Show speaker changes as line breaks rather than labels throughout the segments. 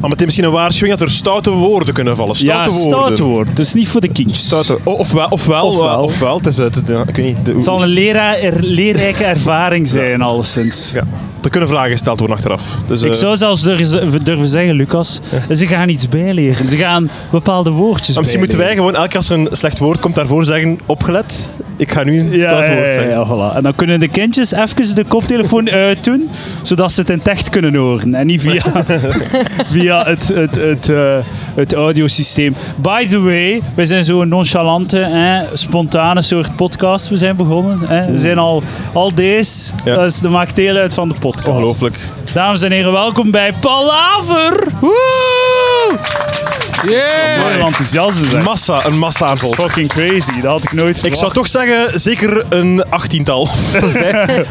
Maar meteen misschien een waarschuwing dat er stoute woorden kunnen vallen.
ja,
Stoute woorden.
stout woord. Het is niet voor de kinks.
Stoute- o- ofwel, ofwel,
Ofwel.
ofwel. ofwel het is, het is- ja, ik weet niet. de-
Het zal een lera- er- leerrijke ervaring zijn, alleszins.
ja, er kunnen vragen gesteld worden achteraf. Dus,
Ik
eh,
zou zelfs durven durven zeggen, Lucas, ze gaan iets bijleren. Ze gaan bepaalde woordjes
Maar misschien moeten wij gewoon elke keer als er een slecht woord komt daarvoor zeggen, opgelet, ik ga nu een
Ja,
stout
ja,
woord
ja,
zeggen.
ja, voilà. En dan kunnen de kindjes even de koptelefoon uit doen, zodat ze het in het echt kunnen horen. En niet via, via het, het, het, eh, het audiosysteem. By the way, we zijn zo'n nonchalante, hè, spontane soort podcast. We zijn begonnen. Hè. We zijn al, al deze.
Ja.
Dus dat maakt deel uit van de podcast.
Ongelooflijk.
Dames en heren, welkom bij Palaver! Woe! Mooi enthousiasme zijn.
Massa, een massa aan volk.
Fucking crazy, dat had ik nooit
Ik
verwacht.
zou toch zeggen, zeker een achttiental.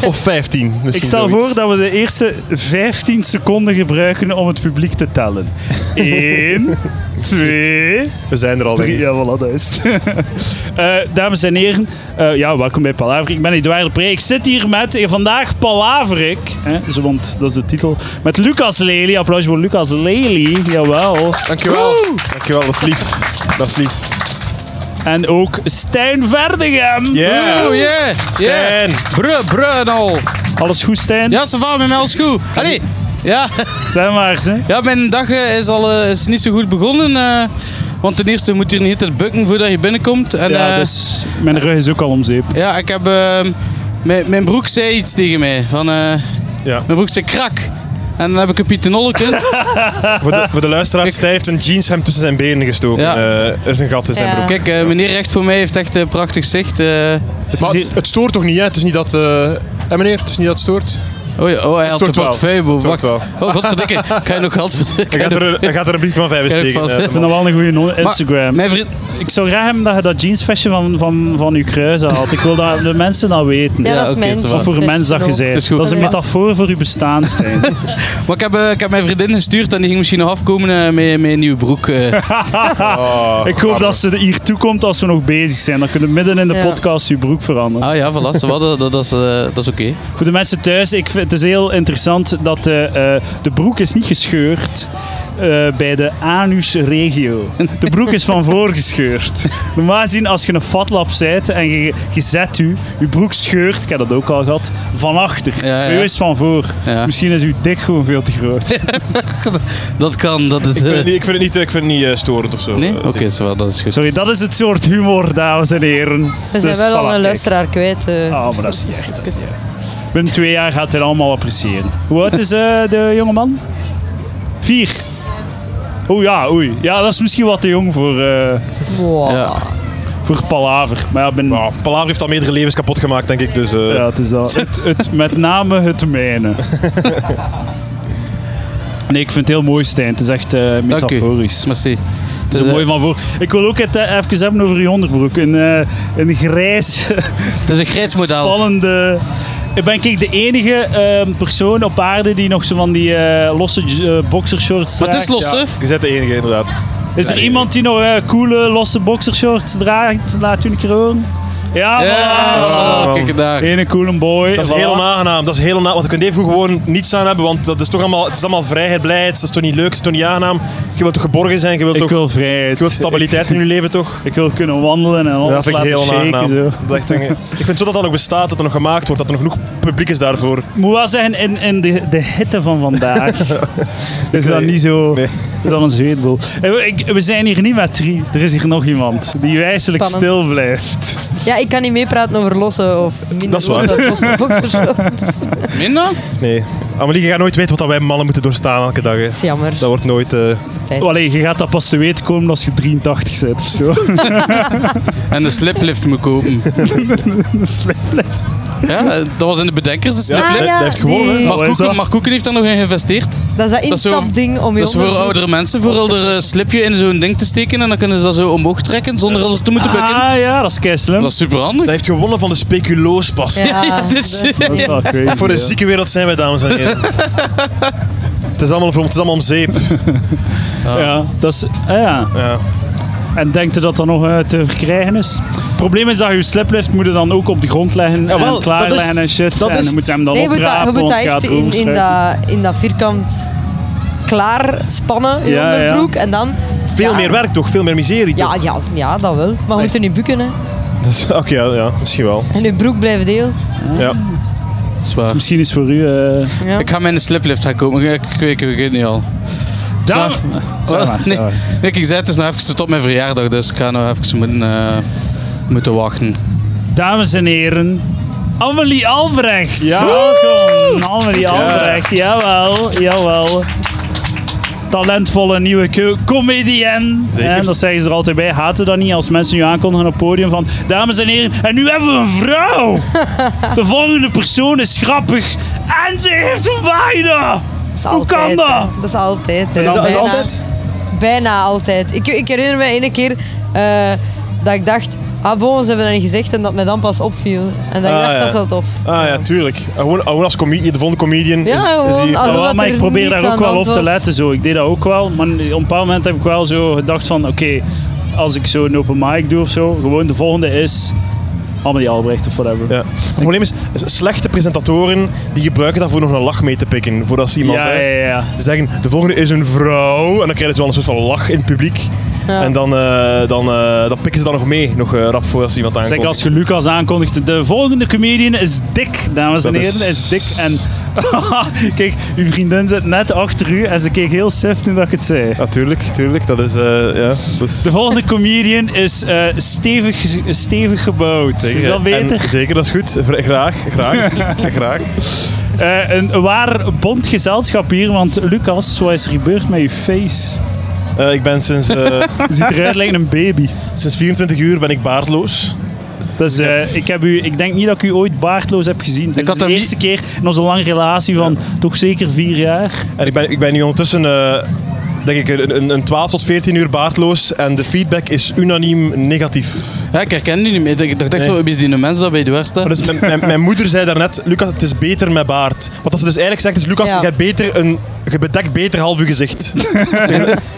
of vijftien misschien.
Ik stel
zoiets.
voor dat we de eerste 15 seconden gebruiken om het publiek te tellen. 1, 2,
We zijn er al, denk
3.
ik.
Ja, voilà, dat is het. Eh, dames en heren, eh, ja, welkom bij Palaver. Ik ben Edouard de Pre. Ik zit hier met, eh, vandaag Palaver ik, hè, zo, want dat is de titel, met Lucas Lely. Applaus voor Lucas Lely, jawel.
Dankjewel. Dankjewel, dat is lief. Dat is lief.
En ook Stijn Verdegem.
Yeah.
Oh yeah, yeah.
En
Bruh, bruh en al.
Alles goed, Stijn?
Ja, ze varen met mij als goed. Allee. Ja,
Zijn maar eens, hè.
ja, mijn dag eh, is al eh, is niet zo goed begonnen. eh, want ten eerste moet je hier niet het bukken voordat je binnenkomt. En,
Ja,
eh,
dus mijn rug is ook al om zeep.
ja ik heb... eh, mijn, mijn broek zei iets tegen mij. Van, eh,
ja.
mijn broek zei krak. En dan heb ik een pietenollek in.
voor, de, voor de luisteraar, Stijn heeft een jeanshemd tussen zijn benen gestoken.
Ja.
Eh, er is een gat in zijn
Ja.
broek.
Kijk, eh, meneer recht voor mij heeft echt een prachtig zicht. eh.
Maar het, het stoort toch niet, hè? Het is niet dat... eh hè, meneer? Het is niet dat het stoort?
oh, ja, oh, hij
Het
had zijn
wordt wel.
portefeuille boven.
Het
Wacht.
wordt
Oh, godverdikke. Kan je nog geld verdikken?
Hij gaat er, een- hij gaat er een brief van vijf in
Kijk,
steken.
vast.
eh,
Ik vind dat wel een goede no- Instagram.
Mijn vriend...
Ik zou graag hebben dat je dat jeansvestje van, van, van je kruis had. Ik wil dat de mensen dat weten.
Ja,
Ja,
dat is
oké,
mijn Dus,
zo
jeans.
waar.
Wat voor een mens dat je bent.
is goed.
Dat is een metafoor voor je bestaan, Stijn.
Maar ik heb, eh, ik heb mijn vriendin gestuurd en die ging misschien nog afkomen eh, met, met een nieuwe broek. eh.
oh,
Ik hoop dat ze er hier toekomt als we nog bezig zijn. Dan kunnen we midden in de
Ja.
podcast je broek veranderen.
Ah ja, voilà, zo wat, dat, dat, dat is, eh, dat is oké.
Voor de mensen thuis, ik vind, het is heel interessant dat eh, eh, de broek is niet gescheurd. eh bij de anusregio. De broek is van voor gescheurd. Normaal gezien, als je een fatlap bent en je, je zet u, je broek scheurt, ik heb dat ook al gehad, van achter.
Ja, ja.
Bij u is van voor.
Ja.
Misschien is uw dik gewoon veel te groot.
Dat kan, dat is...
Ik vind,
eh,
het niet, ik vind het niet, eh, ik vind het niet eh, storend of zo.
nee?
Eh,
Oké,
dit-
zo wat, dat is goed.
Sorry, dat is het soort humor, dames en heren.
We zijn
Dus,
wel
voilà,
al een
kijk.
luisteraar kwijt. eh.
Ah, maar dat is niet erg. dat is niet erg. Binnen twee jaar gaat hij het allemaal appreciëren. Hoe oud is eh, de jongeman? Vier. Oeh ja, oei. Ja, dat is misschien wat te jong voor, eh
Wow.
Ja.
voor palaver. Maar ja, ben,
Nou, Palaver heeft al meerdere levens kapot gemaakt, denk ik. Dus, eh,
ja het is dat. Het, het, met name het mijne. Nee, ik vind het heel mooi, Stijn. Het is echt eh,
Dank u.
metaforisch.
Merci.
Het
Dus,
is
eh,
mooi van voor. Ik wil ook het eh, even hebben over je onderbroek. Een, eh, een grijs,
het is een grijs model.
Spannende. Ik Ben ik de enige eh, persoon op aarde die nog zo van die eh, losse eh, boxershorts
Maar
draagt?
het is los, hè?
ja, je bent de enige, inderdaad.
Is er iemand die nog eh, coole losse boxershorts draagt? Laat u een keer horen. Ja,
Ja,
voilà.
voilà, kijk daar.
Ene coole boy.
Dat is
voilà.
heel onaangenaam. Dat is heel onaangenaam. Want je kunt even goed gewoon niets aan hebben, want dat is toch allemaal, het is allemaal vrijheid, blijheid. Dat is toch niet leuk, dat is toch niet aangenaam. Je wilt toch geborgen zijn, je wilt
Ik
toch
wil vrijheid.
je wilt stabiliteit
Ik,
in je leven, toch?
ik wil kunnen wandelen en alles
dat vind ik
laten
heel
shaken.
onaangenaam.
Zo.
Dat is echt een- ik vind het zo dat dat nog bestaat, dat er nog gemaakt wordt, dat er nog genoeg publiek is daarvoor.
Ik moet wel zeggen, in, in de, de hitte van vandaag is dat niet zo...
Nee.
Is dat een zweetbol. Eh, we- ik- We zijn hier niet met drie. Er is hier nog iemand die wijselijk
Spannend.
stil blijft.
Ja, ik kan niet meepraten over losse of minder
Dat is waar.
losse, losse boxershorts.
Minder?
Nee. Amelie, je gaat nooit weten wat dat wij mannen moeten doorstaan elke dag. Hè.
Dat is jammer.
Dat wordt nooit... eh,
Spijt.
Allee, je gaat dat pas te weten komen als je 83 bent of zo.
En de sliplift moet kopen.
Ah,
Ja, eh, dat was in de bedenkers, de
ja,
Ah,
sliplift.
dat-
ja,
dat heeft gewonnen.
die-
Mark
Oh, is
Koeken-
dat?
Mark Koeken heeft daar nog in geïnvesteerd.
Dat is dat
is zo-
instapding om je
Dat is voor
onderbroek-
oudere mensen, voor om er eh, slipje in zo'n ding te steken en dan kunnen ze dat zo omhoog trekken zonder er te moeten bukken.
Ah ja, dat is kei slim.
Dat is superhandig.
Dat heeft gewonnen van de speculoospas.
Ja,
Ja,
dat
dus-
is-
Dat is wel crazy,
Voor de
ja.
zieke wereld zijn wij, dames en heren. het, is allemaal, voor- het is allemaal om zeep.
Ja, dat is... ah, ja.
Ja.
En denkt u dat dat nog eh, te verkrijgen is? Het probleem is dat je je sliplift moet je dan ook op de grond leggen
wel,
en
dat is-
klaarleggen en shit.
dat
en
is
dan moet je hem dan
Nee, je moet dat,
oprapen,
je moet dat
want het
echt
gaat
in, in,
overstijgen.
dat, in dat vierkant klaarspannen, je
Ja, ja.
onderbroek. En dan...
Veel
ja,
meer werk toch? Veel meer miserie
Ja,
toch?
ja, ja, dat wel. Maar we moeten nu bukken, hè.
Dus, Oké, ja, ja, misschien wel.
En je broek blijven deel.
Ja.
Zwaar.
Misschien is voor u... eh,
Ja.
Ik ga mijn sliplift gaan kopen. Ik weet, ik weet niet al.
Daan-
Slaaf-
Zeg maar,
Wat?
zeg
Nee,
maar.
nee, ik zei het is nou even tot mijn verjaardag, dus ik ga nou even moeten, eh, moeten wachten.
Dames en heren, Amelie Albrecht.
Ja.
Welkom, Amelie Albrecht. Jawel, jawel. Talentvolle nieuwe co- comedienne.
Zeker.
En dat zeggen ze er altijd bij. Haten dat niet als mensen nu aankondigen op het podium van... Dames en heren, en nu hebben we een vrouw. De volgende persoon is grappig. En ze heeft een vagina.
Dat is
Hoe kan
altijd,
dat?
hè. Dat is altijd. hè.
Is dat is
Bijna-
dat altijd?
Bijna altijd. Ik, ik herinner me ene keer eh, dat ik dacht... Ah bon, ze hebben dat niet gezegd en dat mij dan pas opviel. En dat ik
Ah,
dacht,
ja.
dat is wel tof.
Ah ja, tuurlijk. Ah, Gewoon, gewoon als comedian, de volgende comedian.
Ja,
is,
gewoon
is
als-
Ah,
Ja,
wat
maar
er
ik probeer
niets
daar
aan
ook
de
wel op
hand
te
was.
letten. Zo. Ik deed dat ook wel. Maar op een bepaald moment heb ik wel zo gedacht van... Oké, als ik zo een open mic doe of zo... Gewoon de volgende is... Amelie Albrecht of whatever.
ja. Het probleem is, s- slechte presentatoren die gebruiken dat voor nog een lach mee te pikken. Voordat ze iemand
ja,
hè,
ja, ja.
Ze zeggen, de volgende is een vrouw. En dan krijg je dus wel een soort van lach in het publiek.
Ja.
En dan, eh, dan, eh, dan pikken ze dat nog mee, nog eh, rap voordat ze iemand
Zeg,
aankomt.
als je Lucas aankondigt, de volgende comedian is dik, dames en
Dat is-
heren, is dik. En kijk, uw vriendin zit net achter u en ze keek heel suf toen dat ik het zei.
Natuurlijk, tuurlijk. Dat is, eh, ja, dus...
De volgende comedian is eh, stevig, stevig gebouwd. Is dat beter?
En zeker, dat is goed. Vra- Graag, graag, graag.
Eh, een waar bond gezelschap hier, want Lucas, wat is er gebeurd met je face?
Eh, ik ben sinds, eh,
Je ziet eruit lijkt een baby.
sinds 24 uur ben ik baardloos.
Dus eh, ik, heb u, ik denk niet dat ik u ooit baardloos heb gezien. Dit
had
is de
hem
eerste keer in onze lange relatie van toch zeker vier jaar.
En ik ben, ik ben nu ondertussen, eh, denk ik, een, een, een 12 tot 14 uur baardloos. En de feedback is unaniem negatief.
Ja, ik herken die niet meer. Ik dacht echt
Nee.
zo, wie is die mensen dat bij de werst?
Maar dus mijn, mijn, mijn moeder zei daarnet, Lucas, het is beter met baard. Wat dat ze dus eigenlijk zegt is, Lucas,
Ja.
je, hebt beter een, je bedekt beter half je gezicht.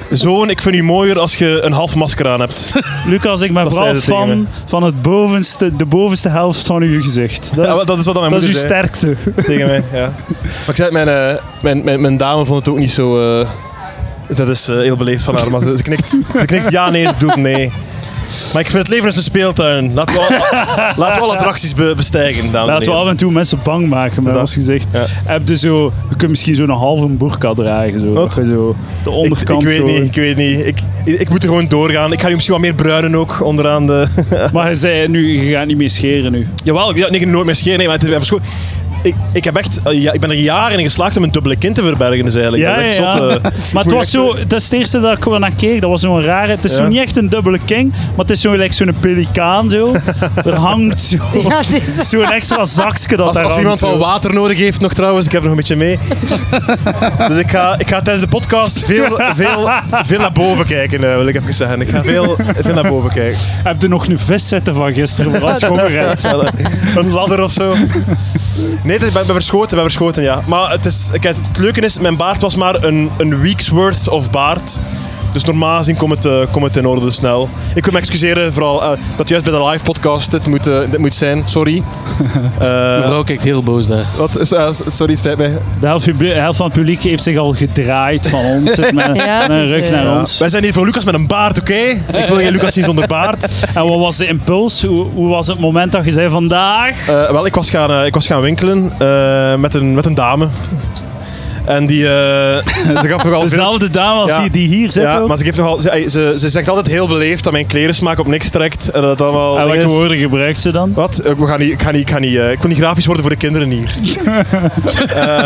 Zoon, ik vind u mooier als je een half masker aan hebt.
Lucas, ik ben
Dat
vooral
zei ze tegen
fan
me.
van het bovenste, de bovenste helft van uw gezicht. Dat
Ja,
is,
maar dat is wat mijn
dat is
moeder
uw
zei
sterkte.
tegen mij. Ja. Maar ik zei, mijn, eh, mijn, mijn, mijn dame vond het ook niet zo... eh, dat is eh, heel beleefd van haar, maar ze, ze knikt, ze knikt ja, nee, ze doet nee. Maar ik vind het leven is een speeltuin. Laten we al, laten we al attracties be- bestijgen, dames en
Laten we
heren.
af en toe mensen bang maken met
Dat-
ons gezicht.
ja.
Heb je dus zo, je kunt misschien zo'n halve burka dragen. Zo,
Wat?
Dat je zo de
Ik,
onderkant
ik weet
gewoon-
niet, ik weet niet. Ik, ik, ik moet er gewoon doorgaan. Ik ga nu misschien wat meer bruinen ook, onderaan de...
Maar je zei nu, je gaat niet meer scheren nu.
Jawel, ja, nee, nooit meer scheren. Nee, maar het is even schoon. Ik, ik, heb echt, eh, ja, ik ben er jaren in geslaagd om een dubbele kind te verbergen, dus eigenlijk.
Ja,
dat is echt
ja,
zot,
ja.
eh.
Maar het
Moet
was
echt,
zo, dat is het eerste dat ik gewoon naar keek. Dat was zo'n rare. Het is
Ja.
zo niet echt een dubbele king, maar het is zo gelijk zo'n pelikaan zo. er hangt zo-
Ja, het is...
zo'n extra zakje dat
Als,
daar
als
hangt.
iemand
zo.
wel water nodig heeft nog trouwens, ik heb nog een beetje mee. dus ik ga, ik ga tijdens de podcast veel, veel, veel naar boven kijken, eh, wil ik even zeggen. Ik ga veel, veel naar boven kijken.
Heb je nog een vis zitten van gisteren voor als je honger hebt?
Wel, eh, Een ladder of zo. Nee, dat- ik ben, ben verschoten, ik ben verschoten, ja. Maar het, is, kijk, het leuke is, mijn baard was maar een, een week's worth of baard. Dus normaal gezien komt het, eh, komt het in orde snel. Ik wil me excuseren, vooral eh, dat juist bij de live podcast dit moet, eh, dit moet zijn. Sorry.
De
Eh
vrouw kijkt heel boos daar.
wat, is- eh, sorry, het spijt mij.
De helft, publie- de helft van het publiek heeft zich al gedraaid van ons. Zit met,
Ja,
met een
dus,
rug
eh,
naar
Ja.
ons.
Wij zijn hier voor Lucas met een baard, oké? Ik wil geen Lucas zien zonder baard.
En wat was de impuls? Hoe, hoe was het moment dat je zei vandaag?
Eh, wel, ik was gaan, eh, ik was gaan winkelen eh, met, een, met een dame. En die... eh, ze gaf vooral veel-
Dezelfde dame als
Ja.
hier, die hier zit
Ja,
ook.
maar ze, geeft nogal, ze, ze, ze zegt altijd heel beleefd dat mijn klerensmaak op niks trekt. En dat het allemaal
En
dingen
welke
is.
woorden gebruikt ze dan?
Wat? Eh, We gaan niet, ik, ga niet, ik, ga niet, eh, ik wil niet grafisch worden voor de kinderen hier. Eh,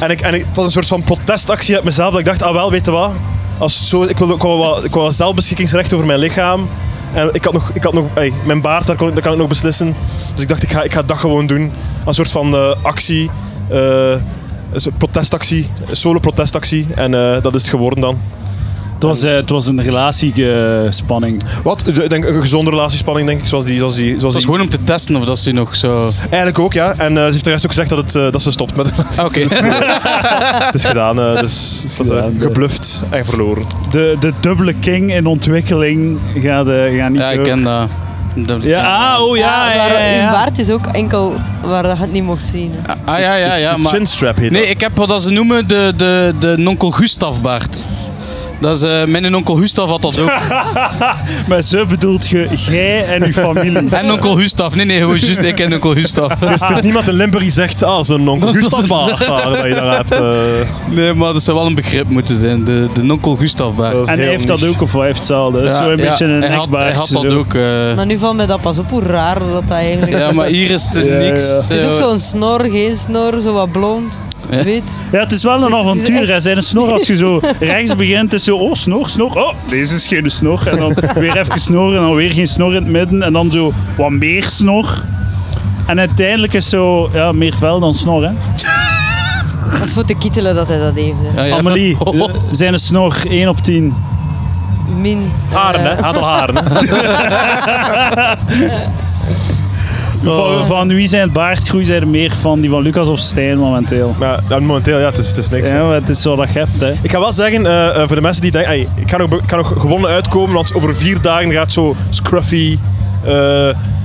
en ik, en ik, het was een soort van protestactie uit mezelf. Dat ik dacht, ah wel, weet je wat? Als het zo, ik, wil, ik, wil wel, ik wil wel zelfbeschikkingsrecht over mijn lichaam. En ik had nog, ik had nog ey, mijn baard, daar, kon, ik- daar kan ik nog beslissen. Dus ik dacht, ik ga, ik ga dat gewoon doen. Een soort van eh, actie. eh, een soort protestactie. Een solo protestactie. En eh, dat is het geworden dan.
Het was, eh, het was een relatiespanning.
Wat? Ik denk een gezonde relatiespanning, denk ik, zoals die... Zoals die, zoals
Het was
die...
gewoon om te testen of dat ze nog zo...
Eigenlijk ook, ja. En eh, ze heeft de rest ook gezegd dat, het, eh, dat ze stopt met
Ah, Oké.
Het is gedaan, eh, dus dat is eh,
gedaan, ja.
gebluft en verloren.
De, de dubbele king in ontwikkeling gaat, eh, gaat niet
Ja, ik
door.
ken dat. Dat-
Ja, ah, oh ja, ja,
waar-
ja,
Uw
ja.
baard is ook enkel waar dat je het niet mocht zien. hè.
Ah ja, ja, ja. Maar...
Chinstrap heet
Nee,
dat.
ik heb wat dat ze noemen de, de, de nonkel Gustavbaard. Dat is, eh, mijn onkel Gustav had dat ook.
Maar ze bedoelt je, jij en uw familie.
En onkel Gustav. Nee, nee, gewoon juist ik en onkel Gustav.
Het is, het is niemand in Limburg die zegt, ah, zo'n onkel Gustav Baart, ah, dat je daar hebt. eh.
Nee, maar dat zou wel een begrip moeten zijn. De, de nonkel Gustavbaard.
Dat is
En hij
heel
heeft dat
niche.
ook, of hij heeft hetzelfde. Dat is zo een beetje een
hij had,
nekbaard.
hij had dat ook. eh.
Maar nu valt mij dat pas op hoe raar dat dat eigenlijk
ja, maar hier is eh, niks.
ja.
Het is ook
eh,
zo'n snor, geen snor, zo wat blond,
Ja.
wit.
Ja, het is wel een
is
avontuur.
echt-
Hij zijn een snor als je zo rechts begint. is zo, oh, snor, snor. Oh, deze is geen snor. En dan weer even snor en dan weer geen snor in het midden. En dan zo wat meer snor. En uiteindelijk is zo, ja, meer vel dan snor, hè.
Dat is voor te kietelen dat hij dat heeft.
ja,
hè.
Oh. ja.
Amelie, eh, zijn een snor, 1 op 10.
Min. eh,
Haren, hè? Aantal haren. hè. Oh.
Van, van wie zijn het baardgroei? Zijn er meer van die van Lucas of Stijn momenteel?
Maar ja, momenteel, ja, het is, het is niks.
Ja, maar het is zo dat je hebt, hè.
Ik ga wel zeggen, eh, eh, voor de mensen die denken, ey, ik kan ook, kan ook gewonnen uitkomen, want over vier dagen gaat zo Scruffy, eh,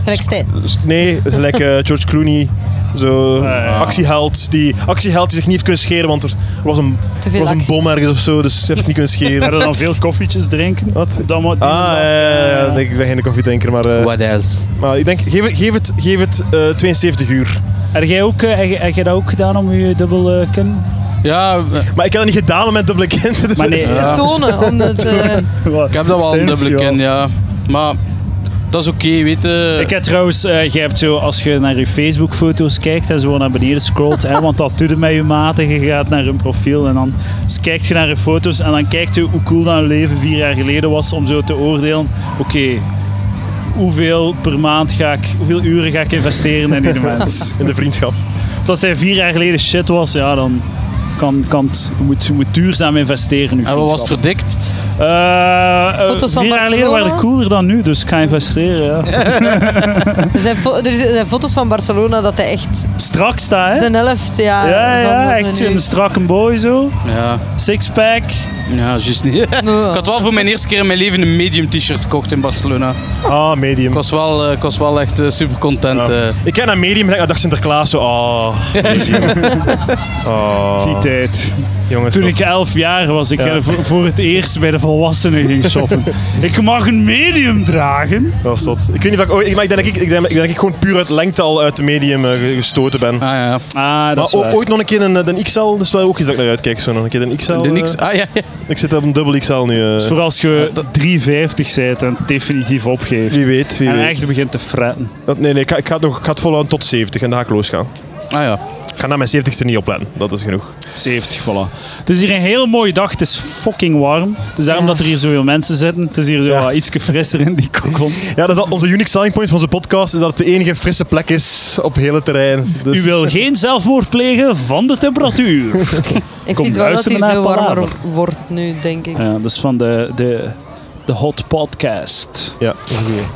Gelijk Stijn.
s- nee, gelijk eh, George Clooney, zo
Ah, ja.
actieheld, die, actieheld die zich niet heeft kunnen scheren, want er was een,
Te
er
veel
was een
actie.
bom ergens of zo, dus ze heeft het niet kunnen scheren.
Hebben dan veel koffietjes drinken?
Wat?
Dan moet
Ah, ja, ja, ja, nee, ik ben geen koffiedrinker, maar, eh,
What else?
maar ik denk, geef, het- geef het, geef het eh, 72 uur.
Heb jij, ook, eh, heb, jij- heb jij dat ook gedaan om je dubbel eh kin?
Ja, eh,
Maar ik heb dat niet gedaan met dubbele kind. dus-
Maar nee.
Te tonen, om het... eh,
Wat?
ik heb dat wel een
Stijn is
dubbele
jou.
kin, ja. Maar dat is oké, weet je.
Ik heb trouwens, eh, je hebt zo, als je naar je Facebook-foto's kijkt en zo naar beneden scrolt, hè, want dat doet het met je maten, je gaat naar hun profiel en dan s- kijkt je naar hun foto's en dan kijkt je hoe cool dat hun leven vier jaar geleden was om zo te oordelen, oké, hoeveel per maand ga ik, hoeveel uren ga ik investeren in die mens?
In de vriendschap.
Want als hij vier jaar geleden shit was, ja dan kan, kan het, je moet, je moet duurzaam investeren in je
En wat was het
vriendschap.
verdikt?
Eh, eh,
Foto's van
vier jaar geleden
Barcelona?
waren cooler dan nu, dus ik ga investeren, ja.
er, zijn fo- er zijn foto's van Barcelona dat hij echt
Strak sta, hè?
de helft... Ja,
Ja,
van wat
ja,
we
echt
nu-
een strakke boy zo.
Ja,
Sixpack.
ja juist niet. ik had wel voor mijn eerste keer in mijn leven een medium t-shirt gekocht in Barcelona.
Ah, medium.
Ik was wel, eh, ik was wel echt eh, super content.
Ja.
eh.
Ik ken naar medium en ik dacht Sinterklaas zo, ah, medium. Ah,
Die tijd.
jongens
Toen
toch.
ik elf jaar was, ik
Ja.
eh, voor, voor het eerst bij de volwassenen ging shoppen. ik mag een medium dragen.
Dat is dat. Ik weet niet of ik ooit, maar ik denk dat ik, ik, denk, ik, denk dat ik gewoon puur uit lengte al uit de medium eh, ge- gestoten ben.
Ah ja.
Ah, dat
maar
is
o-
waar.
ooit nog een keer een, eh, een XL, dus wel ook iets dat ik naar uitkijk. Zo nog een keer een
Oh,
XL.
De
eh,
niks. Ah ja, ja.
ik zit op een dubbel XL nu. eh.
Voor als je 3,50 bent en definitief opgeeft.
Wie weet, wie
En
weet.
echt begint te fretten.
Dat, nee, nee, ik, ga- ik ga het nog, ik ga het volhouden tot 70 en dan ga ik losgaan.
Ah ja.
Ik ga naar mijn 70ste niet opletten, dat is genoeg.
70, voilà. Het is hier een hele mooie dag. Het is fucking warm. Het is daarom
Ja.
dat er hier zoveel mensen zitten. Het is hier zo
Ja.
wat ietsje frisser in die kokon.
Ja, dat is al- onze unique selling point van onze podcast is dat het de enige frisse plek is op heel het terrein. Dus
U wil geen zelfmoord plegen van de temperatuur.
Ik
Kom,
vind wel dat
luister
hij
maar
veel
naar
warmer
Palaver.
wordt nu, denk ik.
Ja, dat is van de, de, de Hot Podcast.
Ja, ongeveer.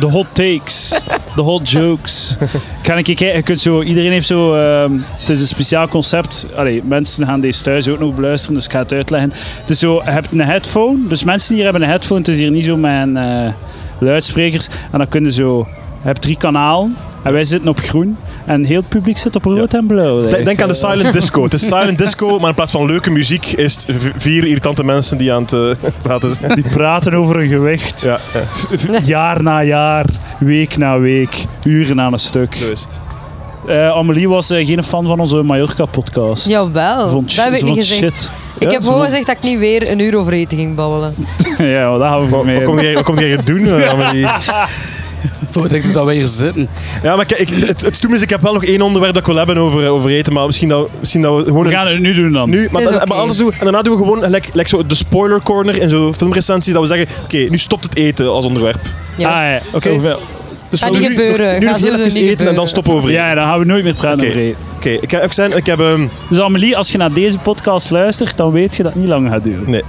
De Hot Takes. De Hot Jokes. Ik Ga een keer kijken. Je kunt zo, iedereen heeft zo... ehm, het is een speciaal concept. Allee, mensen gaan deze thuis ook nog beluisteren, dus ik ga het uitleggen. Het is zo, je hebt een headphone. Dus mensen hier hebben een headphone. Het is hier niet zo met een, eh, luidsprekers. En dan kunnen zo... Je hebt drie kanalen. En wij zitten op groen. En heel het publiek zit op rood en blauw.
Denk- Denk aan de
eigenlijk.
silent disco. Het is silent disco, maar in plaats van leuke muziek is het v- vier irritante mensen die aan het eh, praten zijn.
Die praten over hun gewicht.
Ja, ja,
jaar na jaar, week na week, uren aan een stuk.
zo is het.
Eh, Amelie was eh, geen fan van onze Mallorca-podcast. Ze
Jawel,
vond,
dat heb
ze
ik niet
vond
gezegd.
shit.
Ik
Ja, ze
heb gewoon
vond-
gezegd dat ik niet weer een uur over eten ging babbelen.
ja, maar dat gaan we voor
Wat, wat
mee.
kom jij, wat kom jij hier doen, eh, Amelie?
Voor denk ik dat wij hier zitten.
Ja, maar kijk, ik- het, het stoem is, ik heb wel nog één onderwerp dat ik wil hebben over, eh, over eten, maar misschien dat, misschien dat we gewoon...
We
een-
gaan het nu doen dan.
Nu, maar,
Is
dan-
oké.
maar anders doen we, en daarna doen we gewoon gelijk gelijk zo de spoiler corner in zo'n filmrecensies, dat we zeggen, oké, nu stopt het eten als onderwerp.
Ja.
Ah, ja.
Oké.
Hoeveel-
Dus
Gaat
we
niet
doen
gebeuren.
Nu, nu
Gaat
nog heel
sowieso
even eten
niet
en dan
gebeuren.
stoppen we over eten.
ja, dan gaan we nooit meer praten
Oké.
over eten.
Oké, ik ga even zijn, ik heb... ehm,
Dus Amelie, als je naar deze podcast luistert, dan weet je dat het niet lang gaat duren.
Nee.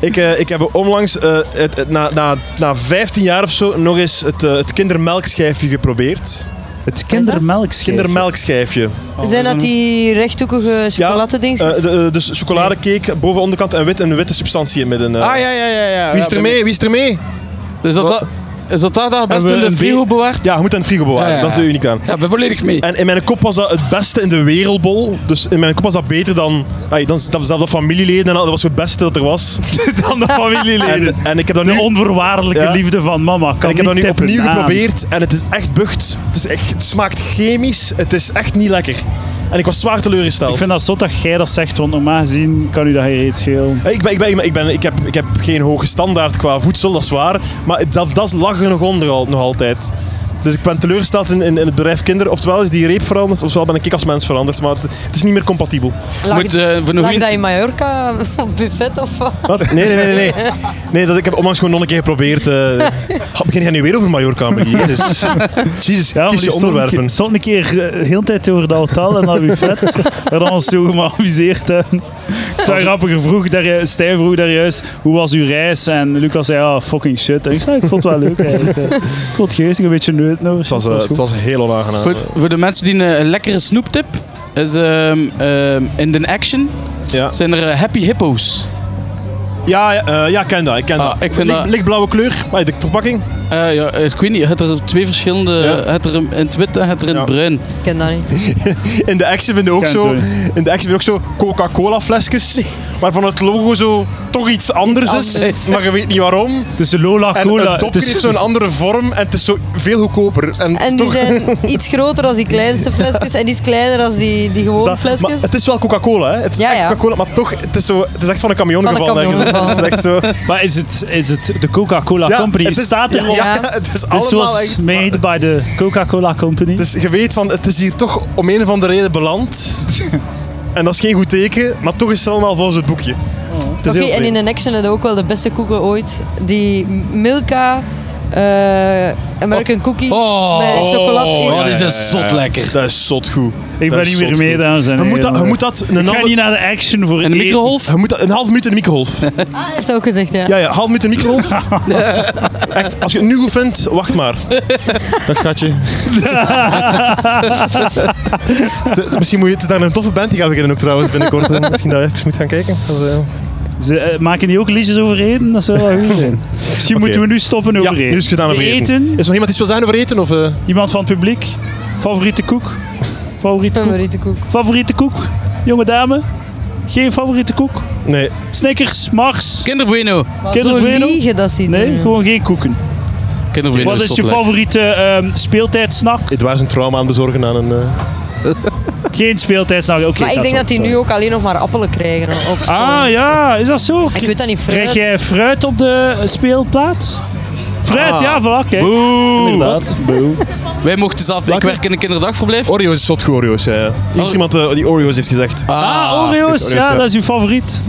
ik, eh, ik heb onlangs, eh, het, het- na, na, na 15 jaar of zo, nog eens het, eh, het kindermelkschijfje geprobeerd.
Het kindermelkschijf.
Kindermelkschijfje.
Zijn dat die rechthoekige
Eh,
chocoladedingetjes?
de- eh, dus chocoladecake, boven onderkant en wit, en een witte substantie in het midden. eh.
Ah ja, ja, ja. ja.
Wie is er mee? Wie is er mee?
Dus dat, dat, Is dat daar, daar best
Hebben
in
we
de
een
frigo
be-
bewaard?
Ja, je moet aan het frigo bewaren.
Ja, ja,
Dat is
ja.
uniek aan.
Ja, ben volledig mee.
Eh,
En in mijn kop was dat het beste in de wereldbol. Dus in mijn kop was dat beter dan... Ay, dan zelfs dat familieleden. En dat was het beste dat er was.
dan de familieleden.
En, en ik heb dat
De
nu...
onvoorwaardelijke
Ja.
liefde van mama. Kan
En ik heb dat
niet
nu
tippen Ah,
opnieuw
aan.
geprobeerd en het is echt bucht. Het, is echt, het smaakt chemisch, het is echt niet lekker. En ik was zwaar teleurgesteld.
Ik vind dat zot dat jij dat zegt, want normaal gezien kan u dat geen reet schelen.
ik, ben, ik, ben, ik, ben, ik, heb, ik heb geen hoge standaard qua voedsel, dat is waar. Maar het- dat, dat lag er nog onder al- nog altijd. Dus ik ben teleurgesteld in, in, in het bedrijf kinderen. Oftewel is die reep veranderd, ofwel ben ik als mens veranderd. Maar het, het is niet meer compatibel.
Lag,
Moet, eh, voor nog
lag
een-
dat in Mallorca op buffet of wat?
Wat? Nee, nee, nee. nee, nee. nee dat, ik heb onlangs gewoon nog een keer geprobeerd. eh God, begin jij nu weer over Mallorca, Amelie? Jezus, Jezus
maar
kies
die
je
stond een
onderwerpen.
keer- Stond een keer eh, heel de hele tijd over dat hotel en dat buffet. en dan ons zo geamuseerd. hè. Toen grappiger vroeg, daar, ju- Stijn vroeg daar juist, hoe was uw reis? En Lucas zei, ja, fucking shit. En ik zei, ik vond het wel leuk eigenlijk. eh. Ik vond het geestig, een beetje neut. Nou,
Het was, eh, het was heel onaangenaam.
Voor, voor de mensen die een eh, lekkere snoeptip is ehm, ehm, in de action
Ja.
zijn er eh, happy hippo's.
Ja, ja, eh, ja, ik ken dat. Ik ken
Ah,
dat.
ik vind
Lik-
dat-
Lichtblauwe kleur, maar de verpakking.
Eh, ja, eh, ik weet niet, het er twee verschillende.
Ja.
Het er in het wit en het er in
Ja.
het bruin.
Ik ken dat niet.
In de action vinden we ook
Kent
zo,
u.
in de action vinden we ook zo Coca-Cola flesjes, waarvan het logo zo toch iets anders,
anders.
is, maar je weet niet waarom.
tussen Lola
En
Cola.
het dopje
het is-
heeft zo'n andere vorm en het is zo veel goedkoper. En,
En die
toch,
zijn iets groter als die kleinste flesjes en iets kleiner als die, die gewone
dat- maar
flesjes.
het is wel Coca-Cola, hè? Het is
Ja,
echt
ja.
Coca-Cola, maar toch, het is, zo, het is echt van een camion
Van een
gevallen. ergens.
camion gevallen.
Het is echt zo.
Maar is het, is het de Coca-Cola
Ja,
Company?
het is-
staat er
ja,
al.
ja, het is
This
allemaal
was
echt...
made by the Coca-Cola Company.
Dus je weet van, het is hier toch om een of andere reden beland. en dat is geen goed teken, maar toch is het allemaal volgens het boekje. Het is
Oké,
heel
en in
vreemd.
een action hadden we ook wel de beste koeken ooit. Die Milka eh, American Cookies
Oh.
met chocolade in.
Oh,
ja,
die
ja,
zijn
ja,
zot
ja.
lekker.
Dat is zot goed.
ik ben niet meer mee, dames en
Je
heren.
moet dat, je moet dat een,
Ik ga
halve,
niet naar de action voor
En de
eten.
microgolf?
je moet dat een half minuut in de microgolf.
Ah, hij heeft dat ook gezegd, ja.
ja, ja, half minuut in de microgolf. Echt, als je het nu goed vindt, wacht maar. Dag schatje. De- misschien moet je het is daar een toffe band die gaan beginnen ook trouwens binnenkort. hè. Misschien dat je even moet gaan kijken. Dat is, eh,
Ze, eh, maken die ook liedjes over eten? Dat zou wel goed zijn. Misschien moeten we nu stoppen over
Ja,
eten.
nu is het gedaan over
De
eten. Is er nog iemand iets wil zijn over eten? Of, eh?
Iemand van het publiek? Favoriete koek? Favoriete koek?
Favoriete koek.
Favoriete koek? Jonge dame? Geen favoriete koek?
Nee.
Snickers? Mars?
Kinderbueno.
Zo
Kinderbueno?
liegen dat ze
Nee,
doen.
gewoon geen koeken.
Kinderbueno
Wat is
zot
je
lekker.
favoriete ehm, speeltijdsnack?
Het was een trauma aan het bezorgen aan een... eh,
Geen speeltijdsnack, oké.
Maar ik
ga
denk
zo,
dat die
sorry.
nu ook alleen nog maar appelen krijgen op school.
Ah ja, is dat zo?
Ik weet dat niet,
Krijg
fruit.
jij fruit op de eh, speelplaats? Fruit,
Ah.
ja, voilà, kijk.
Boe.
Inderdaad, boe.
Wij mochten zelf. Ik
Welke?
werk in een kinderdagverblijf.
Oreo's is zot goed, Oreo's. Ja, ja. Hier is
Oh.
iemand eh, die Oreo's heeft gezegd.
Ah, Oreo's,
Oreo's,
ja,
ja.
dat is uw favoriet.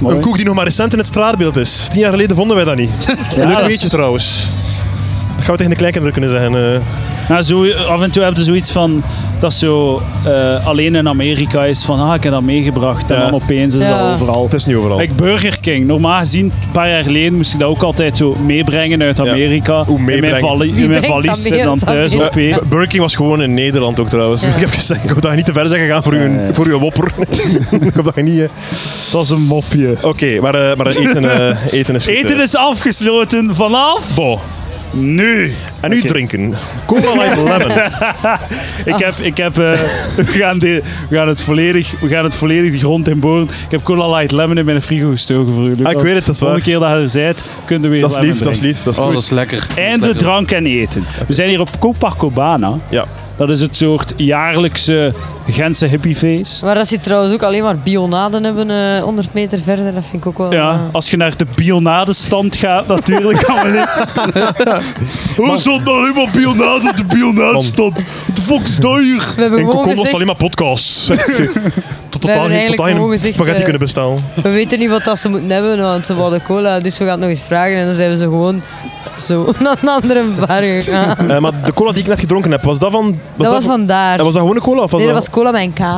Mooi.
Een koek die nog maar recent in het straatbeeld is. Tien jaar geleden vonden wij dat niet.
Ja,
Leuk
dat
weetje
is-
trouwens. Dat gaan we tegen de kleinkinderen kunnen zeggen. eh.
Nou, zo, af en toe heb je zoiets van dat zo eh, alleen in Amerika is van ah, ik heb dat meegebracht en
Ja.
dan opeens is
Ja.
dat overal.
het is niet overal.
Like Burger King. Normaal gezien, een paar jaar geleden moest ik dat ook altijd zo meebrengen uit
Ja.
Amerika.
Hoe
In
meebrengen?
mijn, vali- in
Wie
mijn
brengt dat
valies
mee
en dan
uit
thuis
Amerika?
op één.
B- Burger King was gewoon in Nederland ook trouwens.
Ja.
Ik heb gezegd, ik hoop dat je niet te ver zijn gegaan voor, uw,
ja.
voor uw wopper. ik hoop dat je niet... eh.
Dat was een mopje.
Oké, maar, eh, maar eten, eh, eten is goed.
Eten
eh.
is afgesloten vanaf
Bon.
nu.
En nu
Oké.
drinken. Cola light lemon.
Ik heb, ik heb eh, we, gaan de, we, gaan het volledig, we gaan het volledig de grond in boren. Ik heb Cola Light Lemon in mijn frigo gestoken voor jullie.
Ah, ik weet het, dat is waar.
Volgende keer dat je er zijt, kunnen we weer
Dat is
lemon
lief, dat is
drinken.
lief. Dat is
Oh,
goed.
dat is lekker. Dat is
En de
lekker.
drank en eten. We zijn hier op Copacabana.
Ja.
Dat is het soort jaarlijkse Gentse hippiefeest.
Maar dat ze trouwens ook alleen maar bionaden hebben eh 100 meter verder, dat vind ik ook wel...
Ja,
eh,
als je naar de bionadestand gaat, natuurlijk kan men Hoe zat nou helemaal bionade op de bionadestand? Wat de fuck is dat hier?
we hebben
In
gewoon
Cocon was
gezegd,
het alleen maar podcasts. Tot totaal geen,
eigenlijk
totaal
gewoon
geen
gezegd,
spaghetti
eh,
kunnen bestellen.
we weten niet wat dat ze moeten hebben, want ze wilden cola, dus we gaan het nog eens vragen. En dan zijn we ze gewoon zo naar een andere bar gegaan.
Eh, maar de cola die ik net gedronken heb, was dat van... Was
Dat was
van-
vandaar.
eh, Was dat gewoon een cola? Of was
Nee, dat was cola met een K.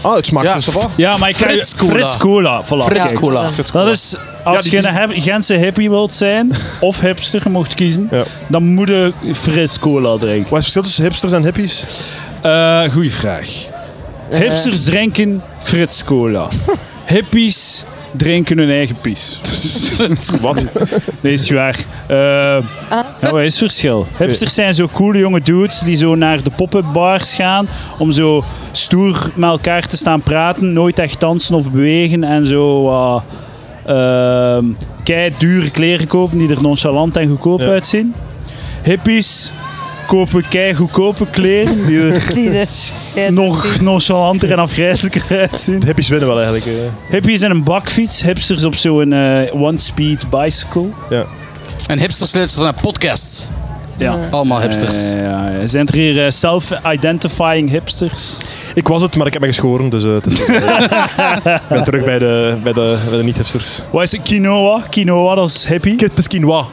Ah, het smaakt
Ja.
dus wel.
Ja, maar ik kan je-
Frits Cola.
Frits Cola, voilà,
Frits
kijk.
Cola.
Dat is, als
Ja, die
je
is-
een heb- Gentse hippie wilt zijn, of hipster, je mocht kiezen,
Ja.
dan moet je Frits Cola drinken.
Wat is het verschil tussen hipsters en hippies?
Eh, goeie vraag. Hipsters drinken Frits Cola. Hippies drinken hun eigen pies.
Wat?
Nee, is waar. Eh, ja, wat is het verschil? Hipsters zijn zo coole jonge dudes die zo naar de pop-up bars gaan om zo stoer met elkaar te staan praten, nooit echt dansen of bewegen en zo wat, ehm, kei dure kleren kopen die er nonchalant en goedkoop
Ja.
uitzien. Hippies kopen kei goedkope kleren die er
Die er schijt
nog
uitzien.
nonchalanter en afgrijzelijker uitzien.
De hippies winnen wel eigenlijk. eh.
Hippies in een bakfiets, hipsters op zo'n eh, one-speed bicycle.
En hipsters luisteren naar podcasts.
Ja.
Allemaal hipsters.
Ja, ja, ja. Zijn er hier eh, self-identifying hipsters?
Ik was het, maar ik heb me geschoren, dus eh, het is oké. Ik ben terug bij de, bij de, bij de niet-hipsters.
Wat is het? Quinoa? Quinoa, dat is hippie.
Het is quinoa,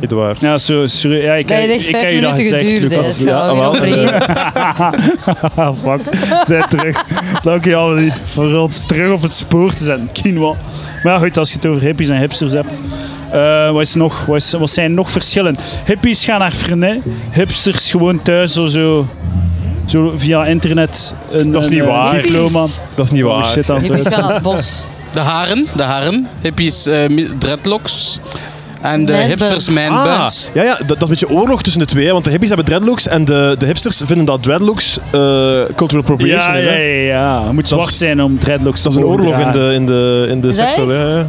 Edouard.
Ja, zo, zo, ja, ik,
Dat heeft
ik-
echt
ik ken
vijf
je dat
minuten
gezegd,
geduurd. hè.
Lucas.
Het gaat
Ja,
alweer
wel.
overheen.
Ah, fuck. Zijn terug. Dank je al die- voor ons terug op het spoor te zetten. Quinoa. Maar ja, goed, als je het over hippies en hipsters hebt. Eh, wat, is nog, wat, is- wat zijn nog verschillen? Hippies gaan naar Freinet. Hipsters gewoon thuis of zo. Zo via internet een,
Dat is
een,
niet
eh,
waar.
diploma.
Hippies.
Dat is niet
Oh,
waar.
shit, aan het
Hippies gaan naar het bos.
De haren, de haren. Hippies, eh, mi- dreadlocks. En de
Man
hipsters,
buns.
man
Ah,
buns.
ja, ja, dat, dat is een beetje oorlog tussen de twee, hè, want de hippies hebben dreadlocks en de, de hipsters vinden dat dreadlocks eh, cultural appropriation
Ja,
is.
ja,
Hè?
ja, ja. Het moet
Dat is-
zwart zijn om dreadlocks te
Dat is een
mogen
oorlog in
dragen.
de, in de, in de
Is dat
sector.
echt?
hè.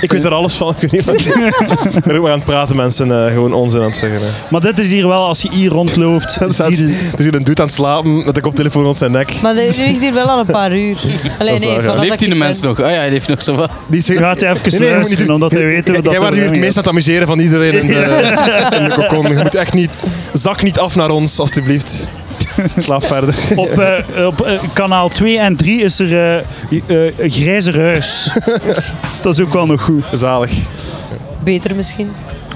Ik weet er alles van. Ik weet niet wat. Ik ben ook maar aan het praten, mensen. eh, gewoon onzin aan het zeggen. Hè.
Maar dit is hier wel, als je hier rondloopt,
Er staat-
zie je
er zit een dude aan het slapen met de koptelefoon rond zijn nek.
Maar dit ligt hier wel al een paar uur. Alleen
waar,
nee,
ja.
vanaf dat
Leeft die
ik
de
ben-
mens nog? Ah ja, hij leeft nog zo wat.
Die zegt-
Gaat hij even
je moet
luisteren,
niet doen.
omdat hij
Jij-
weet hoe
jij-
dat
Jij
er
wordt hier het
aan
meest aan het amuseren van iedereen in de, in de cocon. Je moet echt niet... Zak niet af naar ons, alstublieft. Slaap verder.
Op, eh, op eh, kanaal 2 en 3 is er eh, eh, een grijzer huis. dat is ook wel nog goed.
Zalig.
Beter misschien.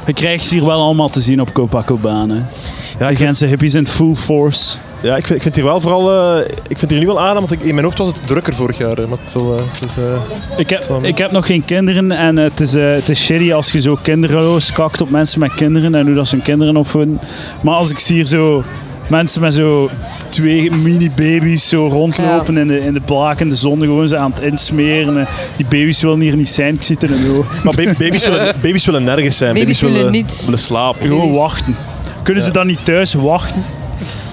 Je krijgt ze hier wel allemaal te zien op Copacabana. Ja, de Gentse hippies in full force.
Ja, ik vind, ik vind hier wel vooral... eh, ik vind hier nu wel aan, want ik, in mijn hoofd was het drukker vorig jaar. eh, Maar het wel, eh, het is, eh,
Ik heb,
Samen.
ik heb nog geen kinderen en eh, het, is, eh, het is shitty als je zo kinderloos kakt op mensen met kinderen en hoe dat ze hun kinderen opvoeden. Maar als ik zie hier zo mensen met zo twee mini-baby's zo rondlopen in, de, in de blakende zon, gewoon ze aan het insmeren. eh, Die baby's willen hier niet zijn, ik zit er een oog.
maar ba- baby's, willen, baby's willen nergens zijn.
Baby's willen niet.
willen slapen.
Gewoon
Baby's.
wachten. Kunnen ze dan niet thuis wachten?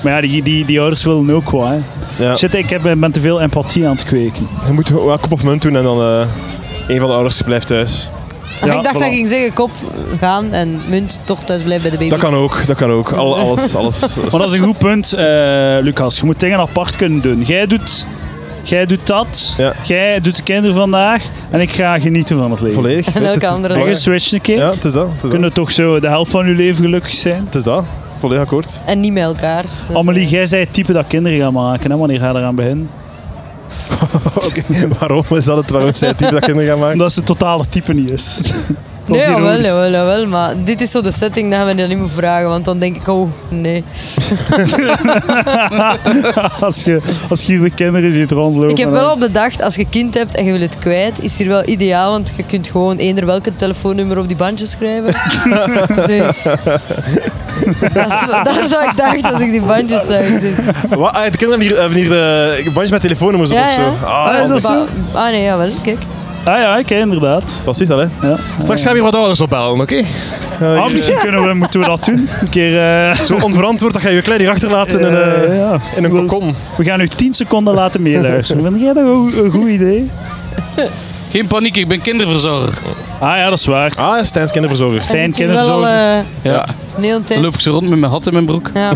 Maar ja, die, die, die ouders willen ook wat. Hè.
Ja.
Shit, ik heb, ben te veel empathie aan het kweken.
Je moet wel kop of munt doen en dan... eh een van de ouders blijft thuis.
Ja,
ik dacht dat
voilà.
ik ging zeggen kop gaan en munt toch thuis blijven bij de baby.
Dat kan ook, dat kan ook. Al, alles, alles.
Maar dat is een goed punt, eh, Lucas. Je moet dingen apart kunnen doen. Jij doet, jij doet dat,
Ja.
jij doet de kinderen vandaag en ik ga genieten van het leven.
Volledig.
En
Het
elke
is
andere
En
belangrijk.
je switcht een keer.
Ja, het is dat. Het is dat.
Kunnen toch zo de helft van je leven gelukkig zijn?
Het is dat. Volledig akkoord.
En niet met elkaar. Dat is,
Amelie,
eh,
jij zei het type dat kinderen gaan maken. Hè? Wanneer ga je eraan beginnen?
Oké, waarom is dat het? Waarom zij het type dat kinderen gaan maken?
Omdat ze het totale type niet is. Dat
Nee,
is
jawel,
ironisch.
jawel, jawel. Maar dit is zo de setting dat we dat niet moeten vragen. Want dan denk ik, oh nee.
als, je, als je hier de kinderen ziet rondlopen.
Ik heb
en
wel
dan-
al bedacht, als je kind hebt en je wil het kwijt, is het hier wel ideaal. Want je kunt gewoon eender welke telefoonnummer op die bandjes schrijven. dus... Dat is, dat is wat ik dacht als ik die bandjes zag. Dus,
Wat? Ah, de kinderen hebben hier, hebben hier eh, bandjes met telefoonnummers op
Ja,
of zo.
ja.
Ah,
dat
anders.
is zo?
Ah nee, jawel, kijk.
Ah ja, oké, inderdaad.
dat is dat, hè?
Ja.
Straks gaan we hier wat ouders opbellen, oké? Eh,
Ah, misschien kunnen we, moeten we dat doen. Een keer... eh,
Zo onverantwoord, dat ga je je klein hier achterlaten in, een,
eh,
eh,
ja.
in een
Wel-
kokon.
We gaan u 10 seconden laten meeluisteren. Vind jij dat een go- een goed idee?
Geen paniek, ik ben kinderverzorger.
Ah ja, dat is waar.
Ah, Stijn's kinderverzorgers.
Stijn
Ik heb wel al
kinderzorg.
eh,
Ja.
een hele tijd.
Dan loop ik zo rond met mijn hat in mijn broek.
Ja.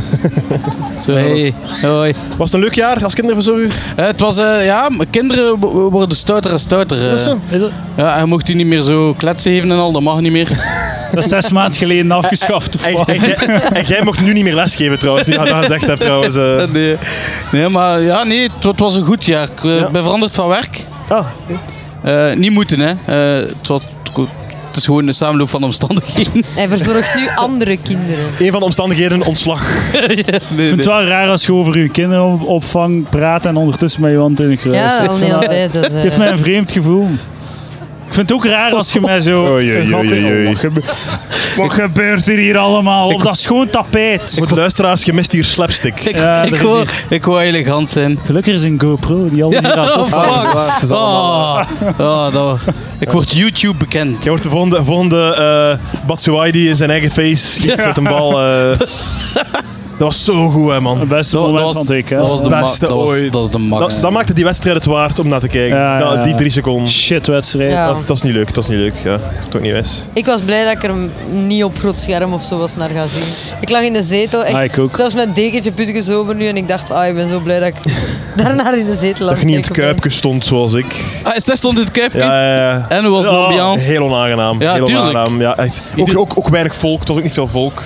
Zo, hey, hoi.
Was het een leuk jaar als kinderverzorger?
Eh, het was, eh, ja, maar kinderen wo- wo- worden stouter en stouter. eh.
Dat is zo.
Is dat,
Ja, hij mocht die niet meer zo kletsen geven en al, dat mag niet meer.
dat is zes maanden geleden afgeschaft. of
En,
wat?
en jij- en jij mocht nu niet meer lesgeven trouwens, die dat gezegd hebt trouwens. eh.
nee. nee, maar ja, nee, het, wa- het was een goed jaar. Ik eh, ben veranderd van werk.
Ah,
Eh, niet moeten, hè. Eh, het, was, het is gewoon een samenloop van omstandigheden.
Hij verzorgt nu andere kinderen.
een van de omstandigheden, ontslag.
Nee,
Ik vind
nee.
het wel raar als je over je kinderopvang praat en ondertussen met je hand in de kruis.
Ja,
Ik
al
vind
een hele
dat-
tijd. Dat, is, eh,
geeft mij een vreemd gevoel. Ik vind het ook raar als je mij zo...
Oei, oei,
een gat in-
oei, oei.
Oh, je- Wat gebeurt er hier allemaal? Op dat schoon tapijt.
Voor de luisteraars, je mist hier slapstick.
Ik,
Ja,
ik,
dat is
wou,
hier.
ik wou elegant zijn.
Gelukkig is een GoPro die al die gaat op.
dat is waar, het is allemaal
Oh, oh, dat, ik word YouTube bekend.
Je wordt de volgende, volgende eh Batshuayi die in zijn eigen face schiet met een bal. eh. dat was zo goed, hè, man.
Het beste
Dat- dat
moment
was-
van het
dat was
WK.
de ma-
Beste
dat was-
ooit.
dat is de max.
Dat, dat maakte die wedstrijd het waard om naar te kijken.
Ja,
Dat-
ja,
die
ja.
drie seconden.
Shit wedstrijd.
Ja.
Dat, dat is niet leuk, dat is niet leuk. Ja. Dat is ook niet wijs.
Ik was blij dat ik er niet op groot scherm of zo was naar gaan zien. Ik lag in de zetel. Echt,
Ah, ik ook.
Zelfs met dekentje putjes over nu. En ik dacht, ah, ik ben zo blij dat ik daarna in de zetel lag.
Dat je niet in het
Ik ben-
kuipje stond zoals ik.
Ah, is dat stond in het kuipje?
Ja, ja, ja.
En hoe was de
Ja.
Eh, ambiance?
Heel onaangenaam.
Ja,
heel
tuurlijk.
onaangenaam. Ja, echt. Ook,
Ieder-
ook, ook weinig volk, het was ook niet veel volk.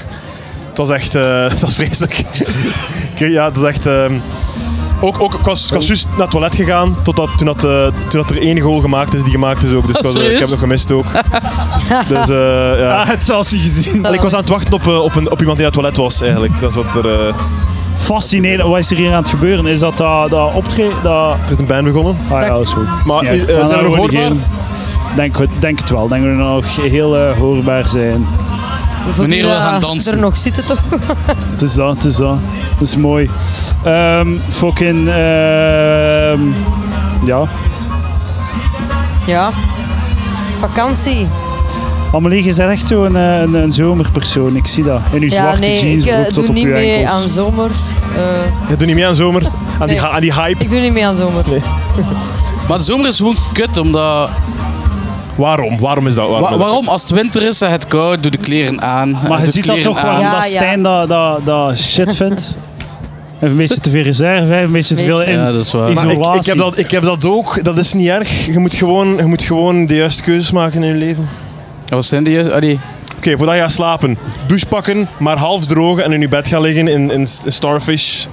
Het was echt, eh het was vreselijk. Ik- ja, het was echt. ehm, ook, ook, ik was, ik was juist naar het toilet gegaan totdat, toen, dat, eh, toen dat er één goal gemaakt is die gemaakt is ook. Dus ik, was, eh, ik heb
Ah, serieus?
nog gemist ook. dus eh, ja.
Ah, het zal ze gezien.
Allee, ik was aan het wachten op, eh, op, een, op iemand die naar het toilet was eigenlijk. Dat is wat er. eh,
Fascinerend. Wat is er hier aan het gebeuren? Is dat dat, dat optreden? Dat...
er is een band begonnen.
Ah ja, dat is goed.
Maar eh, eh, zijn we nog hoorbaar?
Denk, het- denk het wel. Denk dat we nog heel eh, hoorbaar zijn.
Voelt
Wanneer
u
we
dat
gaan dansen.
eh, Er nog zitten toch?
Het is dat, het is dat. Het is mooi. Ehm fucking... ehm ja.
Ja. Vakantie.
Amelie, je bent echt zo'n eh, een, een zomerpersoon. Ik zie dat. In uw
Ja,
zwarte
nee, ik eh,
jeansbroek
doe
tot op
niet
uw
mee
enkels.
aan zomer. Eh,
Je doet niet mee aan zomer. Aan, die,
Nee.
hy- aan die hype.
ik doe niet mee aan zomer.
Maar de zomer is gewoon kut, omdat...
Waarom? Waarom is dat? Waarom?
Wa- waarom? Als het winter is en het koud, doe de kleren aan. En
Maar je
doe
ziet dat
kleren
toch
aan.
waarom
Ja,
dat
ja.
Stijn dat, dat, dat shit vindt. Even een beetje te veel reserve, even een beetje te veel in
Ja, dat is waar.
Maar ik, ik,
isolatie.
heb dat, ik heb dat ook. Dat is niet erg. Je moet gewoon, je moet gewoon de juiste keuzes maken in je leven. Oké,
Ja, Wat zijn die? juist? Ah, die-
voordat je gaat slapen. Douche pakken, maar half drogen en in je bed gaan liggen in, in Starfish.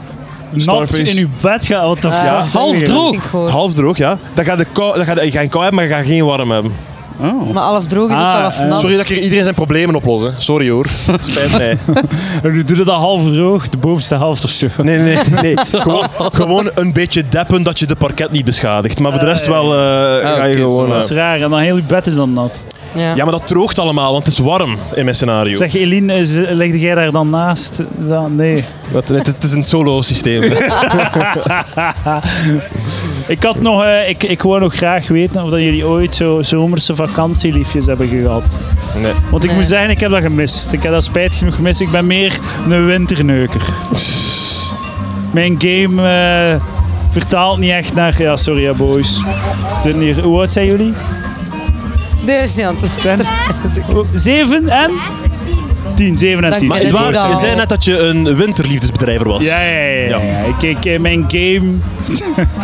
Nat
Starfish.
in uw bed gaan. Wat de
Ja.
fuck? zeg
Half
je?
droog.
Ik hoor.
Half droog, ja. Dan ga je, de kou, dan ga je, je gaat geen kou hebben, maar je gaat geen warm hebben.
Oh.
Maar half droog is
Ah,
ook half
eh,
nat.
Sorry dat ik hier iedereen zijn problemen oplos. hè. Sorry hoor. Spijt mij.
En nu doe je dat half droog, de bovenste helft of zo.
Nee, nee, nee. Gewoon, gewoon een beetje deppen dat je de parket niet beschadigt. Maar voor de rest wel eh,
Ah,
ga je
oké,
gewoon...
zo.
eh,
Dat is raar. En dan heel uw bed is dan nat.
Ja.
ja, maar dat droogt allemaal, want het is warm in mijn scenario.
Zeg, Eline, is- legde jij daar dan naast? Dan, nee.
Dat, het, is- het is een solo systeem.
Ik, had nog, eh, ik, ik wou nog graag weten of dat jullie ooit zo zomerse vakantieliefjes hebben gehad.
Nee.
Want ik
Nee.
moet zeggen, ik heb dat gemist. Ik heb dat spijt genoeg gemist. Ik ben meer een winterneuker. Mijn game eh, vertaalt niet echt naar... Ja, sorry hè, boys. We Zitten hier, hoe oud zijn jullie?
Dit is niet aan het
Ben?
luisteren.
Oh, Zeven en? Tien, zeven en
Dank
tien.
Maar
je.
het
doe
waar,
dat
je
al.
zei net dat je een winterliefdesbedrijver was.
Ja, ja, ja. ja, ja. Ik, ik, eh, mijn game,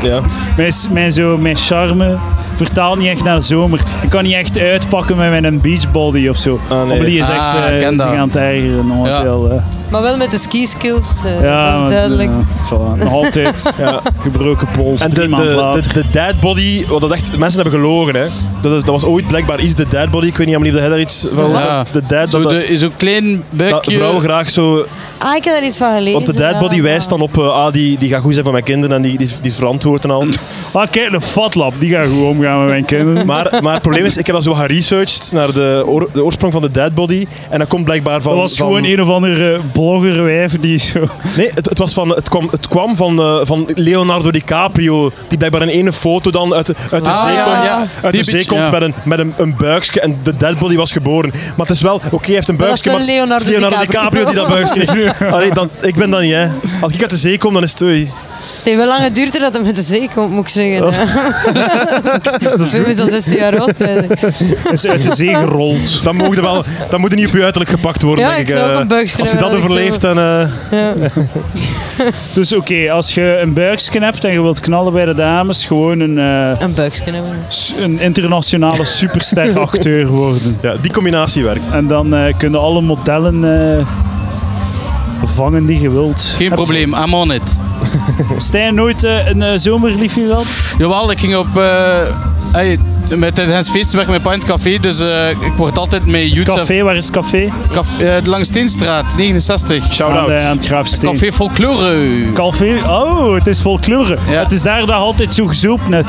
Ja.
mijn, s- mijn, zo, mijn charme vertaalt niet echt naar zomer. Ik kan niet echt uitpakken met mijn beachbody of zo.
Ah, nee.
Amelie is echt
Ah, ik
eh,
ken
zich
dat.
aan het ergeren momenteel. eh.
Maar wel met de ski skills. eh,
Ja,
dat
maar,
is duidelijk.
eh, voilà. Nog altijd gebroken pols,
En de,
drie
de,
maanden
de,
later.
de, dead body, wat dat echt, mensen hebben gelogen. Hè. Dat, is, dat was ooit blijkbaar iets, de dead body. Ik weet niet, Amelie, of jij daar iets van
Ja.
hoort? De eh, dead,
Zo
dat,
de- Zo'n klein
dat
buikje.
vrouwen graag zo
Ah, ik heb daar iets van gelezen.
Want de deadbody
ja.
wijst dan op, eh, ah, die, die gaat goed zijn voor mijn kinderen en die, die, is- die is verantwoord en al.
Ah, kijk, de fatlap. Die gaat goed omgaan met mijn kinderen.
Maar, maar het probleem is, ik heb al zo geresearched naar de, oor- de oorsprong van de deadbody. En dat komt blijkbaar van...
Dat was
van-
gewoon een of andere bloggerwijf die zo...
Nee, het, het, was van, het kwam, het kwam van, eh, van Leonardo DiCaprio, die blijkbaar in ene foto dan uit de, uit de
Ah,
zee
ja,
komt,
ja.
Uit de
Die
zee
beetje,
komt
ja.
met, een, met een, een buikje en de deadbody was geboren. Maar het is wel, oké, hij heeft een
Maar dat is
buikje, maar het is Leonardo,
wel Leonardo
DiCaprio. die dat buikje heeft. Allee, dan, ik ben dat niet, hè. Als ik uit de zee kom, dan is het... oei.
Het heeft wel lange duurt dat hij met de zee komt, moet ik zeggen.
Oh.
Dat-
hè. Ik ben met zo'n 16 jaar oud. hè.
is uit de zee gerold.
Dan mogen wel, dan moet je niet op je uiterlijk gepakt worden,
Ja,
denk
ik zou
eh.
ook een buikje
Als je
hebben,
dat
dat ik
overleeft, dan... eh,
Dus oké, als je een buiksken hebt en je wilt knallen bij de dames, gewoon een, eh,
Een buiksken hebben.
su- een internationale supersteracteur worden.
ja, die combinatie werkt.
En dan eh, kunnen alle modellen eh, vangen die je wilt.
Geen
Heb je-
probleem, I'm on it.
Stijn, nooit eh, een eh, zomerliefje gehad?
Jawel, ik ging op. eh, hey, met tijdens het feestwerk met Pint Café, dus eh, ik word altijd met Jutta...
Café, waar is het café?
Caf- eh, langs Steenstraat, 69.
Aan,
Shout-out.
eh, aan het Graafsteen.
Café Folklore.
Café, oh, het is vol kleuren.
Ja.
Het is daar dat altijd zo gezopen net.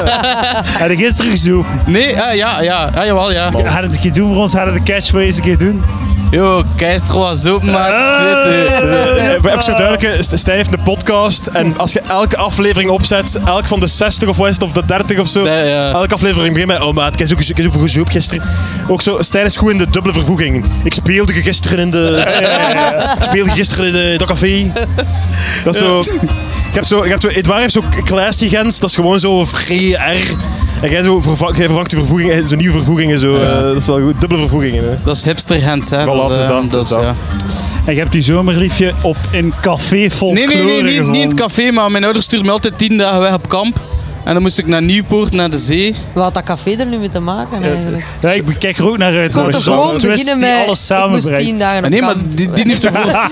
Had je gisteren gezopen.
nee, ah, ja, ja, ah, jawel, ja.
Had het een keer doen voor ons, had het de cash voor eens een keer doen.
Yo, keister was open, maar het zit, eh.
Eh, eh, Even zo duidelijk, St- Stijn heeft een podcast en als je elke aflevering opzet, elk van de 60 of wat is het, of de 30 of zo,
Nee, ja.
elke aflevering begint met, oh maat, kijk ook, kijk ook een goed zoep gisteren. Ook zo, Stijn is goed in de dubbele vervoeging. Ik speelde je gisteren in de... Ik speelde je gisteren in de, dat café. Dat is zo... Je hebt zo, je hebt zo Edouard heeft zo classy gens, dat is gewoon zo vrij R. En jij, zo verva- jij vervangt je vervoeging, zo nieuwe vervoegingen, zo, eh, dat is wel goed. Dubbele vervoegingen, hè.
Dat is hipster Gent, hè.
Voilà, het is
eh,
dat, het is dat.
ja.
En je hebt die zomerliefje op een café vol
Nee, nee, nee,
kleuren
niet, niet in
gevonden.
het café, maar mijn ouders stuurden me altijd tien dagen weg op kamp. En dan moest ik naar Nieuwpoort, naar de zee.
Wat had dat café er nu mee te maken eigenlijk?
Ja, ik kijk er ook naar uit.
Ik kon
maar
toch
zo'n
gewoon
twist
beginnen
die
met...
alles
ik moest
samenbrengt.
tien dagen op
Ah, Nee, maar
kamp.
die, die heeft ervoor...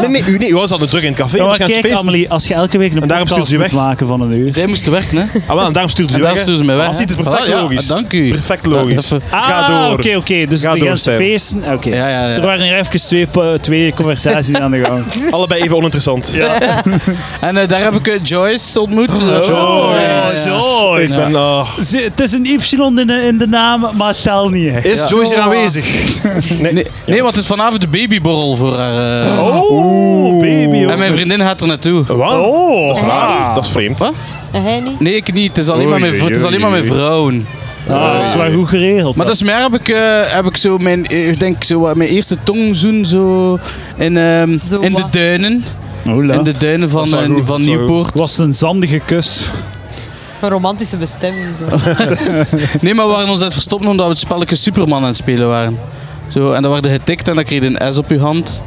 Nee, nee, u, nee, u was al druk in het café,
Ja,
ja,
maar
gaan ze
kijk,
feesten.
Amelie, als je elke week een
En daarom
podcast moet
stuurt ze weg.
maken van een uur.
Zij moesten werken, hè.
Ah, wel, en daarom stuurde ze
En
weg.
daarom
hè?
stuurde ze mij weg,
Ah, ziet het
hè?
perfect
Ah, ja,
logisch.
dank u.
Perfect logisch.
Ja,
Ga door.
oké, oké. Dus
Ga
de
door,
Gentse
Stijn.
feesten, oké.
Ja, ja, ja.
Er waren hier even twee, eh, twee conversaties aan de gang.
Allebei even oninteressant.
En eh, daar heb ik eh, Joyce ontmoet.
Oh, Joyce.
zo.
Ik ben, ah,
Ze- Het is een Y in de, in de naam, maar het telt niet echt.
is Joyce hier aanwezig? Nee.
Nee, nee, want het is vanavond de babyborrel voor haar. eh.
Oh, baby.
En mijn vriendin gaat er naartoe.
Wat?
Oh,
Ah, dat is vreemd.
Wat?
En hij niet?
Nee, ik niet. Het is alleen,
Oei,
maar, mijn, vr- het is alleen maar mijn
oei, oei.
vrouwen.
Ah, dat is wel goed geregeld.
Maar dat is meer heb ik, eh, heb ik zo mijn, eh, ik denk zo, wat mijn eerste tongzoen zo in, ehm,
Zo
in de
wat?
duinen. In de duinen
Dat
van,
is wel
eh,
goed, dat
van
is wel
Nieuwpoort.
was een zandige kus.
Een romantische bestemming. Zo.
Nee, maar we waren ons aan het verstoppen omdat we het spelletje Superman aan het spelen waren. Zo, en dan werd je getikt en dan kreeg je een S op je hand.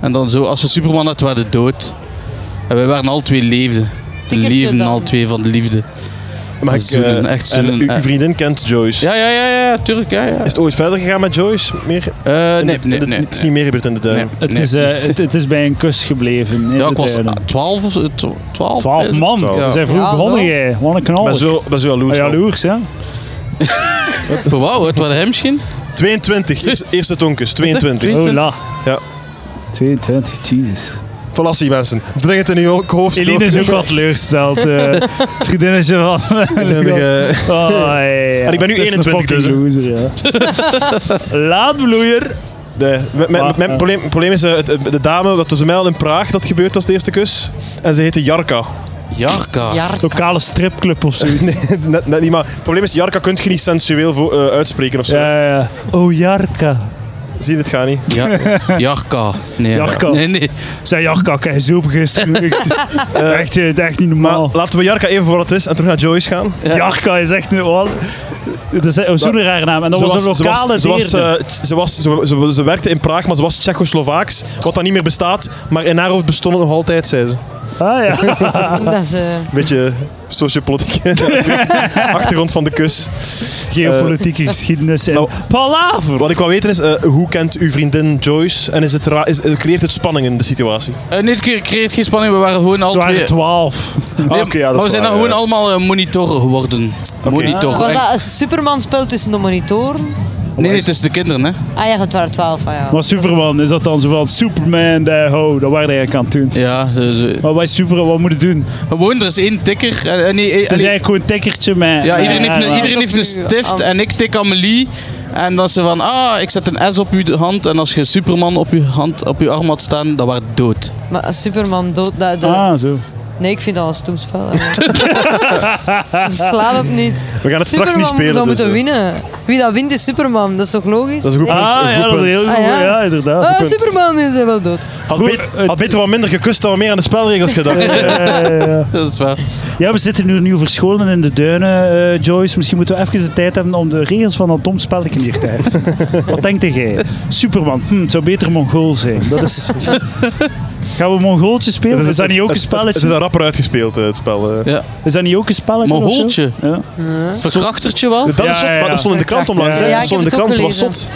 En dan zo, als we Superman hadden, waren we dood. En wij waren al twee leefden. We
Tikkertje
leefden
dan.
al twee van de liefde.
Mag ik,
Zoenen,
eh,
echt
en
zoenen,
uw-
eh.
uw vriendin kent Joyce.
Ja, ja, ja, ja, tuurlijk, ja, ja.
Is het ooit verder gegaan met Joyce? Meer?
Eh,
in
nee,
de-
nee,
in de-
nee.
Het is niet meer gebeurd in de
nee,
duin.
Het,
nee.
is, eh, het, het is bij een kus gebleven. in
Ja,
de
ik was
duinen.
12 of zo, eh, tw- 12.
Twaalf
is-
man.
Twaalf.
Ze zijn vroeg
Ja,
begonnen,
wel.
jij. Wat een knal. Oh,
Maar zo, maar zo jaloers. man.
Ah, Jaloers, hè?
Voor wauw, het was hem misschien.
22, eerste- eerste tonkus, 22.
Twee-
Oh, la.
Ja.
22, Jesus.
Fallatie mensen, dring het in uw hoofd.
Eline is ook wat teleurgesteld. eh vriendinnetje van...
Twintig, eh,
Oh, ja, ja.
En ik ben nu
Het is een
21 dus,
fucking loser, ja. Laadbloeier.
de- Mijn mijn-
Ah,
mijn
ja.
probleem- het probleem is, eh, het- de dame, dat was bij mij al in Praag, dat gebeurd was de eerste kus. En ze heette Jarka.
Jarka.
Jaar.
Lokale stripclub of zoiets.
Nee, net, net niet, maar het probleem is, Jarka kunt je niet sensueel voor, eh, uitspreken of zo.
Ja, ja, ja. Oh, Jarka.
Zie je, dit gaat niet.
Ja, Jarka. Nee,
Jarka.
nee, nee.
Zijn Jarka, kijk, zo gisteren. echt, eh, echt niet
Maar
normaal.
laten we Jarka even voor wat het is en terug naar Joyce gaan.
Jarka is echt... Oh, dat is oh, zo'n rare naam. En dat was een
ze
lokale
was, ze, was,
deerde.
eh, ze, was, ze, ze- ze werkte in Praag, maar ze was Tsjechoslovaaks, wat dan niet meer bestaat. Maar in haar hoofd bestond het nog altijd, zei ze.
Ah, ja.
Dat is, eh,
Beetje sociopolitieke achtergrond van de kus.
Geopolitieke geschiedenis en
nou,
palaver.
Wat ik wil weten is, eh, hoe kent uw vriendin Joyce en is het ra- is, eh, creëert het spanning in de situatie?
Eh, nee, het cre- creëert geen spanning, we waren gewoon al
Ze waren
twee...
twaalf.
Ah,
Nee,
oké, ja, dat
maar we
is
zijn
waar,
dan gewoon
nou,
ja.
allemaal eh, monitoren geworden. Monitoren.
was
En-
Ah, dat een Superman-spel tussen de monitoren?
Nee, nee, tussen de kinderen, hè.
Ah ja, het waren twaalf. Ah, ja.
Maar Superman, is dat dan zo van Superman, eh, ho, dat waren eigenlijk aan het doen.
Ja, dus, eh,
Maar wij Superman, wat moet het doen? Het
gewoon, er is één tikker. eh, eh, nee, eh,
is
allee,
eigenlijk gewoon een tikkertje met...
ja,
met
iedereen heeft,
haar,
een,
maar-
iedereen heeft een stift en ik tik Amelie. En dan ze van, ah, ik zet een S op uw hand. En als je Superman op uw, hand, op uw arm had staan, dan was het dood.
Maar als Superman dood... Dat, dat-
Ah, zo.
Nee, ik vind dat een stom spel. Slaat op niet.
We gaan het straks niet spelen,
zou
dus,
moeten
eh.
winnen. Wie dat wint is Superman, dat is toch logisch?
Dat is een goed punt,
Ah,
een
ja,
goed
dat is
punt.
heel goed.
Ah, ja.
ja, inderdaad.
Ah,
punt.
Superman is hij wel dood.
Had,
Goed,
beter,
het-
had beter wat minder gekust dan wat meer aan de spelregels gedacht.
Dat is waar.
Ja, we zitten nu nieuw verscholen in de duinen, eh, Joyce. Misschien moeten we even de tijd hebben om de regels van dat dom spelletje hier te hersen. Wat denkt jij? Superman, hm, het zou beter Mongool zijn. Dat is... Gaan we Mongooltje spelen? Is, dat niet ook een
Het,
spelletje?
het is een rapper uitgespeeld, eh, het spel. eh.
Ja.
Is dat niet ook een spelletje? of zo?
Mongooltje?
Ja.
Verkrachtertje wel?
Dat
Ja,
is zot,
ja, ja.
maar dat stond in de krant onlangs.
Ja,
hè.
ja,
dat
ik
stond in de
heb het
krant,
ook
het was zot.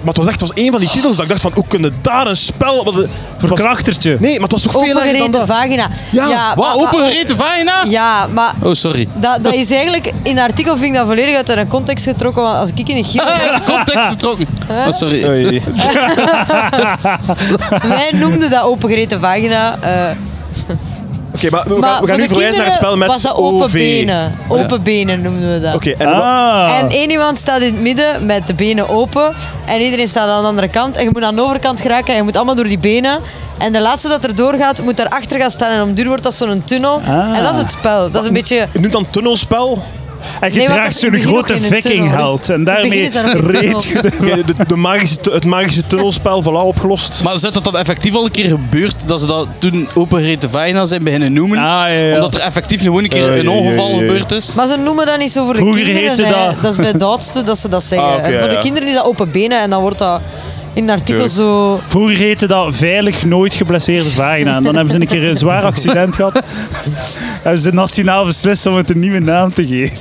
Maar het was echt het was een van die titels dat ik dacht van, hoe kunnen daar een spel... Wat, was-
Verkrachtertje.
Nee, maar het was toch veel erger dan
Opengereten
dat.
vagina.
Ja.
Wat,
maar- maar-
opengereten vagina?
Ja, maar
Oh, sorry.
dat, dat is eigenlijk... In het artikel vind ik dat volledig uit een context getrokken, want als ik in een giel...
Ah, de context vertrokken. Oh, sorry.
Oei.
Wij noemden dat opengereten vagina. eh,
Oké, maar we
maar
gaan, we gaan
voor
nu
de
verwijzen naar het spel
kinderen
met
was dat open
OV.
benen. Open benen noemden we dat.
Oké, en wa-
Ah.
En één iemand staat in het midden met de benen open. En iedereen staat aan de andere kant. En je moet aan de overkant geraken. En je moet allemaal door die benen. En de laatste dat er doorgaat, moet daarachter gaan staan. En om duur wordt dat zo'n tunnel.
Ah.
En dat is het spel. Dat is een beetje...
je noemt dan tunnelspel.
En je
Nee, want dat
draagt
is in
zo'n
het begin
grote
ook in een tunnel,
vikingheld.
dus
En
het begin
daarmee
is daar ook een tunnel.
reed je de-
Oké, de, de magische, tu- het magische tunnelspel, voilà, opgelost.
Maar zou dat dan effectief al een keer gebeurd dat ze dat toen opengereten vagina zijn beginnen noemen?
Ah, ja, ja.
Omdat er effectief gewoon een keer
Oei,
een
oei,
ongeval
oei, oei.
gebeurd is?
Maar ze noemen dat niet zo voor de
Vroeger
kinderen.
heette
hè.
dat-
dat is bij het oudste dat ze dat zeggen.
Ah, oké,
en voor
ja.
de kinderen is dat open benen. En dan wordt dat in een artikel
Tuurlijk.
zo...
Vroeger heette dat veilig nooit geblesseerde vagina. En dan hebben ze een keer een zwaar accident gehad. hebben ze nationaal beslist om het een nieuwe naam te geven.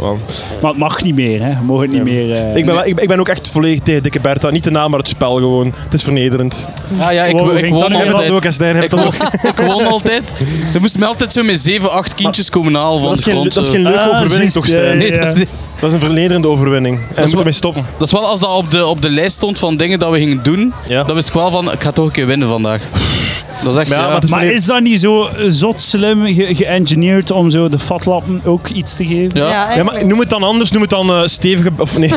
Man.
Maar het mag niet meer, hè. We mogen het niet meer... eh,
Ik ben, wel- ik, ik ben ook echt volledig tegen Dikke Bertha. Niet de naam, maar het spel gewoon. Het is vernederend.
Ah ja, ik,
Wow,
ik
ging dat
woon
nu?
Heb je dat
altijd.
ook, Stijn? Heb je
Ik
dat ook?
woon, ik woon altijd. Ze moesten mij altijd zo met 7, 8 kindjes komen halen van
Dat
de
is geen,
grond.
dat is
zo.
geen leuke
Ah,
overwinning,
juist,
toch,
ja,
Stijn?
ja.
Nee, dat is, niet-
Dat is een vernederende overwinning. En we
is
moeten
wa-
ermee stoppen.
dat is wel als dat op de, op de lijst stond van dingen dat we gingen doen.
Ja.
Dat wist ik wel van, ik ga toch een keer winnen vandaag. Dat is echt...
Maar ja,
ja.
maar het is
Maar
volledig-
is dat niet zo eh, zot slim ge- geëngineerd om zo de fatlappen ook iets te geven?
Ja.
Ja,
Ja, maar
eigenlijk.
noem het dan anders. Noem het dan eh, stevige... Of nee,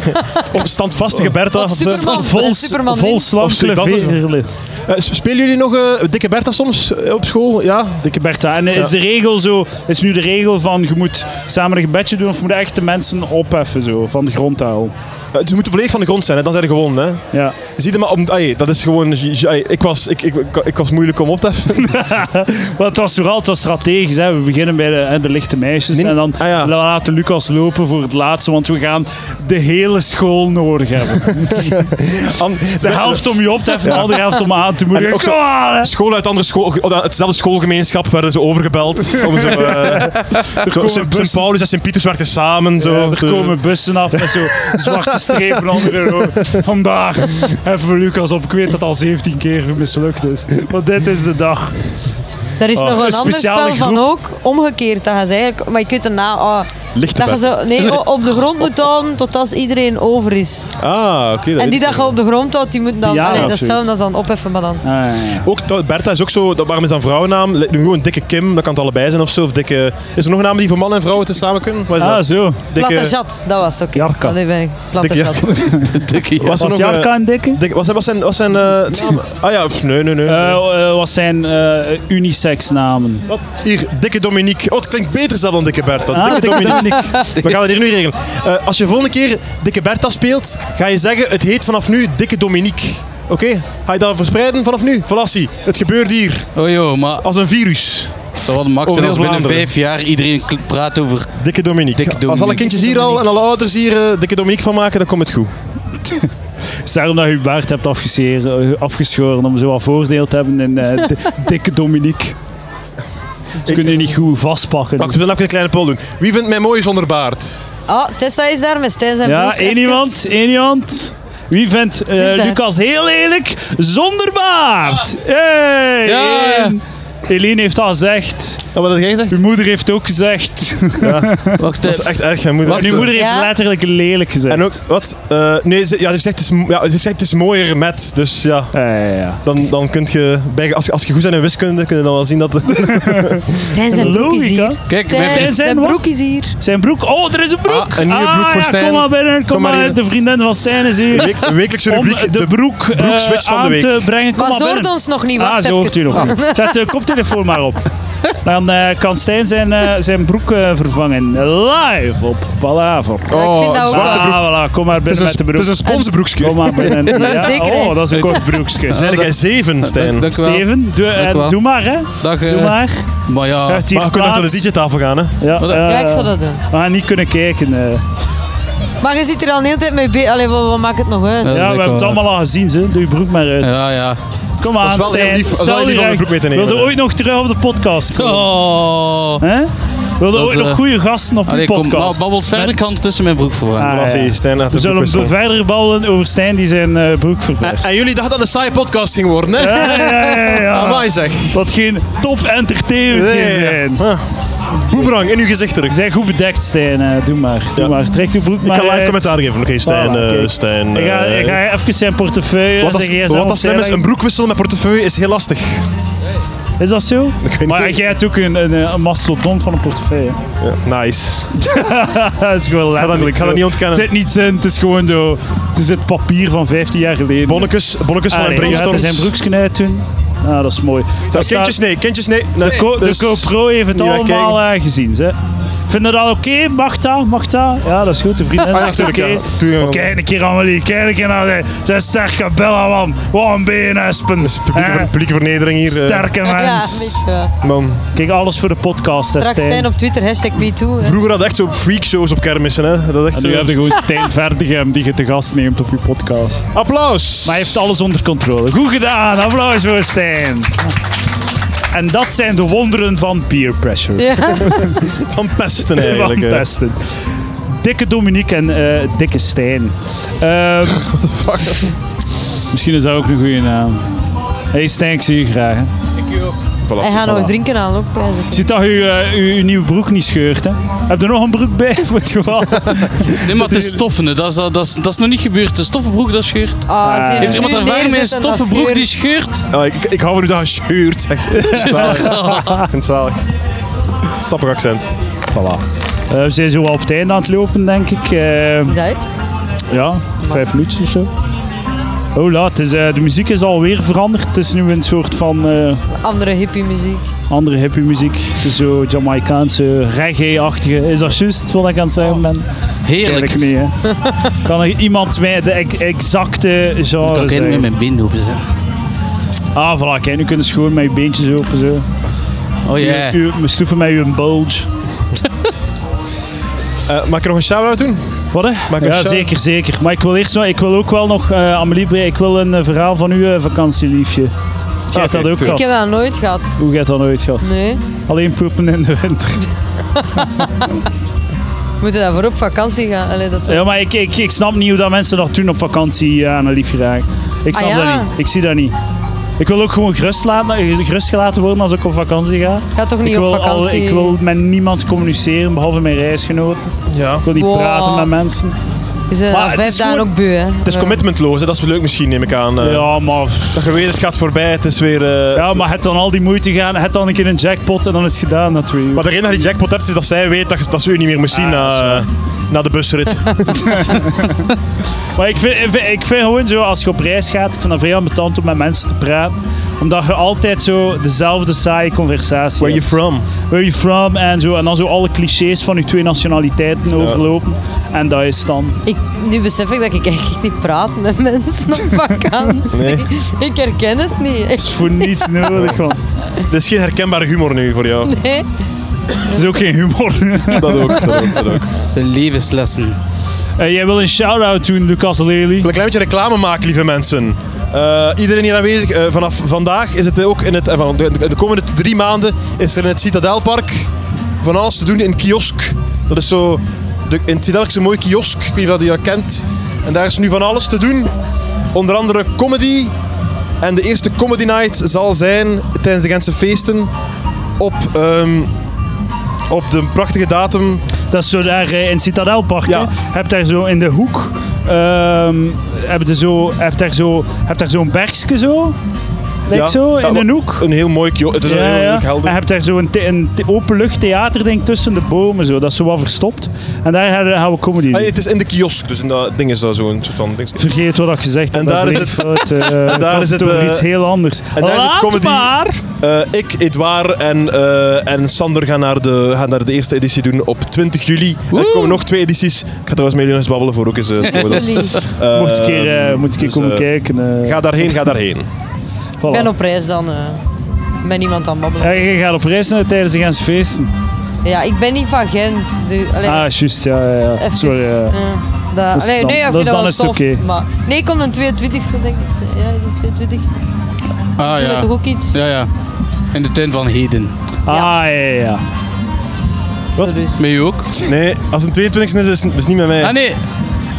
of standvastige
Oh.
Bertha.
Of
of zo.
Superman.
Want vol,
eh, Superman
vol
wint.
slanke
Of zoiets, dat is-
veerle.
Eh, s- spelen jullie nog eh, Dikke Bertha soms eh, op school? Ja?
Dikke Bertha. En eh, is de regel zo, is nu de regel van je moet samen een gebedje doen of moet je echt de mensen opheffen zo, van de grond houden?
Eh, Ze moeten volledig van de grond zijn, hè? dan zijn ze gewonnen. Hè?
Ja.
Zie je maar, om, ai, dat is gewoon. j- ai, ik, was, ik, ik, ik, was moeilijk om op te heffen.
Want het was vooral het was strategisch. Hè. We beginnen bij de, hè, de lichte meisjes
Nee,
en dan
ah ja.
laten Lucas lopen voor het laatste, want we gaan de hele school nodig hebben.
An-
De helft om je op te heffen, de andere helft om aan te moedigen.
En ook zo-
Kom aan, hè.
School uit andere school, uit hetzelfde schoolgemeenschap werden ze overgebeld. Om zo, eh, zo, Sint, Sint Paulus en Sint Pieters werkten samen. Zo,
Ja, er
te-
komen bussen af met zo zwarte strepen onder hun ogen. Vandaag heffen we Lucas op. Ik weet dat al 17 keer mislukt is. Want dit is de dag.
Daar is
Oh,
nog
een
een ander
speciale
spel van ook. Omgekeerd. Dat gaan ze eigenlijk... Maar ik weet de naam... ah,
Lichte
dat je
bed.
ze nee, o- op de grond moet houden totdat iedereen over is.
Ah, oké. dat
En die
weet
dat
ik.
je op de grond houdt, die moeten dan...
Ja,
allee, dat
of
is hetzelfde als dan opheffen, maar dan...
Ook dat- Bertha is ook zo, dat, waarom is dat een vrouwennaam? Li- Doe gewoon dikke Kim, dat kan het allebei zijn of zo. Of dikke, is er nog een naam die voor mannen en vrouwen te samen kunnen? Wat is
Ah,
dat?
zo.
Dikke,
Platterjat, dat was het. oké.
Jarka.
Dat ben ik. Platterjat.
Dikke
Dikke, ja.
was er
Was
nog, eh,
Jarka een dikke?
dikke, wat zijn, wat zijn, wat zijn eh, namen? Ah ja, pff, nee, nee, nee.
Eh, eh, wat zijn eh, unisex namen?
Wat? Hier, dikke Dominique. Oh, het klinkt beter zelf dan dikke Bertha.
Ah,
dikke
dikke
Dominique.
Dominique.
We gaan het hier nu regelen. Eh, als je volgende keer Dikke Bertha speelt, ga je zeggen: het heet vanaf nu Dikke Dominique. Oké? Ga je dat verspreiden vanaf nu? Valassie, het gebeurt hier
Oh joh, maar
als een virus.
het zou wel max
Over
zijn als
heel
binnen
Vlaanderen.
vijf jaar iedereen kl- praat over...
Dikke Dominique.
Dikke
Als alle
Dominique.
kindjes hier al en alle ouders hier eh, Dikke Dominique van maken, dan komt het goed.
Het is daarom dat je je baard hebt afgescheer- eh, afgeschoren om zo wat voordeel te hebben in eh, di- dikke Dominique. Ze kunnen je niet goed vastpakken.
Maar ik wil nog een kleine poll doen. Wie vindt mij mooi zonder baard?
Ah, Tessa is daar met Stijn zijn broek.
Ja, één
Even-
iemand, één iemand. Wie vindt eh,
is daar.
Lucas heel lelijk zonder baard? Hey!
Ja.
één. Helene heeft al gezegd.
Oh, wat had jij gezegd?
Uw moeder heeft ook gezegd.
Wacht
Dat is
even.
echt erg, mijn moeder.
Wacht,
Uw
eh,
moeder heeft
Ja.
letterlijk lelijk gezegd.
En ook, wat? Eh, nee, ze, ja, ze, heeft gezegd, het is, ja, ze heeft gezegd het is mooier met, dus ja.
Ja, ja, ja.
Dan, dan kun je, bij, als, je- als je goed bent in wiskunde, kun je dan wel zien dat...
Stijn zijn broek is
Logica.
hier.
Kijk,
Stijn,
wij-
Stijn,
zijn
wat?
broek is hier.
Zijn broek. Oh, er is een broek.
Ah, een nieuwe broek voor
ja,
Stijn.
Kom maar binnen, kom,
Kom maar
maar.
hier.
De vriendin van Stijn is hier.
Week, wekelijkse
Om
rubriek,
de broek, eh,
broekswitch van de
aan
week.
te brengen. Kom
Maar ze
maar
hoort
binnen.
ons nog niet.
Ah,
Wacht
zo hoort u
even.
nog niet. Zet de koptelefoon maar op. Dan eh, kan Stijn zijn, eh, zijn broek eh, vervangen. Live op Palaver.
Oh,
Ja, ik vind dat ook
zwarte
wel.
broek.
Ah, voilà, kom maar
Het
binnen
is
met de
een,
broek.
het is een sponsorbroekje.
Kom maar binnen.
Dat is zekerheid.
oh, dat is een kort broekje.
Zijn jij zeven, Stijn?
Dank u wel.
Steven, doe, eh,
Dank wel.
doe maar, hè.
Dag, eh,
Doe maar.
Maar ja,
Krijgt hier
Maar je kunt
plaats.
naar de DJ-tafel gaan, hè?
Ja,
Ja,
eh,
ik zou dat doen.
We gaan niet kunnen kijken. eh.
Maar je zit er al een hele tijd mee bezig. Allee, wat, wat maakt het nog uit?
Ja.
Ja,
is
we
ook
hebben
wel
het
waar.
allemaal al gezien, ze. Doe je broek maar uit.
ja, ja.
Kom aan,
is wel heel
Stijn.
lief- dat is wel
Stel
heel
je
lief om je
recht.
broek mee te nemen,
Wil je
hè.
ooit nog terug op de podcast komen?
Oh.
Hè? We hadden
Dat,
ooit nog
eh,
goede gasten op
Allee,
de
kom,
podcast.
maar babbelt verder, ik kan het tussen mijn broek verwarren.
Ah,
Was
ja.
hij, Stijn had
We
de broek
zullen
wisselen.
verder ballen over Stijn die zijn eh, broek
En,
ververst.
en jullie dachten dat het een saaie podcast ging worden, hè?
Ja, ja, ja,
Ah,
ja.
Amai zeg.
Dat geen top entertainment ging
Nee. Ah.
zijn.
Boemerang, in uw gezicht terug.
Zijn goed bedekt, Stijn. eh, doe maar. Doe
Ja.
maar. Trek uw broek
Ik
maar
ga live
uit.
commentaar geven. Oké, Stijn,
Voilà,
eh,
kijk.
Stijn.
Ik ga,
eh,
ik ga even zijn portefeuille
wat
en
als,
zijn gsm
wat dat slim is,
opzij
een broek wisselen met portefeuille is heel lastig.
leggen. Is dat zo?
weet
Maar
niet.
jij hebt ook een, een, een mastodon van een portefeuille.
Nice.
dat is gewoon
dat niet-
letterlijk
ik ga dat
zo.
niet ontkennen.
Het zit niets in, het is gewoon zo... Het is het papier van 15 jaar geleden.
Bonnekes, bonnekes
Ah,
van mijn
nee, je gaat er
brainstorms.
zijn broekje uit doen. Ah, dat is mooi.
Zeg,
Dat staat-
kindjes, nee, kindjes, nee. Nee,
de, co-
dus-
de GoPro heeft het
niet wegkijken.
allemaal eh, gezien. Ze. Vind je dat oké? Mag dat? Mag dat? Ja, dat is goed. De vriendin zegt oké.
tuurlijk, Ah, ja. Tuurlijk,
Maar
man.
Kijk een keer Amelie, kijk een keer naar de... Ze is sterke bellen, man. Wat een BNS-pen.
Publieke, ver- publieke vernedering hier. eh,
Sterke
Ja, een
mens.
beetje wel.
man.
Kijk, alles voor de podcast, hè,
Straks Stijn op Twitter, hashtag MeToo. hè.
Vroeger hadden echt zo freakshows op kermissen. Hè. Dat
Ah,
echt
En nu
zo...
heb je gewoon Stijn Verdegem die je te gast neemt op je podcast.
Applaus!
Maar hij heeft alles onder controle. Goed gedaan, applaus voor Stijn. En dat zijn de wonderen van peer pressure.
Ja.
Van pesten eigenlijk.
Van
hè.
pesten. Dikke Dominique en eh, dikke Stijn. Ehm, Misschien is dat ook een goede naam. Hey Stijn, ik zie je graag. Hè.
Hij gaat nog drinken aan, ook bij
Ziet dat je eh, je- je nieuwe broek niet scheurt, hè? Heb je nog een broek bij voor het geval? Eh,
Nee, maar het is stoffende, dat is, dat, is, dat is nog niet gebeurd. De stoffenbroek dat scheurt.
Ah, zie je
Heeft er iemand
nu
ervaring met een
neerzitten, dat
stoffenbroek die
scheurt.
scheurt?
Ah, ik, ik hou van nu dat je schuurt. zeg. Ik vind het zalig. Ik vind het zalig. Sappig accent. Voilà.
Eh, we zijn zo al op het einde aan het lopen, denk ik. Eh,
Is dat echt?
Ja, vijf minuutjes of zo. Oh, laat. Het is, eh, de muziek is alweer veranderd. Het is nu een soort van eh,
Andere hippie muziek.
andere hippie muziek. Het is zo Jamaicaanse, reggae-achtige. Is dat juist wat ik aan het zeggen
Oh,
ben?
Heerlijk.
Eigenlijk
Ik
niet, hè. Kan er iemand mij de ex- exacte
kan
genre
geen met
zeggen?
mijn been doen. zeg.
Ah, voilà. Kijk, nu kunnen ze gewoon met je beentjes open, zo.
Oh ja.
U, u, me stoeven met je bulge.
Eh, mag ik nog een shout-out doen?
Wat, hè?
Maak een
Ja,
shout.
zeker, zeker. Maar ik wil eerst nog... Ik wil ook wel nog... eh, Amelie, Bre- ik wil een eh, verhaal van uw eh, vakantieliefje. Jij hebt
Ah, oké,
dat ook
tuurlijk.
gehad.
Ik heb dat nooit gehad.
Hoe gaat dat nooit gehad?
Nee.
Alleen poepen in de winter.
We moeten daarvoor op vakantie gaan. Allee, dat is wel-
Ja, maar ik, ik, ik snap niet hoe dat mensen dat doen op vakantie eh, aan een liefje raken. Ik snap
Ah, ja.
dat niet. Ik zie dat niet. Ik wil ook gewoon gerust, laten, gerust gelaten worden als ik op vakantie ga.
Ga toch
Ik
niet
wil,
op
al,
vakantie?
ik wil met niemand communiceren, behalve mijn reisgenoten.
Ja.
Ik wil niet
Wow.
praten met mensen.
Is het
Maar
na
het
vijf
is
dagen
gewoon-
ook beu, hè?
Het is commitmentloos, hè. dat is leuk misschien, neem ik aan. eh.
Ja, maar,
Dat je weet, het gaat voorbij, het is weer... eh,
ja, maar het dan al die moeite gaan, het dan een keer een jackpot en dan is het gedaan na twee uur.
Maar de reden dat je die jackpot hebt, is dat zij weet dat, dat ze u niet meer moet zien
Ah,
na,
dat is waar.
eh, na de busrit.
Maar ik vind, ik, vind, ik vind gewoon zo, als je op reis gaat, ik vind dat vrij ambetant om met mensen te praten. Omdat je altijd zo dezelfde saaie conversatie
Where you
hebt.
from?
Where you from? En, zo, en dan zo alle clichés van je twee nationaliteiten overlopen. En dat is dan...
Ik, nu besef ik dat ik eigenlijk niet praat met mensen op vakantie.
Nee.
Ik herken het niet.
Dat
echt.
is voor niets nodig, man.
Dit is geen herkenbare humor nu voor jou.
Nee.
Dat is ook geen humor.
Dat ook, dat ook, dat ook.
Dat zijn levenslessen.
Eh, jij wil een shout-out doen, Lucas Lely.
Ik wil een klein beetje reclame maken, lieve mensen. Eh, iedereen hier aanwezig, eh, vanaf vandaag is het ook in het. eh, van de, de komende drie maanden is er in het Citadelpark van alles te doen in kiosk. Dat is zo. De, in het Citadel is een mooi kiosk, ik weet niet of je dat kent. En daar is nu van alles te doen. Onder andere comedy. En de eerste comedy night zal zijn tijdens de Gentse feesten op, ehm, op de prachtige datum
Dat is zo daar eh, in het Citadelpark.
Ja.
hè. Heb daar zo in de hoek. ehm heb, je zo, heb daar zo, heb daar zo'n bergje zo. Lijkt
Ja.
zo,
Ja,
in een
wa-
hoek.
een heel mooi kiosk. Het is een heel leuk helder.
En je hebt daar zo een, the- een the- openluchttheaterding tussen de bomen. Zo. Dat is zo wat verstopt. En daar gaan we- gaan we comedy doen.
Ah, het is in de kiosk, dus in dat ding is dat zo'n soort van ding.
Vergeet wat ik gezegd heb.
En
dat
daar is
weer
het-
fout, eh, ik had
is het,
over
eh,
iets heel anders. En
daar is het comedy-
maar.
Eh, ik, Edouard en, eh, en Sander gaan naar, de, gaan naar de eerste editie doen op 20 juli. En er komen nog twee edities. Ik ga trouwens met jullie eens babbelen voor ook eens. eh, voor dat.
Lief. Ik
Eh,
moet ik een keer, eh, moet ik een keer
dus,
komen
eh,
kijken. eh,
Ga daarheen, ga daarheen.
voilà.
ben op reis dan. eh, met niemand aan babbelen.
Ja, je gaat op reis naar tijdens de Gens feesten.
Ja, ik ben niet van Gent. Dus, allee,
Ah, juist, ja, ja, ja.
even,
Sorry. eh.
ja, dat,
Dus
allee,
dan-
nee, ik
dus
vind
dan
dat wel
is het
tof.
oké.
Maar, nee, kom een 22e denk ik. Ja, een 22
Ah
Doe dat toch
ja.
ook iets?
Ja, ja. In de tuin van Heden.
Ah, ja, ja. ja.
Wat?
Dus.
Met u ook?
Nee, als het een 22e is, is het is niet met mij.
Ah nee,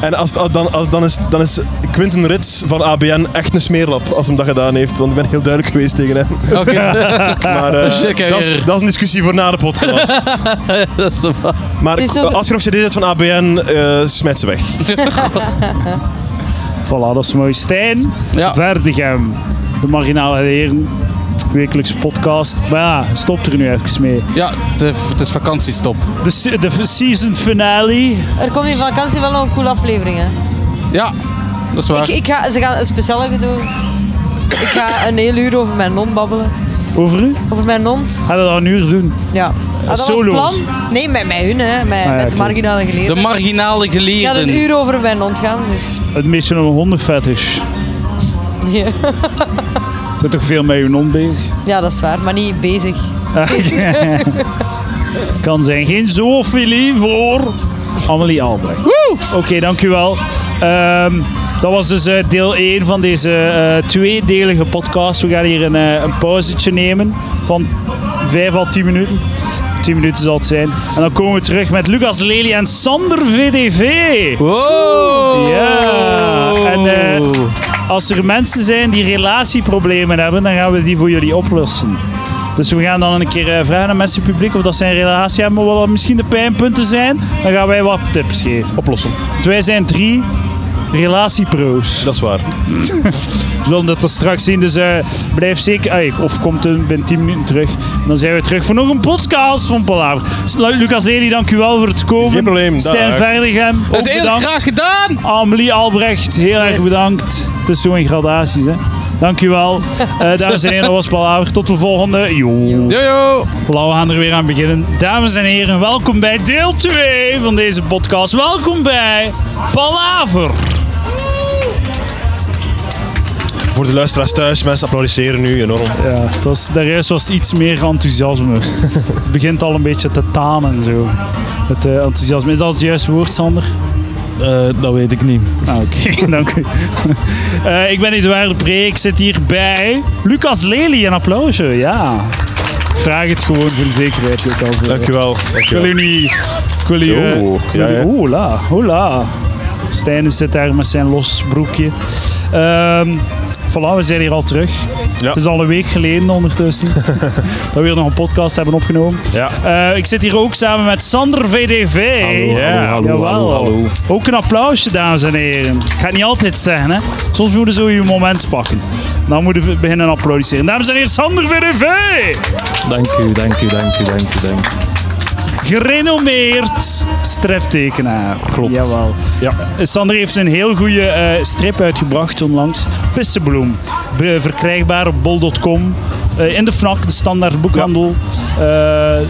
En als, het- dan, als, dan, is, dan is Quinten Rits van ABN echt een smeerlap als hem dat gedaan heeft. Want ik ben heel duidelijk geweest tegen hem.
oké. Ah,
Maar eh,
shit, kijk
dat, is,
hier.
dat is een discussie voor na de podcast.
dat is zo waar.
Maar
Het is ook-
als je nog cd's hebt van ABN, eh smijt ze weg.
Voilà, dat is mooi. Stijn,
Ja.
Verdegem, de Marginale Heren, wekelijkse podcast. Maar ja, stop er nu even mee.
Ja, het is- het is vakantiestop.
De, se- de season finale.
Er komt in vakantie wel nog een coole aflevering. Hè.
Ja, dat is waar.
Ik, ik ga, ze gaan een speciale doen. Ik ga een heel uur over mijn hond babbelen.
Over u?
Over mijn hond.
Gaan we dat een uur doen?
Ja. Ah, dat
Solo's.
was het plan? Nee, met, met hun, hè. Met,
ja,
met
oké.
de marginale
De
geleerden.
marginale
ik ga
geleerden.
een uur over mijn hond gaan, dus...
Een beetje een hondenfetish.
Ja.
Zijn toch veel met uw non bezig?
Ja, dat is waar, maar niet bezig.
kan zijn. Geen zoofilie voor Amelie Albrecht. Oké, dankjewel. Ehm, dat was dus eh, deel 1 van deze eh, tweedelige podcast. We gaan hier een, eh, een pauzetje nemen van 5 à 10 minuten. 10 minuten zal het zijn. En dan komen we terug met Lucas Lely en Sander VDV.
Wow!
Ja, en, eh, Als er mensen zijn die relatieproblemen hebben, dan gaan we die voor jullie oplossen. Dus we gaan dan een keer eh, vragen aan mensen in het publiek of dat zij een relatie hebben, wat dat misschien de pijnpunten zijn. Dan gaan wij wat tips geven.
Oplossen.
Want wij zijn drie relatiepro's.
Dat is waar.
We zullen dat er straks zien, dus eh, blijf zeker... ah, ik- of komt er binnen 10 minuten terug. En dan zijn we terug voor nog een podcast van Palaver. Lucas Eli, dank u wel voor het komen.
Geen probleem,
Stijn
dag.
Verdegem, ook
Dat is heel
bedankt.
graag gedaan!
Amelie Albrecht, heel erg
Yes.
bedankt. Het is zo in gradaties, hè. Dankjewel. Eh dames en heren, dat was Palaver. Tot de volgende. Jo,
Jojo!
Lauw, we gaan er weer aan beginnen. Dames en heren, welkom bij deel 2 van deze podcast. Welkom bij Palaver.
Voor de luisteraars thuis, mensen applaudisseren nu enorm.
Ja, het was, daarjuist was het iets meer enthousiasme. het begint al een beetje te tanen, zo. Het eh, enthousiasme. Is dat het juiste woord, Sander?
Eh, dat weet ik niet.
Ah, Oké, dank u. Eh, ik ben Eduard de Pre, ik zit hier bij Lucas Lely. Een applausje, ja. Vraag het gewoon voor de zekerheid, Lucas.
Dankjewel.
Ik wil
Dankjewel.
u niet... Ik wil u... eh,
Oeh,
ik wil
ja,
u-
ja.
Hola, hola. Stijn zit daar met zijn los broekje. Ehm voilà, we zijn hier al terug.
Ja.
Het is al een week geleden ondertussen dat we hier nog een podcast hebben opgenomen.
Ja.
Eh, ik zit hier ook samen met Sander VDV.
Ja,
hallo,
Jawel.
hallo, hallo.
Ook een applausje, dames en heren. Ik ga het niet altijd zeggen, hè. Soms moeten ze je moment pakken. Dan moeten we beginnen applaudisseren. Dames en heren, Sander VDV!
Dank u, dank u, dank u, dank u, dank u.
Gerenommeerd striptekenaar. Klopt. Jawel.
Ja.
Eh, Sander heeft een heel goede eh, strip uitgebracht onlangs. Pissebloem. Be- verkrijgbaar op bol.com. eh, in de FNAC, de standaard boekhandel. Eh, eh,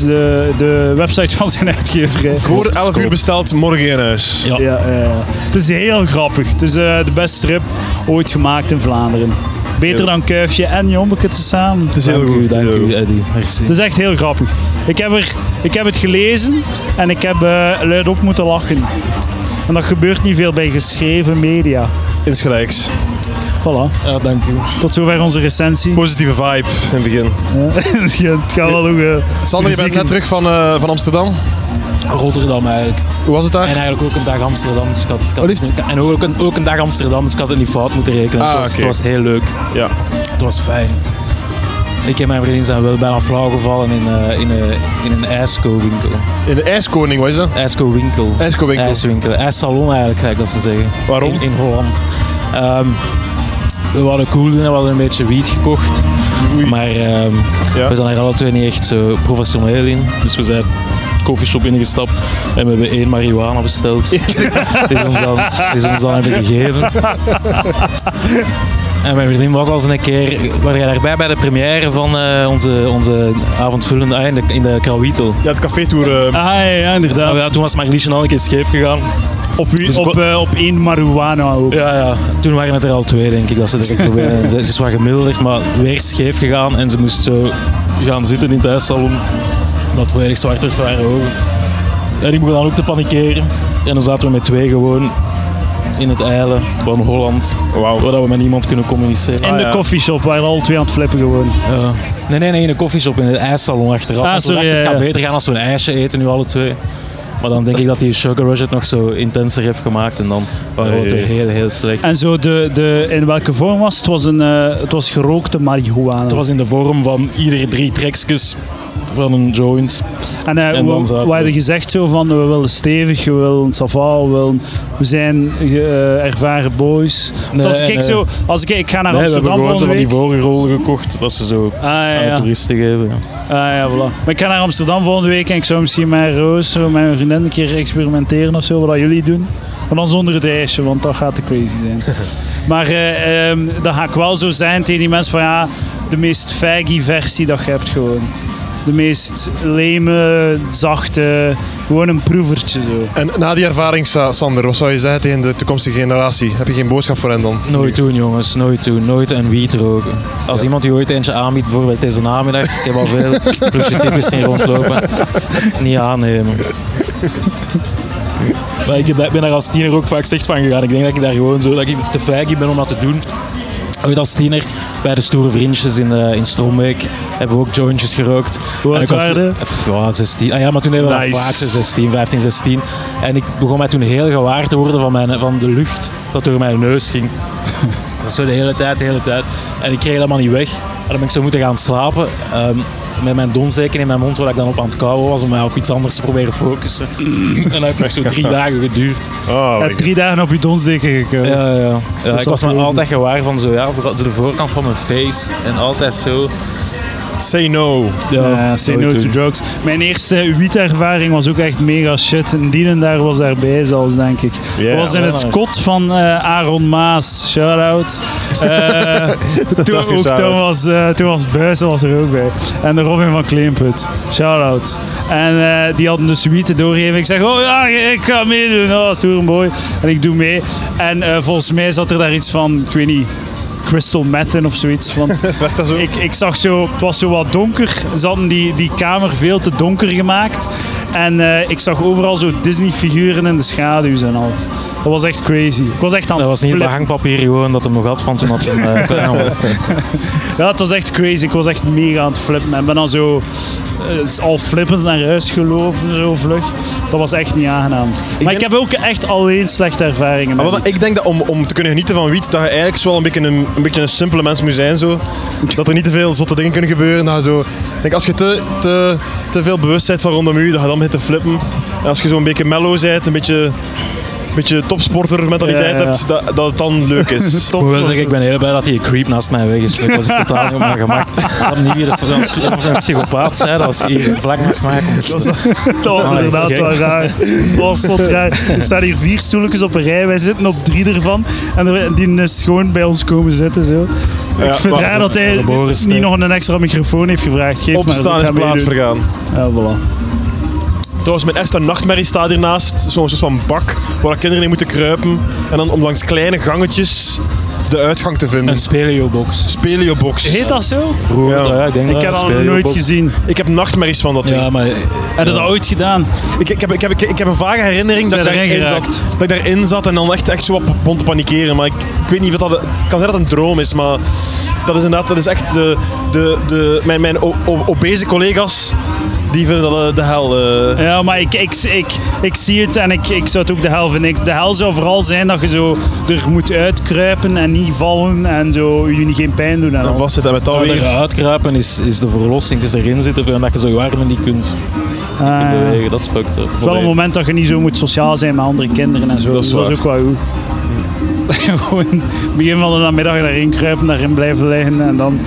de, de website van zijn uitgeverij.
Voor 11 uur besteld, morgen in huis.
Ja.
Ja, eh, het is heel grappig. Het is eh, de beste strip ooit gemaakt in Vlaanderen. Beter dan Kuifje en Jommeke tezamen.
Het is heel
Dank u,
goed.
dank
heel
u,
goed.
Eddy. Merci.
Het is echt heel grappig. Ik heb, er, ik heb het gelezen en ik heb eh luid op moeten lachen. En dat gebeurt niet veel bij geschreven media.
Insgelijks.
Voilà.
Ja, dank u.
Tot zover onze recensie.
Positieve vibe in het begin.
Ja, het gaat wel nog... eh,
Sander, je bent
muziek
net
in-
terug van, eh, van Amsterdam.
Rotterdam eigenlijk.
Hoe was het
En
daar?
eigenlijk ook een dag Amsterdam. Dus ik had, ik had-
Oh, liefst.
en ook een, ook een dag Amsterdam, dus ik had het niet fout moeten rekenen.
Ah,
het, was,
oké.
het was heel leuk.
Ja.
Het was fijn. Ik en mijn vriendin zijn wel bijna flauw gevallen in, eh, in, eh, in een ijsko-winkel.
In de IJskoning, was dat?
Ijsko-winkel.
IJskowinkel.
IJswinkel. IJssalon eigenlijk, gelijk dat ze zeggen.
Waarom?
In, in Holland. Ehm, we hadden cool en we hadden een beetje wiet gekocht. Maar ehm,
Ja.
we zijn er alle twee niet echt zo professioneel in. Dus we zijn koffieshop ingestapt en we hebben één marihuana besteld. Het is ons dan, het is ons dan hebben gegeven. En mijn vriendin was al eens een keer, waar jij daarbij bij de première van eh, onze, onze avondvullende, ah, in de, in de Krawietel.
Ja, het café-tour. eh,
Ah ja, ja,
Ah,
inderdaad.
ja, toen was Marliesje al een keer scheef gegaan.
Op, wie-
Dus ik
op,
wa-
eh, op één marihuana ook.
Ja, ja, toen waren het er al twee, denk ik, dat ze direct proberen. En Ze ze is wat gemilderd, maar weer scheef gegaan. En ze moest zo gaan zitten in het huissalon. Dat volledig zwart werd voor haar ogen. En die begon dan ook te panikeren. En dan zaten we met twee gewoon in het eilen van Holland. Waar dat we met niemand kunnen communiceren. Ah,
In de
ja.
coffeeshop waren al twee aan het flippen gewoon.
Ja. Nee, nee, nee, in een koffieshop, in het ijssalon achteraf.
Ah,
En toen
sorry, ja,
dacht ik, het
ja.
gaat beter gaan als we een ijsje eten, nu alle twee. Maar dan denk ik dat die Sugar Rush het nog zo intenser heeft gemaakt. En dan waren we
Oei.
twee heel, heel slecht.
En zo, de, de, in welke vorm was het? Het was, een, eh, het was gerookte marihuana.
Het was in de vorm van iedere drie trekjes van een joint.
En, eh
En
we,
dan zaten
we
we-
hadden gezegd zo van, we willen stevig, we willen sava, we, willen, we zijn eh, ervaren boys. Want als ik
Nee,
kijk
nee.
zo, als ik, ik ga naar
Nee, we hebben
Amsterdam
gewoon zo
volgende
van die
week.
vorige rollen gekocht, dat ze zo
Ah, ja,
aan de
ja.
toeristen geven. ja.
Ah, ja, voilà. Maar ik ga naar Amsterdam volgende week en ik zou misschien met Roos, zo met mijn vriendin, een keer experimenteren of zo, wat dat jullie doen. Maar dan zonder het ijsje, want dat gaat te crazy zijn. maar eh, ehm, dan ga ik wel zo zijn tegen die mensen van ja, de meest faggy versie dat je hebt gewoon. De meest leme, zachte, gewoon een proevertje zo.
En na die ervaring, Sa- Sander, wat zou je zeggen tegen de toekomstige generatie? Heb je geen boodschap voor hen dan?
Nooit doen, jongens. Nooit doen. Nooit en wiet roken. Als iemand die ooit eentje aanbiedt, bijvoorbeeld deze namiddag, ik heb al veel plusje tippers zien rondlopen, niet aannemen. Maar ik ben daar als tiener ook vaak slecht van gegaan. Ik denk dat ik daar gewoon zo dat ik te feig ben om dat te doen. Ooit als tiener bij de stoere vriendjes in, eh in Strombeek hebben we ook jointjes gerookt.
Hoe
En
oud
ik was-
waren
Pff, ja, 16. Ah ja, maar toen hebben we
Nice.
dat vaak zo 16, 15, 16. En ik begon mij toen heel gewaar te worden van, mijn, van de lucht dat door mijn neus ging. Dat zo de hele tijd, de hele tijd. En ik kreeg helemaal niet weg. En dan ben ik zo moeten gaan slapen. ehm, met mijn donzeken in mijn mond, waar ik dan op aan het kauwen was, om mij op iets anders te proberen focussen. en dat heeft nog zo drie dagen geduurd. Dus
Oh,
Heb drie dagen op je donsdeken gekund.
Ja, ja, ja. ik
is
was me
wel
altijd gewaar van zo, ja, vooral de voorkant van mijn face. En altijd zo.
say no.
Ja,
Ja, Eh, say no
nooit
to
doen.
drugs. Mijn eerste wietervaring was ook echt mega shit. En Dienen daar was daarbij zelfs, denk ik.
Ja,
Dat was in
wel,
het
hè.
kot van eh, Aaron Maas. Shout-out. Eh, toen, ook,
shout-out.
toen was, eh toen was Buijzen was er ook bij. En de Robin van Kleemput. Shout-out. En eh, die hadden dus wieten doorgegeven. Ik zeg, oh ja, ik ga meedoen. Oh, stoer mooi. En ik doe mee. En eh, volgens mij zat er daar iets van, ik weet niet, crystal meth in of zoiets. Want
Werkt dat zo?
ik, ik zag zo, het was zo wat donker. Ze hadden die, die kamer veel te donker gemaakt. En eh, ik zag overal zo Disney-figuren in de schaduw en al. Dat was echt crazy. Ik was echt aan
Dat
het
was niet het
flippen.
behangpapier gewoon dat hem nog had van toen dat hem eh, klein was.
Ja, het was echt crazy. Ik was echt mega aan het flippen. En ben dan zo eh, al flippend naar huis gelopen, zo vlug. Dat was echt niet aangenaam. maar ik
denk-
heb ook echt alleen slechte ervaringen.
Ah,
met
wel, maar
wiet.
ik denk dat om, om te kunnen genieten van wiet, dat je eigenlijk zo wel een beetje een, een beetje een simpele mens moet zijn. Zo. Dat er niet te veel zotte dingen kunnen gebeuren. Dat je zo, ik denk, als je te, te, te veel bewust bent van rondom u, dat je dan begint te flippen. En als je zo een beetje mellow bent, een beetje, een beetje topsporter mentaliteit
Ja, ja.
hebt, dat, dat het dan leuk is.
Top
Ik moet wel
voor-
zeggen, ik ben heel blij dat die creep naast mij weg is. Ik was echt totaal niet op mijn gemak. Ik had niet weer een, een psychopaat zijn als hier vlak naast mij komt.
Dat is-
Dat was
Ah,
inderdaad
gek.
wel raar. Oh, Dat was zot raar. Er staan hier vier stoeltjes op een rij. Wij zitten op drie ervan. En er- die is gewoon bij ons komen zitten. Zo.
Ja,
ik vind het
maar-
raar dat hij
de Boris,
niet
nee.
nog een extra microfoon heeft gevraagd. Geef
Opstaan
maar,
is
dat gaan we
plaats
doen.
vergaan.
Ja, voilà.
Trouwens, mijn extra nachtmerrie staat hiernaast. Zo'n soort van bak waar kinderen in moeten kruipen. En dan om langs kleine gangetjes de uitgang te vinden.
Een speleobox.
Speleobox.
Heet dat zo?
Vroeger,
Ja.
ja. ik denk
ik
dat
heb
een
dat nog nooit
speleobox-
gezien.
Ik heb nachtmerries van dat ding.
Ja, maar
Heb je dat ooit gedaan?
Ik, ik, heb, ik, heb, ik, ik heb een vage herinnering dat ik,
Zijn erin
daarin
geraakt?
zat, dat ik daarin zat en dan echt, echt zo wat begon te panikeren. Maar ik, ik weet niet of dat... Het kan zijn dat het een droom is, maar dat is inderdaad dat is echt de... de, de mijn mijn o- o- obese collega's, die vinden dat eh, de hel. eh.
Ja, maar ik, ik, ik, ik zie het en ik, ik zou het ook de hel vinden. Ik- De hel zou vooral zijn dat je zo er moet uitkruipen en niet vallen en zo jullie geen pijn doen. En
Dan
al.
vastzitten en met dat weer...
eruit kruipen is, is de verlossing. Het is erin zitten en dat je zo je armen niet kunt,
Ah, ja.
kunt bewegen. Dat is fucked up.
Het is wel een moment dat je niet zo moet sociaal zijn met andere kinderen en zo.
Dat is
Dus ook wel goed. Dat je Gewoon begin van de namiddag daarin kruipen, daarin blijven liggen en dan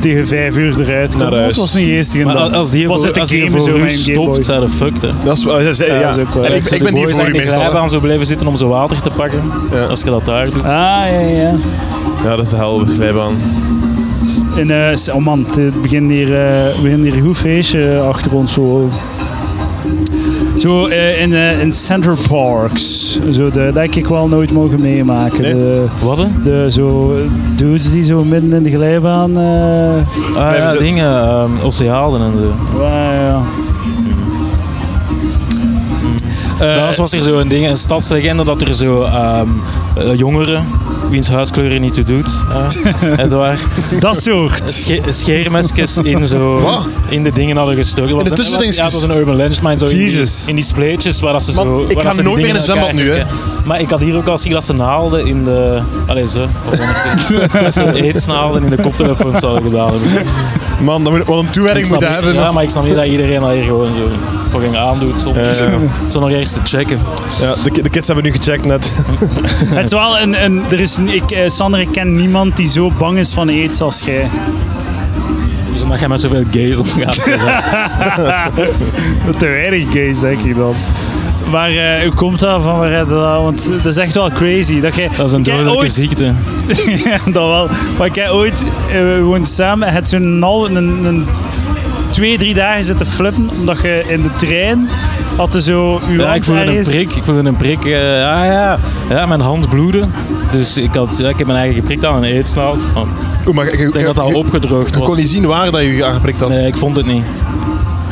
tegen vijf uur eruit komen.
huis.
Dat was niet geestig.
Maar als die
was
voor,
het
als
een
die
game
voor
zo
u
met een Game Boy.
stopt, zijn de fucked. Hè.
Dat is, ja, ja, ja.
dat is ook wel.
En
Ja,
ik, ik ben hier voor u meestal. hè.
aan zo blijven zitten om zo water te pakken. Als je dat daar doet.
Ah, ja, ja.
Ja, dat is de hel, glijbaan.
En, eh, oh man, het begint hier, eh, het begint hier een goed feestje achter ons. Zo, zo eh, in, eh, in Center Parks. Zo, de, dat heb ik wel nooit mogen meemaken.
Nee?
De-
Wat? hè?
De zo dudes die zo midden in de glijbaan. eh
Ah, ja,
ze-
dingen, ehm, oceanen en zo.
ja, ja.
Eh,
Daarnaast was er zo'n ding, een stadslegende, dat er zo ehm, eh, jongeren, wiens huidskleur er niet toe doet, eh, Edouard,
Dat soort.
sche scheermesjes in, zo,
Wat?
in de dingen hadden gestoken. Dat was
de
een-
tussendingetjes?
Ja, dat was een urban legend, maar zo in die,
Jezus.
in die spleetjes waar dat ze
Man,
zo...
ik
waar
ga
dat ze
nooit
die
meer in
dingen
een
aan
zwembad
elkaar
nu, hè.
trekken. Maar ik had hier ook al zien dat ze naalden in de... Allee, zo. Of dat ze eetsnaalden in de koptelefoons hadden gedaan.
Man, dan moet, wat een
Ik
toewijding
snap
moeten
niet-
hebben.
Ja, maar ik snap niet dat iedereen dat hier gewoon zo fucking aandoet zonder,
Eh,
zonder eerst te checken.
Ja, de, ki- de kids hebben nu gecheckt net.
Het is wel een, een, er is, een- ik, eh, Sander, ik ken niemand die zo bang is van aids als jij.
Dus omdat jij met zoveel gays omgaat.
Te weinig gays, denk ik dan. Maar eh, hoe komt dat van waar heb je dat? Want dat is echt wel crazy. Dat, jij,
Dat is een
jij
dodelijke
ooit-
ziekte.
ja, dat wel. Maar ik heb ooit, eh, we woonden samen, het zo'n al een, een twee, drie dagen zitten flippen, omdat je in de trein had je zo uw
Ja,
hand
ik voelde een
ergens.
prik. Ik voelde een prik. eh, ah ja. ja, mijn hand bloedde. Dus ik, had, ja, ik heb mijn eigen geprikt aan een eetsnaald. Oh,
Oeh, maar je- je-
ik denk dat dat al
je-
opgedroogd
je kon
was.
niet zien waar dat je je aangeprikt had.
Nee, ik vond het niet.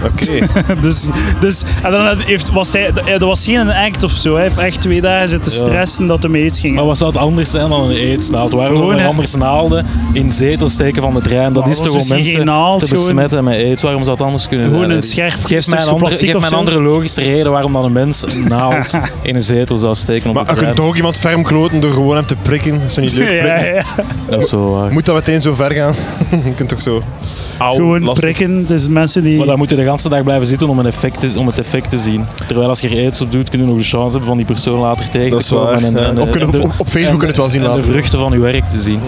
Oké.
Dus, dus, en dan heeft, was hij, er was geen act of zo. Hij heeft echt twee dagen zitten stressen dat hem aids ging.
Maar wat zou het anders zijn dan een eetsnaald? Waarom
Gewoon,
zouden we
hè?
anders naalden in zetels steken van de trein? Dat
Maar
is
was
toch om
misschien
mensen
geen naald,
te
gewoon-
besmetten met aids? Waarom zou het anders kunnen
Gewoon
zijn?
een scherp
Geef mij een
stukje
andere,
plastic
geef
of
mij een
zo.
andere logische reden waarom dan een mens een naald in een zetel zou steken op
Maar
de
je
trein.
kunt toch ook iemand ferm kloten door gewoon hem te prikken. Is dat niet leuk?
ja,
Prikken?
ja.
Dat is wel waar.
Moet dat meteen zo ver gaan? je kunt toch zo... Auw,
Gewoon
lastig.
prikken. Dus mensen die...
Maar dan moet je de hele dag blijven zitten om, een effect te, om het effect te zien. Terwijl als je er aids op doet, kun je nog de chance hebben van die persoon later tegen
Dat
te
is
komen.
waar.
en-
ja.
en-
Of kunnen we
en
op,
de-
op Facebook kunnen we het wel zien Mm.
en de
laten.
vruchten van je werk te zien.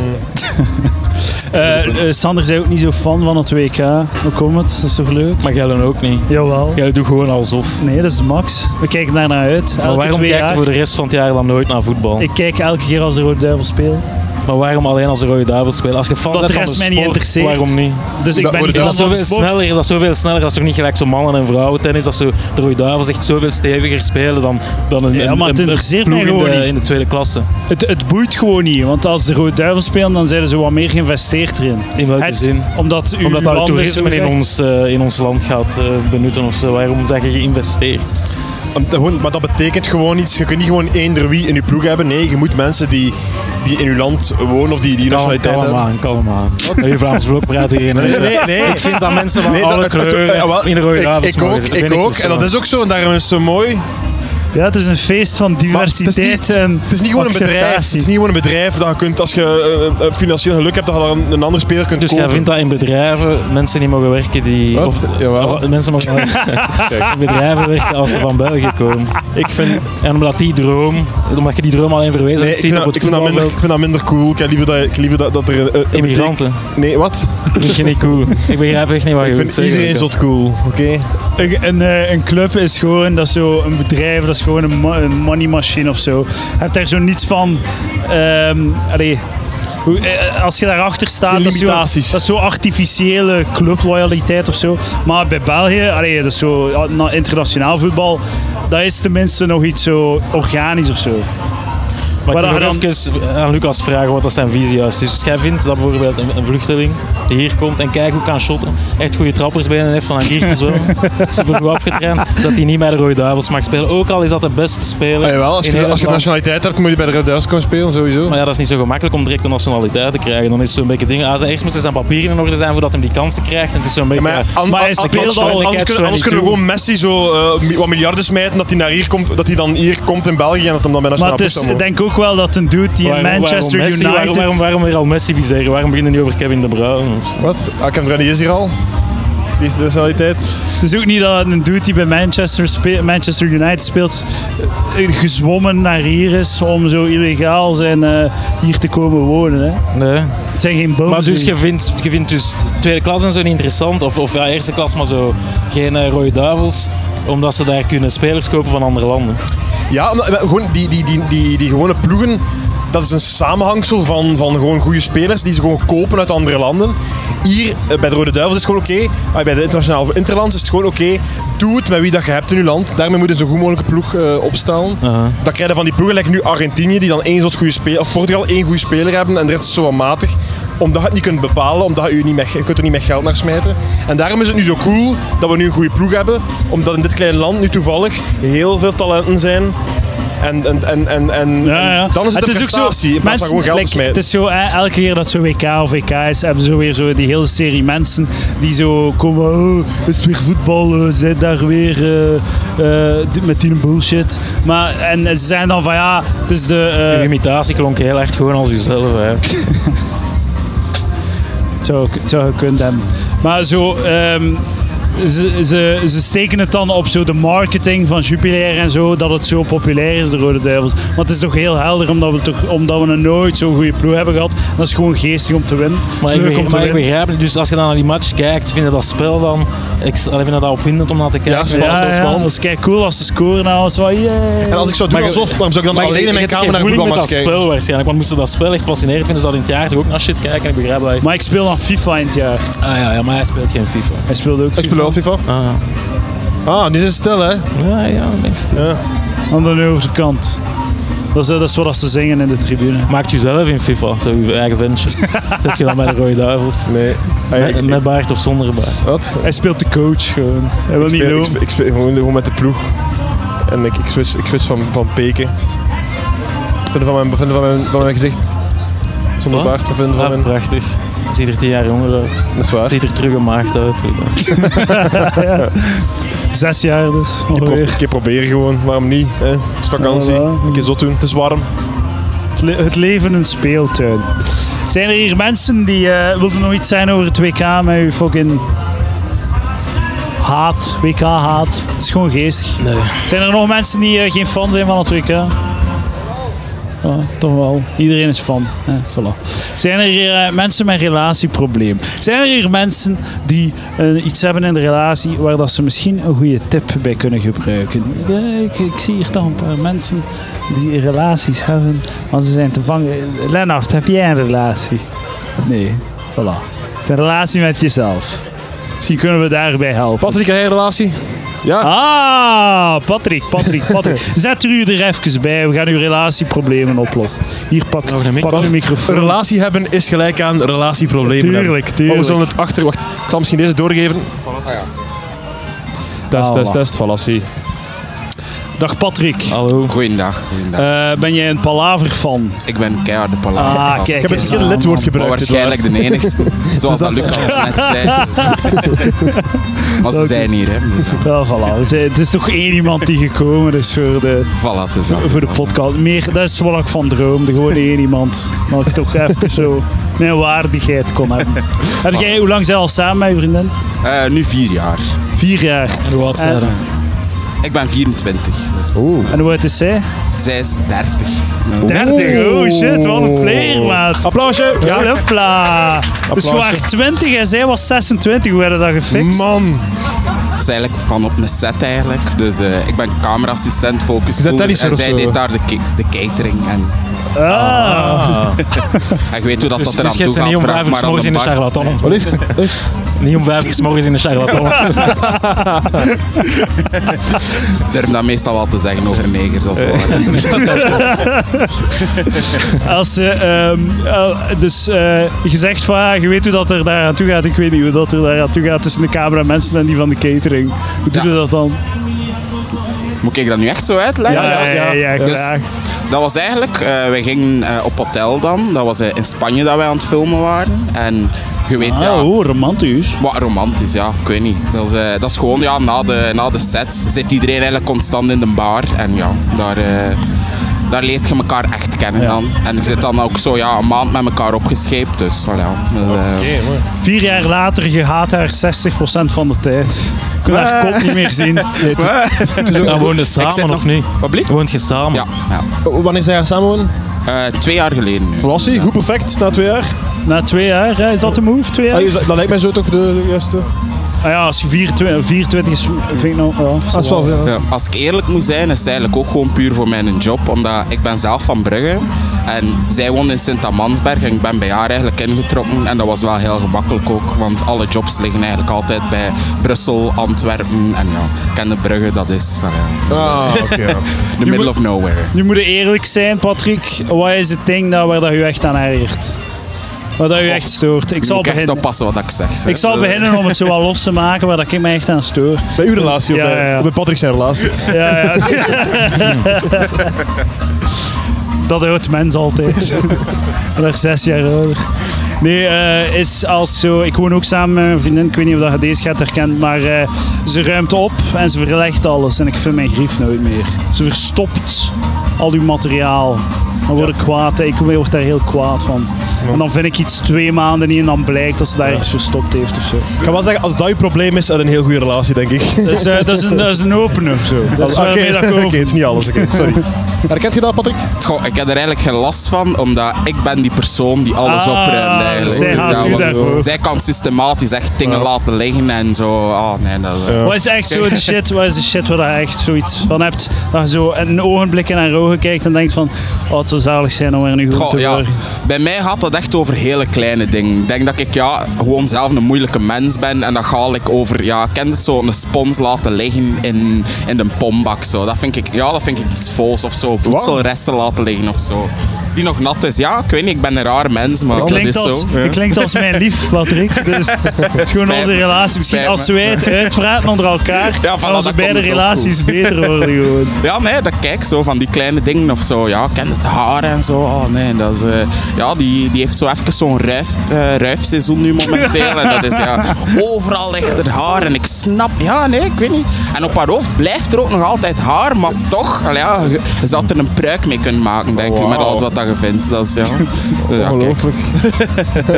Eh, eh, Sander is ook niet zo fan van het WK. Hoe komt het? Dat is toch leuk?
Maar jij dan ook niet.
Jawel.
Jij doet gewoon alsof.
Nee, dat is max. We kijken daar naar uit. Elke
Maar waarom
twee
kijkt je
jaar.
voor de rest van het jaar dan nooit naar voetbal?
Ik kijk elke keer als de Rode Duivel speelt.
Maar waarom alleen als de Rode Duivel spelen? Als je fan
Dat
bent
de
van de
rest mij niet
sport,
interesseert.
waarom niet?
Dus ik
Dat
ben
Rode Duivel
niet
Is
fan
dat,
van
zoveel
sport.
sneller, is dat zoveel sneller? Dat is toch niet gelijk zo'n mannen- en vrouwentennis? Dat zo, de Rode Duivels echt zoveel steviger spelen dan, dan een,
Ja,
een-
maar het
een- een
interesseert
ploeg
mij
in de-
gewoon niet.
in de tweede klasse.
Het, het boeit gewoon niet. Want als de Rode Duivel spelen, dan zijn ze wat meer geïnvesteerd erin.
In welke
Het-
zin?
Omdat, u,
Omdat
uw
dat
landen
toerisme in
zogezegd-
ons, eh, in ons land gaat eh, benutten of zo. Waarom zijn je geïnvesteerd?
Om- gewoon- Maar dat betekent gewoon iets. Je kunt niet gewoon eender wie in je ploeg hebben. Nee, je moet mensen die, die in je land wonen of die die nationaliteit
Kalm
hebben.
aan, kalm aan. Nee, Vlaams blok praat hier in.
Nee, nee, nee.
Ik vind dat mensen van
Nee,
alle
het- het-
kleuren
eh, wel,
in de rode
ik-
Duivels
Ik
mogen
ook,
zitten. Vind
ik ook. En dat
persoonlijk.
is ook zo. En daarom is het zo mooi.
Ja, het is een feest van
Maar het is niet-
diversiteit en
Het is niet gewoon een bedrijf. Het is niet gewoon een bedrijf dat je kunt, als je eh, eh, financieel geluk hebt, dat je dan een andere speler kunt
Dus jij
kopen.
vindt dat in bedrijven mensen niet mogen werken die...
Wat?
Of,
Jawel.
of mensen mogen in bedrijven werken als ze van België komen. Ik vind, en omdat die droom, omdat je die droom alleen verwezen
Nee,
hebt
ik vind,
zien op
dat,
het
ik, vind dat minder, ik
voetbalveld,
vind dat minder cool. Ik heb liever dat, ik heb liever dat, dat er een- een... een
immigranten.
betek- Nee, wat?
Dat vind je niet cool. Ik begrijp echt niet wat je
Ik
wilt
vind
zeggen.
iedereen zot cool, oké?
Een, een, eh, een club is gewoon, dat is zo een bedrijf, dat is gewoon een, ma- een money machine of zo. Je hebt daar zo niets van. ehm, allee, hoe, eh, als je daarachter staat,
Geen
dat is, zo, dat
limitaties.
is zo artificiële clubloyaliteit of zo. Maar bij België, allee, dat is zo, ja, na- internationaal voetbal, dat is tenminste nog iets zo organisch of zo.
Maar ik
Maar
wil
dan-
even aan Lucas vragen wat dat zijn visie juist is. Dus jij vindt dat bijvoorbeeld een, een vluchteling die hier komt en kijk hoe kan shotten, echt goede trappersbenen heeft van hier te zo, super goed afgetraind, dat hij niet bij de Rode Duivels mag spelen. Ook al is dat de beste speler
Ah, jawel, als
in
je,
heel
als je
het land.
nationaliteit hebt, moet je bij de Red Duivels komen spelen, sowieso.
Maar ja, dat is niet zo gemakkelijk om direct een nationaliteit te krijgen. Dan is het zo'n beetje ding. Ah, zijn- eerst moeten zijn papieren in orde zijn voordat hij die kansen krijgt. En het is zo'n beetje.
Maar, an-
Maar
an-
hij
an-
speelt
anders,
al,
anders
catch
kunnen, anders kunnen we
22.
gewoon Messi zo eh, mi- wat miljarden smijten, dat hij naar hier komt, dat hij dan hier komt in België en dat hem dan bij
Maar
nationaal
het is,
ploeg zou
ik
mogen.
denk ook wel dat een dude die
Waarom-
in Manchester
waarom Messi?
United...
Waarom, waarom, waarom weer al Messi viseren? Waarom beginnen we niet over Kevin De Bruyne? of zo?
Wat? Ah, Kevin Rennie is hier al. Die is de nationaliteit.
Het is ook niet dat een dude die bij Manchester, spe- Manchester United speelt, eh, gezwommen naar hier is om zo illegaal zijn eh, hier te komen wonen. Hè.
Nee.
Het zijn geen bomen.
Maar dus je vindt, je vindt dus tweede klas en zo niet interessant, of, of ja, eerste klas maar zo geen eh, rode duivels, omdat ze daar kunnen spelers kopen van andere landen.
eh, Ja, omdat- maar gewoon die, die, die, die, die gewone ploegen dat is een samenhangsel van, van gewoon goede spelers die ze gewoon kopen uit andere landen. Hier eh, bij de Rode Duivels is het gewoon oké. ah, Bij de internationale of Interland is het gewoon oké. Doe het met wie dat je hebt in je land. Daarmee moet je een zo goed mogelijke ploeg eh, opstellen.
Aha.
Dan krijg je van die ploegen, like nu Argentinië, die dan één soort goede speler, of Portugal één goede speler hebben en de rest is zo wat matig. Omdat je het niet kunt bepalen, omdat je, niet met, je kunt er niet met geld naar smijten. En daarom is het nu zo cool dat we nu een goede ploeg hebben, omdat in dit kleine land nu toevallig heel veel talenten zijn. En, en, en, en, en,
Ja, ja.
en dan is het, een prestatie, in plaats van gewoon geld te
like,
smijten.
Het is zo, hè, elke keer dat zo'n WK of WK is, hebben ze weer zo die hele serie mensen die zo komen, oh, is het weer voetbal, eh, zit daar weer eh, eh, dit- met die bullshit. Maar, en ze zeggen dan van ja, het is de... eh,
Uw imitatie klonk heel erg gewoon als uzelf. Hè.
Het zou, het zou gekund hebben. Maar zo, ehm, ze, ze, ze steken het dan op zo de marketing van Jupiler en zo, dat het zo populair is, de Rode Duivels. Maar het is toch heel helder, omdat we, toch, omdat we nog nooit zo'n goede ploeg hebben gehad. Dat is gewoon geestig om te winnen.
Maar,
het
ik,
is leuk om
begrijp,
te
maar ik
winnen.
begrijp het. Dus als je dan naar die match kijkt, vind je dat spel dan... Ik s- allee, vind je dat opwindend om naar te kijken?
Ja, ja, dat is kijk cool als ze scoren en alles. Van, yeah.
En als ik zou doen
Maar je-
alsof, waarom zou ik dan
Maar
alleen in mijn kamer naar een
voeding met
voetbalmatch
dat
kijken?
spel waarschijnlijk. Want moesten dat spel echt fascinerend vinden, ze dat in het jaar toch ook naar shit kijken. En ik begrijp dat. je-
Maar ik speel dan FIFA in het jaar.
Ah ja, ja, maar hij speelt geen FIFA.
Hij speelde ook
Ik speel wel FIFA.
Ah
Ah, die zijn stil hè.
ja, ja, niks.
aan de overkant. Dat is, eh, dat is wat ze zingen in de tribune.
Maakt u zelf in FIFA, zo uw eigen venture. Zet je dan bij de Rode Duivels.
Nee. Ah,
Met,
ik-
met baard of zonder baard.
Wat?
Hij speelt de coach gewoon. Hij wil
Ik
niet
speel, ik
lopen.
speel, ik speel gewoon, gewoon met de ploeg. En ik, ik, switch, ik switch van, van peken. Vinden van mijn, vinden van mijn, van mijn gezicht. Zonder
Wat?
baard. Vinden van
Ah,
mijn...
prachtig. Ziet er tien jaar jonger uit.
Dat is waar.
Ziet er terug een maagd uit.
Zes jaar dus.
Pro-
ongeveer.
Een keer proberen gewoon. Waarom niet? Hè? Het is vakantie.
Ja, voilà.
Een keer zot doen. Het is warm.
Het le- Het leven een speeltuin. Zijn er hier mensen die eh, wilden nog iets zijn over het WK met uw fucking haat, WK-haat? Het is gewoon geestig.
Nee.
Zijn er nog mensen die eh, geen fan zijn van het WK? Ja, toch wel. Iedereen is fan. hè, voilà. Zijn er hier eh, mensen met relatieprobleem? Zijn er hier mensen die eh, iets hebben in de relatie waar dat ze misschien een goede tip bij kunnen gebruiken? Ja, ik, ik zie hier toch een paar mensen die relaties hebben, maar ze zijn te vangen. Lennart, heb jij een relatie? Nee. Voilà. Het is Een relatie met jezelf. Misschien kunnen we daarbij helpen.
Patrick, heb jij een relatie?
Ah, Patrick, Patrick, Patrick. Zet er u er even bij. We gaan uw relatieproblemen oplossen. Hier, pak,
Nog een mic-
pak uw microfoon.
Een relatie hebben is gelijk aan relatieproblemen
Tuurlijk,
hebben.
tuurlijk.
Maar we zullen het achter... Wacht, ik zal misschien deze doorgeven. Test, test, test. Fallacie.
Dag Patrick.
Hallo.
Goeiedag, goeiedag.
Eh, ben jij een palaver van?
ik ben keiharde palaver.
Ah,
van.
kijk.
Ik Ah, heb het
eens
geen
aan,
lidwoord
man.
gebruikt.
Maar waarschijnlijk de enigste. Zoals dat Lucas net zei. Maar ze zijn hier, hè. Dus, eh,
Wel, voilà. We zijn- Het is toch één iemand die gekomen is voor de,
voilà, het is dat.
voor de podcast. Meer, dat is wat ik van droomde. Gewoon één iemand. Dat ik toch even zo mijn waardigheid kon hebben. Heb jij, hoe lang zijn we al samen, mijn vriendin?
Eh, nu vier jaar.
Vier jaar.
En hoe oud zijn
En-
er?
Ik ben 24. Dus
En hoe oud is zij?
zij is 30. Eh,
30, oh shit, wat een player, maat.
Applausje.
Ja, hopla. Dus je was 20 en zij was 26. Hoe hadden dat gefixt?
Man.
Het is eigenlijk van op een set eigenlijk. Dus eh, ik ben cameraassistent, focus
bent
en
tennisser of
eh?
zij
zo?
deed daar de, ca- de catering. En,
Ah.
en je weet hoe dat,
Dus, dus
dat eraan
je hebt
toe
ze
gaat.
niet om
Vraag
vijf uur
maar
's
aan
morgens
de
in de
Bart.
charlatan.
Wat is
Niet om vijf uur 's morgens in de charlatan.
Ze durven dat meestal wel te zeggen over negers. Dat is waar.
Als ze, ehm, eh, dus eh, gezegd van, ah, je weet hoe dat er daar aan toe gaat. Ik weet niet hoe dat er daar aan toe gaat tussen de cameramensen en die van de catering. Hoe doe je
Ja.
dat dan?
Moet ik dat nu echt zo uitleggen?
Ja, ja, ja, ja,
Dus
graag.
dat was eigenlijk, eh, wij gingen eh, op hotel dan. Dat was eh, in Spanje dat wij aan het filmen waren. En je weet ja.
Ah, oh, romantisch.
Wat romantisch, ja, ik weet niet. Dat is, eh, dat is gewoon, ja, na de, na de set zit iedereen eigenlijk constant in de bar. En ja, daar, eh, daar leert je elkaar echt kennen dan. En je zit dan ook zo, ja, een maand met elkaar opgescheept. Dus, voilà. Dus, eh,
Vier jaar later, je haat haar 60% van de tijd. Je kunt haar kop niet meer zien.
Dan woon je
Ik zit
samen
nog-
of niet?
Wat blieft?
Woont je samen?
Ja, ja.
Wanneer zijn we samen wonen?
Eh, twee jaar geleden nu.
Verlassie, goed perfect, na twee jaar.
Na twee jaar, hè, is dat de move? Twee jaar?
Ah, is dat, dat lijkt mij zo toch de, de juiste.
Ah ja, als je 24, 24 is, vind ik nou... Ja,
Dat is wel veel.
Ja, als ik eerlijk moet zijn, is het eigenlijk ook gewoon puur voor mijn job. Omdat ik ben zelf van Brugge. En zij woont in Sint-Amansberg. En ik ben bij haar eigenlijk ingetrokken. En dat was wel heel gemakkelijk ook. Want alle jobs liggen eigenlijk altijd bij Brussel, Antwerpen. En ja, ik ken de Brugge, dat is... eh,
Ah, oké. ja.
the middle of nowhere.
Nu moet je eerlijk zijn, Patrick. Wat is het ding dat, waar dat je echt aan ergert? Waar dat je echt stoort? Ik
Ik
zal
moet ik echt
beginnen.
oppassen wat ik zeg. zeg.
Ik zal
Eh,
beginnen om het zo wat los te maken waar dat ik me echt aan stoor.
Bij uw relatie
Ja,
of, bij,
ja, ja.
of bij Patrick zijn relatie.
Ja, ja. Dat houdt mens altijd. Ik ben er zes jaar ouder. Nee, eh, is als zo. Ik woon ook samen met mijn vriendin. Ik weet niet of dat je deze gaat herkennen, maar eh, ze ruimt op en ze verlegt alles. En ik vind mijn grief nooit meer. Ze verstopt al uw materiaal. Dan word ik kwaad. hè. Ik word daar heel kwaad van. En dan vind ik iets twee maanden niet en dan blijkt dat ze daar iets verstopt heeft of zo.
Ik ga wel zeggen, als dat je probleem is, is dat een heel goede relatie, denk ik.
Dus, eh, dat, is een, dat is een opener of zo. Dat is
Oké,
waarmee dat ik
oké,
open.
het is niet alles. Oké, sorry.
Herkent je dat, Patrick?
Goh, ik heb er eigenlijk geen last van, omdat ik ben die persoon die alles
Ah,
opruimt eigenlijk. Dus
zij haat u
want
daarvoor.
zij kan systematisch echt dingen laten liggen en zo. Ah, nee, dat... eh,
Wat is echt zo de shit, wat is de shit waar je echt zoiets van hebt? Dat je zo een ogenblik in haar ogen kijkt en denkt van, oh het zou zalig zijn om er nu goed
Goh,
te
ja.
worden.
Bij mij gaat dat echt over hele kleine dingen. Ik denk dat ik ja, gewoon zelf een moeilijke mens ben. En dat ga ik over, ja, ik ken het zo, een spons laten liggen in, in een pombak. Zo. Dat, vind ik, ja, dat vind ik iets vols of zo. Voedselresten laten liggen of zo. Die nog nat is. Ja, ik weet niet, ik ben een raar mens, maar dat
Klinkt
is
als,
zo.
je klinkt als mijn lief, Patrick. Dus het is gewoon
Spijt
onze
me.
relatie. Misschien
Spijt
als
me.
wij het uitpraten onder elkaar,
Ja, voilà,
gaan onze
dat
beide
komt het ook
relaties beter worden gewoon.
Ja, nee, dat kijk zo van die kleine dingen of zo. Ja, ik ken het haar en zo. Oh nee, dat is. eh, ja, die, die heeft zo even zo'n ruif, eh, ruifseizoen nu momenteel. En dat is ja. Overal ligt er haar en ik snap. Ja, nee, ik weet niet. En op haar hoofd blijft er ook nog altijd haar, maar toch. allee, ja, je je zou er een pruik mee kunnen maken, denk ik. Met alles wat dat je vindt. Dat is ja. ja kijk.
Ongelooflijk.
Ah,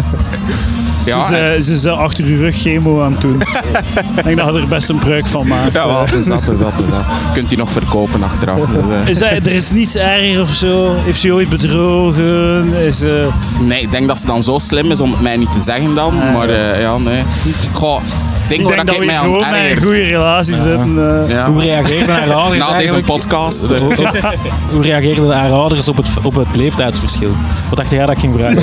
Ja, en-
Ze, ze is eh, achter uw rug chemo aan het doen. Ik denk dat je er best een pruik van maakt.
ja, wat is dat? Is dat, is dat. Kunt die nog verkopen achteraf? Dus, eh.
Is dat, er is niets erger of zo? Heeft ze je ooit bedrogen? Is,
Oh,
eh,
Nee, ik denk dat ze dan zo slim is om het mij niet te zeggen dan. maar eh, ja, nee. Goh, ding
Ah, ik
waar
denk dat
ik
we
mij
hier
aan
gewoon eh, met een
erger.
goede relatie zitten. eh.
Ja.
Hoe reageert mijn ouders
Na deze
eigenlijk?
podcast. eh,
Hoe reageerden de ouders op het, op het leeftijdsverschil? Wat dacht jij dat ik ging vragen?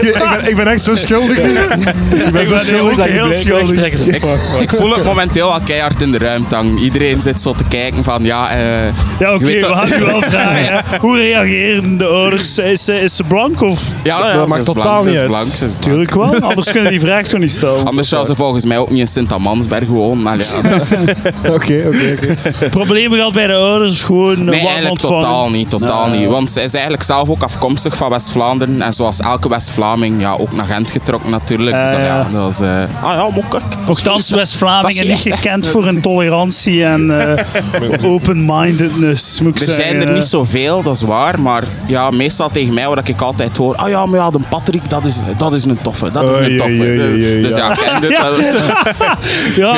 ik, ben, ik ben echt zo schuldig. ik ben zo schuldig.
heel schuldig.
ik, ik voel het momenteel al keihard in de ruimte hangen. Iedereen zit zo te kijken van ja. eh,
Ja,
je
oké,
weet
we
dat-
gaan u wel vragen. hè. Hoe reageren de ouders? Is, ze- is ze blank of?
Ja, ja,
Dat
ze
maakt
is
totaal
blank, ze
niet
is
uit.
blank, ze is blank.
Tuurlijk wel, anders kunnen die vraag zo niet stellen.
Anders zou ze volgens mij ook niet in Sint-Amansberg wonen. Allee, ja, dat is-
Oké, oké, oké.
Problemen gehad bij de ouders of gewoon eh, een
Nee,
warm
eigenlijk
ontvangen?
totaal niet, totaal niet. Want zij is eigenlijk zelf ook afkomstig van West-Vlaanderen. En zoals elke West-Vlaming, ja, ook naar Gent getrokken natuurlijk. Dus,
Eh,
ja,
ja.
dat is... eh, ah ja, mokkak.
Nochtans,
Dat
West-Vlamingen
is
niet
echt-
gekend voor hun tolerantie en eh, open-mindedness, moet ik eh,
Er
zeggen.
zijn er niet zoveel, dat is waar. Maar ja, meestal tegen mij wat ik altijd hoor. Ah ja, maar ja, de Patrick, dat is, dat is een toffe. Dat is een
Oei,
toffe.
oei, oei, oei,
dus ja, ik ken dit, dat is-
Ja,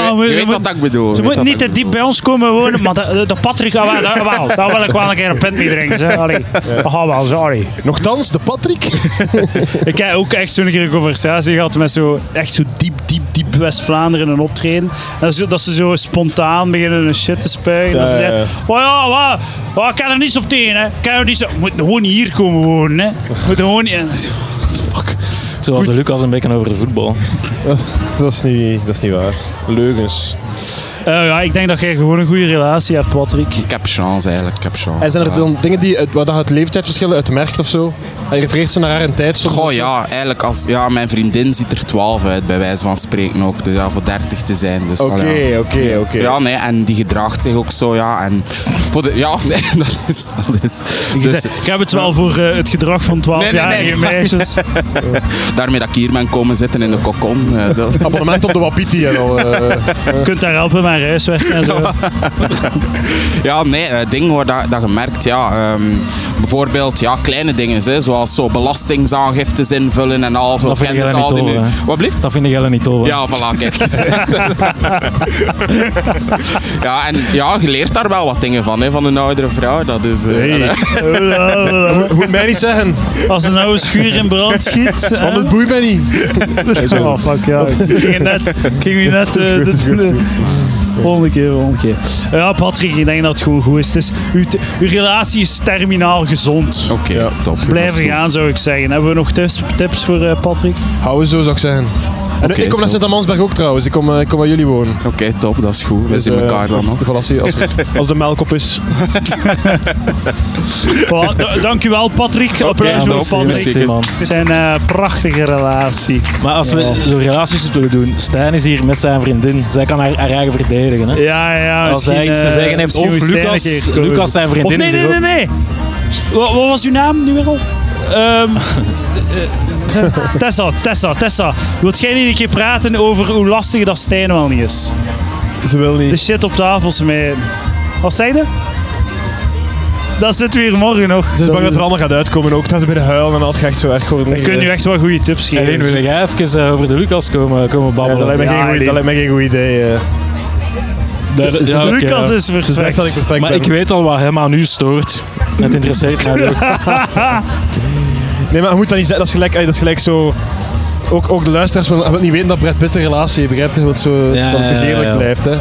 je,
maar-
je weet wat ik bedoel.
Ze
je weet
moeten
wat
niet
ik
te
bedoel.
diep bij ons komen wonen, maar de, de Patrick, dat wel, dat wel. Daar wil ik wel een keer een pint mee drinken. Zeg. Allee, dat gaat wel, sorry.
Nochtans, de Patrick.
Ik heb ook echt zo'n keer een conversatie gehad met zo, echt zo diep, diep, diep West-Vlaanderen een optreden. En zo, dat ze zo spontaan beginnen een shit te spuien. dat ze
Ja, ja,
zeggen,
ja.
oh ja, wat, wat, ik kan er niets op tegen, hè. Ik kan er niets op, moet gewoon hier komen wonen, hè. Moet gewoon hier. En dan zeg ik, what the fuck.
Zoals de Lucas een beetje over de voetbal.
dat, is niet, dat is niet waar. Leugens.
Eh, ja, ik denk dat jij gewoon een goede relatie hebt, Patrick.
Ik heb chance eigenlijk, ik heb chance.
En zijn er
Ja.
dan dingen die uit, waar dat het leeftijdsverschil uit merkt of zo? Hij refereert ze naar haar in tijd. soms.
Goh ja, eigenlijk als... Ja, mijn vriendin ziet er 12 uit, bij wijze van spreken ook. Dus ja, voor 30 te zijn. Dus, al ja.
Oké, oké, oké.
Ja, nee, en die gedraagt zich ook zo, ja. En voor de, ja, nee, dat is... Dat is dus,
ik heb het wel voor eh, het gedrag van 12-jarige
Nee, nee, nee.
meisjes.
dus daarmee dat ik hier ben komen zitten in de kokon. eh, dat,
Abonnement op de Wapiti en al. eh.
Je kunt daar helpen met aan huiswerken en zo.
Ja, nee, eh, dingen waar dat, dat je merkt, ja, ehm, bijvoorbeeld ja, kleine dingen, hè, zoals zo belastingsaangiftes invullen en al zo.
Dat vind
Ken
ik
het
dan niet
al die
tof,
nu-
hè.
Wat blieft?
Dat vind ik helemaal niet tof. hè.
Ja, voilà, kijk. ja, en ja, je leert daar wel wat dingen van, hè, van een oudere vrouw. Dat is, eh,
Hey.
Moet mij niet zeggen.
Als er nou een schuur in brand schiet. hè?
Want het boeit mij niet.
Oh, fuck ja. Ik ging net. Ik ging u net. eh,
goed, is goed,
de-
is goed.
Volgende keer, volgende keer. Ja, Patrick, ik denk dat het gewoon goed is. Het is uw, te- uw relatie is terminaal gezond.
Oké, top.
Blijven gaan, zou ik zeggen. Hebben we nog tips, tips voor eh, Patrick?
Hou eens zo, zou ik zeggen. En ik
Oké,
kom naar
top.
Sint-Amansberg ook trouwens. Ik kom, eh, ik kom bij jullie wonen.
Oké, top, dat is goed.
Dus,
We zien
eh,
elkaar dan nog.
voilà, zie je, Als, als de melk op is.
Voilà, da- dank u wel, Patrick. Applaus
top.
voor Patrick.
Merci,
man.
Zijn eh, prachtige relatie.
Maar als we zo'n relaties willen doen, Stijn is hier met zijn vriendin. Zij kan haar, haar eigen verdedigen. Hè?
Ja, ja.
Als hij
misschien,
iets te
eh,
zeggen heeft,
misschien
of
moet
Lucas-
Stijn een keer komen.
Lucas zijn vriendin
Of nee,
is
nee,
hier
nee,
ook.
nee. Wat, wat was uw naam nu weer al? Ehm, t- eh, Tessa, Tessa, Tessa. Wilt jij niet een keer praten over hoe lastig dat Stijn wel niet is?
Ze wil
De
niet.
shit op tafel is mee. Wat zei je? Dat zitten we hier morgen nog.
Ze is bang dat er allemaal gaat uitkomen ook. Dat ze binnen huilen en al. Het gaat echt zo erg worden.
Dan kun je echt wel goede tips geven.
Alleen wil jij even eh, over de Lucas komen, komen
Ja, dat,
babbelen.
lijkt me
Ja,
geen goeie-
nee.
dat lijkt me geen goed idee. eh.
Daar- ja, oké,
Lucas
ja.
is
Ze zegt
perfect.
dat ik perfect
Maar
ben.
ik weet al wat hem aan u stoort. Het interesseert mij ook.
Nee, maar je moet dat niet zeggen. Dat is gelijk, eh, dat is gelijk zo... Ook, ook de luisteraars willen willen niet weten dat Brad Pitt een relatie heeft. Begrijpt je? Dat het zo
Ja,
dat
ja,
het
ja,
begeerlijk
ja.
blijft. Hè.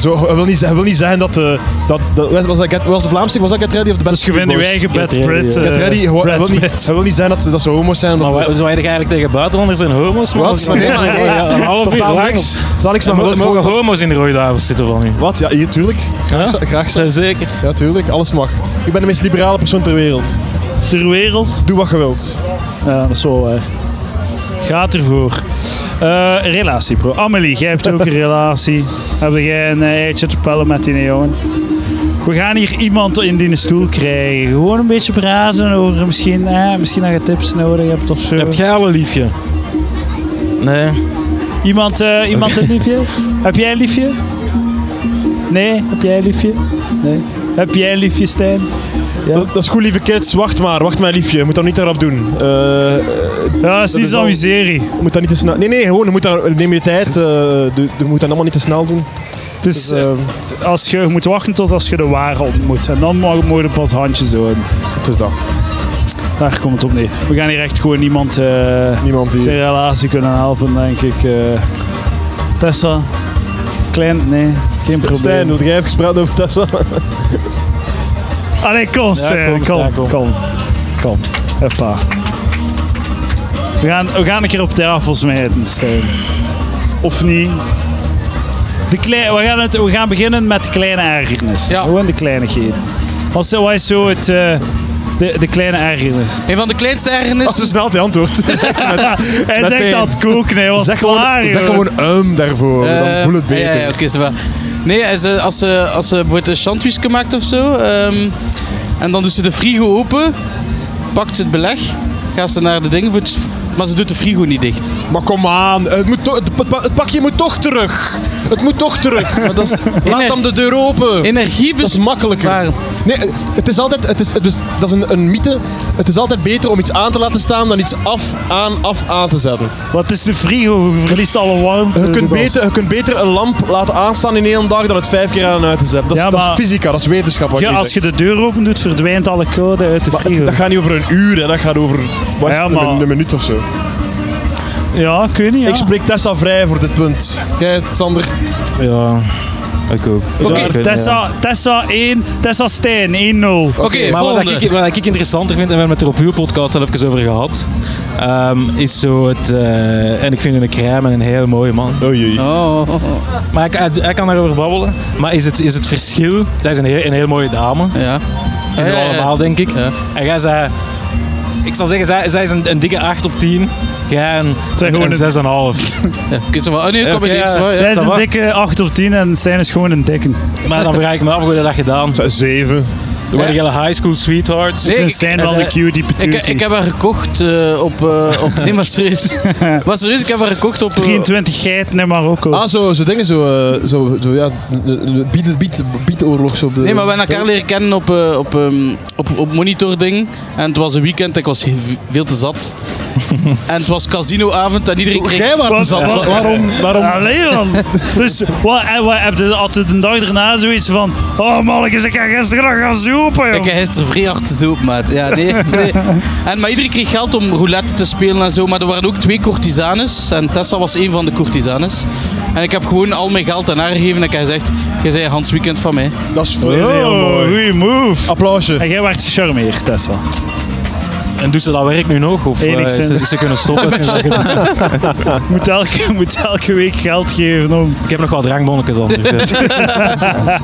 Zo, hij, wil niet, hij wil niet zeggen dat... eh dat, dat was, dat Get, was de Vlaamse? Was dat Get Ready of de Bad
Dus je vindt uw
Boys?
eigen
Get
bed,
ready,
Brad.
ja.
eh,
Get Ready? Hij wil- hij, wil
Brad
niet,
Pitt.
hij wil niet zeggen dat, dat ze homo's zijn.
Maar
omdat-
wat wat wij eigenlijk tegen buitenlanders en homo's? man?
Wat?
Dat is-
Nee, maar nee.
Ja, een half uur
Totaal
lang.
niks. Totaal niks, maar
Er
je wilt
mogen
gewoon...
homo's in de rode duivels zitten van u.
Wat? Ja, hier, tuurlijk. Graag,
Ja?
graag zo.
Zeker.
Ja, tuurlijk. Alles mag. Ik ben de meest liberale persoon ter wereld.
Ter wereld.
Doe wat je wilt.
Ja, dat is wel waar. Gaat ervoor. Eh relatie, bro. Amelie, jij hebt ook een relatie. Heb jij een eh, eitje te pellen met die jongen? We gaan hier iemand in die stoel krijgen. Gewoon een beetje praten over misschien, eh, misschien dat je tips nodig hebt of zo.
Heb jij al een liefje? Nee.
Iemand, eh, iemand een liefje? Heb jij een liefje? Nee? Heb jij een liefje? Nee. Heb jij een liefje, Stijn?
Dat, dat is goed, lieve kids. Wacht maar. Wacht maar, liefje. Je moet dat niet daarop doen. Eh
Ja, dat is niet
is
zo'n
al-
miserie.
Je moet dat niet te snel. Nee, nee, gewoon. Je moet daar, neem je tijd. eh, doe- doe- je moet dat allemaal niet te snel doen.
Het is,
Eh,
eh, als je, je moet wachten tot als je de ware ontmoet. En dan mag mogen we pas handjes houden.
het is dat.
Daar komt het op neer. We gaan hier echt gewoon niemand eh,
Niemand die.
zijn relatie kunnen helpen, denk ik. eh. Tessa? Klein? Nee, geen probleem.
Stijn, wil jij even praten over Tessa?
Allee, kom Stijn,
kom,
kom,
Stijn,
kom.
kom.
Kom, Hoppa. We gaan, we gaan een keer op tafel smijten, Stijn. Of niet? De klei- we, gaan het, we gaan beginnen met de kleine ergernis.
Ja.
Gewoon de kleinigheden. Wat is- wat is zo het, eh, de, de kleine ergernis?
Een van de kleinste
Als
ergernissen.
ze snel die antwoord.
Hij
Meteen.
zegt dat koken, hij was
zeg gewoon,
klaar.
zeg
joh.
gewoon um daarvoor. dan
Eh,
voel het beter.
Ja, ja, oké, is wel. Nee, als ze, als, ze, als ze bijvoorbeeld een sandwichje maakt of zo, ehm, en dan doet ze de frigo open, pakt ze het beleg, gaat ze naar de dingen, voor het- maar ze doet de frigo niet dicht.
Maar kom aan, het, moet toch- het, pa- het pakje moet toch terug. Het moet toch terug.
Maar dat is
Laat
ener-
dan de deur open. Dat is
energiebesparend.
makkelijker. Nee, het is altijd, het is, het is, dat is een, een mythe. Het is altijd beter om iets aan te laten staan dan iets af, aan, af, aan te zetten.
Wat is de frigo? Je verliest alle warmte.
Je kunt,
Lucas.
beter, je kunt beter een lamp laten aanstaan in één dag dan het vijf keer aan en uit te zetten. Dat is,
Ja,
dat is
maar-
fysica, dat is wetenschap. Wat ik
Ja,
nu
als
zeg.
je de deur open doet, verdwijnt alle koude uit de
Maar het-
frigo.
dat gaat niet over een uur, hè. dat gaat over wat is
Ja,
het,
maar-
een, een minuut of zo.
Ja, ik weet niet. Ja.
Ik spreek Tessa vrij voor dit punt. Kijk, Sander.
Ja, ik ook.
Oké,
Ja, ik weet niet, ja.
Tessa, Tessa 1, Tessa Stijn 1-0.
Oké,
Maar wat
volgende.
ik, wat ik interessanter vind, en we hebben het er op uw podcast al even over gehad, ehm, is zo het... eh, en ik vind een crème een heel mooie man.
Oh jee.
Oh, oh, oh.
Maar ik, hij, hij kan daarover babbelen. Maar is het, is het verschil... Zij is een heel, een heel mooie dame.
ja. Eh,
Vinden we
Ja, ja, ja.
allemaal, denk ik.
Ja.
En jij zei... Ik zal zeggen, zij, zij is een, een dikke 8 op 10. Jij een,
Zij gewoon
een
een-
6,5.
Ja, kun je wel. Oh nee, ik
Ja,
kom
oké,
er niet.
ja.
Maar, ja.
Zij is
ça
een
va.
dikke 8 of 10 en Stijn is gewoon een dikke.
Maar dan vraag ik me af hoe je dat gedaan.
Zeven.
Er waren hele high school sweethearts.
Nee,
We
ik-
zijn wel
en,
de
eh,
cutie
Ik,
patootie.
ik heb haar gekocht eh, op, eh, op... Nee, maar serieus. Maar serieus, ik heb haar gekocht op... eh,
23 geiten in Marokko.
Ah, zo, zo dingen, zo, eh, zo, zo ja, bied, bied, bied oorlog zo op de...
Nee, maar we hebben elkaar leren kennen op, eh, op, ehm, op, op monitording. En het was een weekend, ik was heel- veel te zat. en het was casinoavond en iedereen kreeg...
Jij waart
Wat-
dus al-
wat-
Waarom? waarom
Allee man. Dus wat, en wat heb je altijd een dag daarna zoiets van. Oh mannetjes, ik ga gisteren nog gaan zoepen.
Ik
joh."
heb gisteren vrij hard gezopen, maat. Ja, nee, nee. En, maar iedereen kreeg geld om roulette te spelen en zo. Maar er waren ook twee courtisanes. En Tessa was een van de courtisanes. En ik heb gewoon al mijn geld aan haar gegeven. En ik heb gezegd, jij zei Hans Weekend van mij.
Dat is
Oh,
heel mooi.
goeie move.
Applausje.
En jij werd gecharmeerd, Tessa.
En doet ze dat werk nu nog? Of eh,
Enigszins.
ze, ze kunnen stoppen? sinds dat gedaan-
Moet elke, moet elke week geld geven om.
ik heb nog wel drankbonnetjes al. Dus, eh.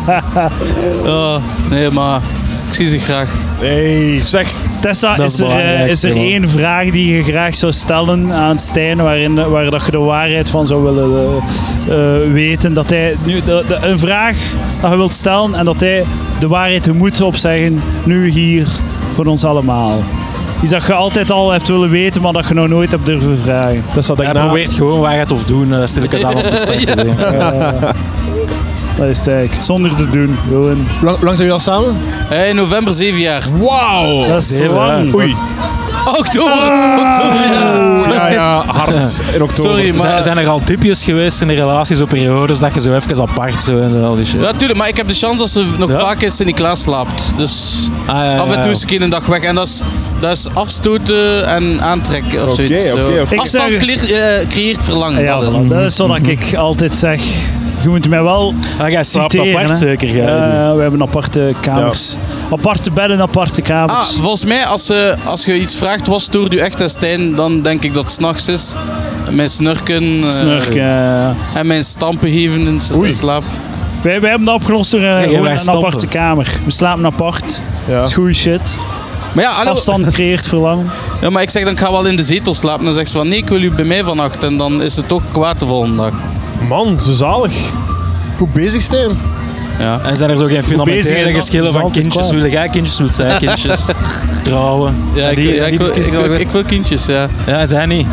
Oh, nee, maar ik zie ze graag.
Hey, zeg.
Tessa,
Dat is
is er,
het
eh, is
belangrijkste,
er
man.
één vraag die je graag zou stellen aan Stijn, waarin, waar dat je de waarheid van zou willen eh, eh, weten? Dat hij nu de, de- een vraag dat je wilt stellen en dat hij de waarheid moet opzeggen, nu hier voor ons allemaal. Iets dat je altijd al hebt willen weten, maar dat je nog nooit hebt durven vragen.
Dat zat ik
Hij
na.
probeert gewoon waarheid of doen. eh, Dat stel ik eens aan op te starten.
Dat is het eigenlijk. Zonder te doen. Gewoon.
Lang, lang zijn jullie al samen?
Hey, november, zeven jaar.
Wauw.
Dat is
Oh, zeven,
lang.
hè.
Oei.
Oktober! Oktober, Ah, ja.
Ja, ja, hard. In oktober.
Sorry, maar...
Zijn, zijn er al tipjes geweest in de relatie, zo periodes dat je zo even apart zo en zo al die shit?
Ja, tuurlijk, maar ik heb de kans dat ze nog
Ja?
vaak in Sint-Niklaas slaapt. Dus
Ah, ja, ja,
af en toe
ja.
is een keer een dag weg. En dat is, dat is afstoten en aantrekken of
Oké,
zoiets.
oké,
zo.
oké.
Ik
Afstand
zeg-
creëert, eh, creëert verlangen.
Ja,
dat is
voilà.
het.
dat is wat ik altijd zeg. Je moet mij wel
Ah, jij slaapt
citeren,
apart
hè.
zeker. jij.
Eh, we hebben aparte kamers. Aparte bedden, aparte
Ah,
kamers.
volgens mij, als, eh, als je iets vraagt, was door u echt en Stijn, dan denk ik dat het s'nachts is. Mijn snurken, eh,
Snurken. Eh,
en mijn stampen geven in s- in slaap.
wij, wij hebben dat opgelost door eh,
jij
gewoon
wij
een
stampen.
aparte kamer. We slapen apart.
Ja.
Dat is goeie shit.
Maar ja, hallo.
Afstand creëert verlangen.
ja, maar ik zeg dan, ik ga wel in de zetel slapen. Dan zegt ze van, nee, ik wil u bij mij vannacht. En dan is het toch kwaad de volgende dag.
Man, zo zalig. Goed bezig, Stijn.
Ja.
En zijn er zo geen
bezig
fundamentele
is-
geschillen
is
van
altijd
kindjes?
kwaad.
Willen jij kindjes, wil zij kindjes? Trouwen.
Ja, ik,
Die-
ja,
die
ik, wil- ik,
discussie
wil-
nog
ik wil kindjes, ja.
weer. Ja, zij niet.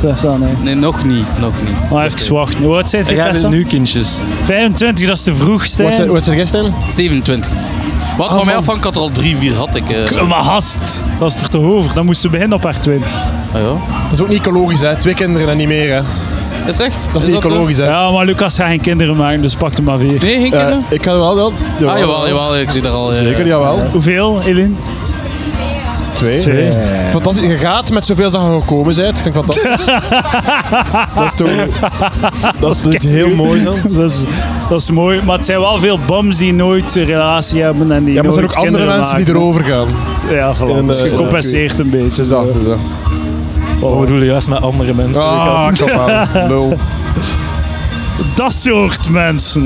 Dat is dan, hè.
Nee, nog niet. Nog niet.
Maar even wachten. Hoe oud zijn
En
je,
jij
Tessa?
wil nu kindjes.
25, dat is te vroeg,
Wat
Stijn.
zijn wat zijn jij, Stijn?
27.
Oh,
Wat van mij afhangt, ik had er al drie, vier had ik. eh.
K- Maar hast, dat is er te over. Dan moesten we beginnen op haar 20.
Ah, ja.
Dat is ook niet ecologisch, hè. Twee kinderen en niet meer, hè.
Is echt?
Dat is niet
zo?
ecologisch, hè.
Ja, maar Lucas gaat geen kinderen maken, dus pak hem maar weer.
Nee, geen
Eh,
kinderen?
ik had wel dat. Jawel,
ah, jawel, jawel, ik zie er al. eh,
Zeker, jawel.
Hoeveel, Elin?
Twee. Eh,
Twee.
Fantastisch. Je gaat met zoveel als je gekomen bent. Vind ik fantastisch. dat is toch... Dat is iets heel moois, dan.
Dat is, dat is mooi, maar het zijn wel veel bums die nooit een relatie hebben en die
Ja, maar er
nooit
zijn ook andere
kinderen
mensen die
maken.
erover gaan.
Ja, voilà.
En,
dus
eh,
je compenseert een beetje.
Het is dat. het is dat.
Wat bedoel je Oh, juist met andere mensen?
Ah, kom aan. Lul.
Dat soort mensen.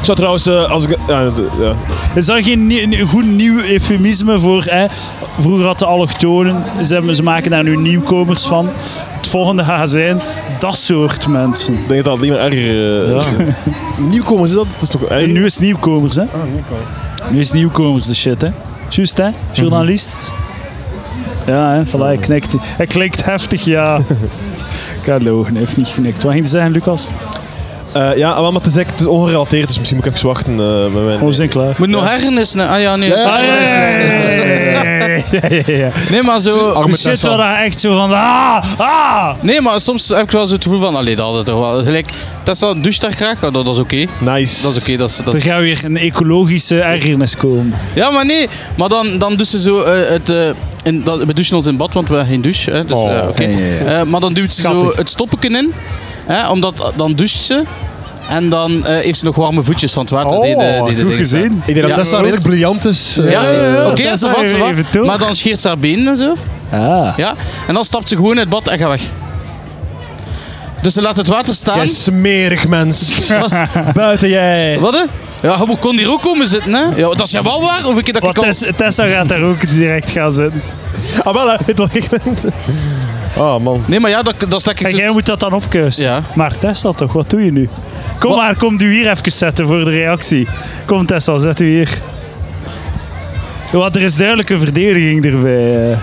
Ik zou trouwens, eh, als ik... ja, de- ja.
Is dat geen nie- een goed nieuw eufemisme voor... Hè? Vroeger hadden allochtonen, ze, hebben- ze maken daar nu nieuwkomers van. Het volgende gaat zijn, dat soort mensen.
Ik denk dat het alleen maar erger... eh, Nieuwkomers is dat? Dat is toch erger?
En nu is het nieuwkomers, hè? Nu is het nieuwkomers de shit, hè? Juist, hè? Journalist. Ja, hè? Voilà, hij knikt. Hij klinkt heftig, ja. Ik had logen, hij heeft niet geknikt. Wat ging hij zeggen, Lucas? Oh,
Eh, ja, wel, maar het is, eigenlijk- het is ongerelateerd, dus misschien moet ik even wachten eh, met mijn...
Oh, we zijn klaar.
Moet nog hernissen. Ah ja, nee.
Ja,
Ah, ja, ja, ja, ja, ja, ja, ja.
Nee, maar zo. Oh,
Arme
Die shit
Tessa.
waar dat echt zo van... Ah, ah!
Nee, maar soms heb ik wel zo het gevoel van. Allee, dat had het toch wel. Gelijk, Tessa doucht daar graag. Ah, dat, dat is oké.
Nice.
Dat is oké. dat is- dat
Er
is-
gaat weer een ecologische ergernis komen.
Ja, maar nee. Maar dan, dan doet ze zo eh, het. eh, in, dat, we douchen ons in bad, want we hebben geen douche. Hè, dus,
Oh,
eh, oké. Eh, maar dan duwt ze zo
Schattig.
het stoppeken in. Hè, omdat dan doucht ze. En dan eh, heeft ze nog warme voetjes van het water. die de, die de
Oh, goed
dingen
gezien.
staat.
Ik denk dat
Ja.
Tessa redelijk briljant is. eh,
Ja,
ja,
oké,
dat
ze
zou je even
was
doen.
Maar dan scheert ze haar benen en zo.
Ah.
Ja? En dan stapt ze gewoon uit het bad en gaat weg. Dus ze laat het water staan.
Jij smerig mens. Buiten jij.
Wat hè? Ja, je kon hier ook komen zitten, hè? Ja, dat is ja wel waar, of ik dat
Want
ik al...
Tess- Tessa gaat daar ook direct gaan zitten.
Ah, wel, hè. weet wat ik ben. Ah, man.
Nee, maar ja, dat, dat is lekker...
En
zo-
jij moet dat dan opkuisen.
Ja.
Maar Tessa toch, wat doe je nu? Kom
Wat?
maar, kom u hier even zetten voor de reactie. Kom Tessa, zet u hier. Want er is duidelijk een verdediging erbij. eh.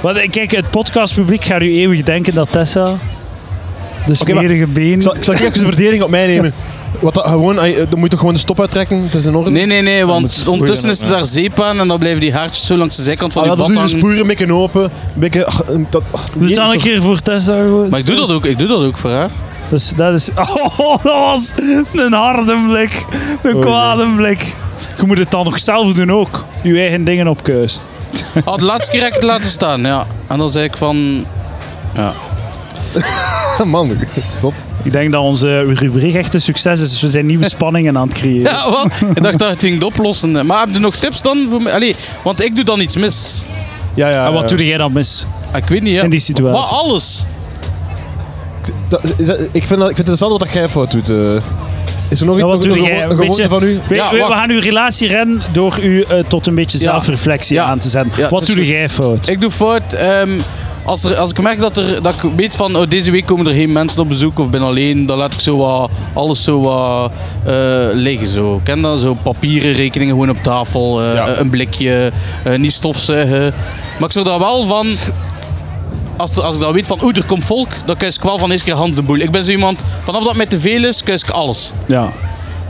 Want eh, kijk, het podcastpubliek gaat u eeuwig denken dat Tessa... De
Oké, maar-
smerige been...
Zal, zal ik even de verdediging op mij nemen? Wat dat, gewoon, ah, je- dan moet je toch gewoon de stop uittrekken? Het is in orde?
Nee, nee, nee, want
spoelen,
ondertussen is er
ja.
daar zeep aan en dan blijven die haartjes zo langs de zijkant van
Ah, ja,
die
dat
bad
doe je
hangen.
dus puur een beetje open. Een beetje... ach, dat, ah,
Doe het dan een keer voor Tessa. gewoon.
Maar ik doe dat ook, ik doe dat ook voor haar.
Dat is, dat is... Oh, dat was een harde blik. Een kwade blik. Je moet het dan nog zelf doen ook. Je eigen dingen opkuist.
Ah, de laatste keer heb ik het laten staan, ja. En dan zei ik van...
Ah, Man, zot.
Ik denk dat onze rubriek echt een succes is. Dus we zijn nieuwe spanningen aan het creëren.
Ja, wat? Ik dacht dat je het ging oplossen. Maar heb je nog tips dan voor mij? Allee, want ik doe dan iets mis.
Ja, ja.
En wat
ja.
doe jij dan mis?
Ah, Ik weet niet, ja.
In die situatie.
Maar alles.
Dat- is dat- ik, vind dat, ik vind het interessant wat dat jij fout doet. eh. Is er nog
Ja,
iets
wat
nog
doe
een
jij?
gewo-
Een
een gewoonte
beetje-
van u?
We,
Ja,
we- we
wacht.
gaan uw relatie rennen door u eh, tot een beetje
Ja.
zelfreflectie
Ja.
aan te zetten.
Ja,
Wat
dat is
doe
goed.
jij fout?
Ik doe fout. ehm, als, er, als ik merk dat, er, dat ik weet van oh, deze week komen er geen mensen op bezoek of ben alleen, dan laat ik zo wat, alles zo wat eh, liggen. Zo. Ken dat? Zo papieren rekeningen gewoon op tafel, eh, een blikje, eh, niet stofzuigen. Maar ik zou daar wel van... Als, er- als ik dan weet van, oeh, er komt volk, dan kies ik wel van eerst keer hand de boel. Ik ben zo iemand, vanaf dat het mij te veel is, kies ik alles.
Ja.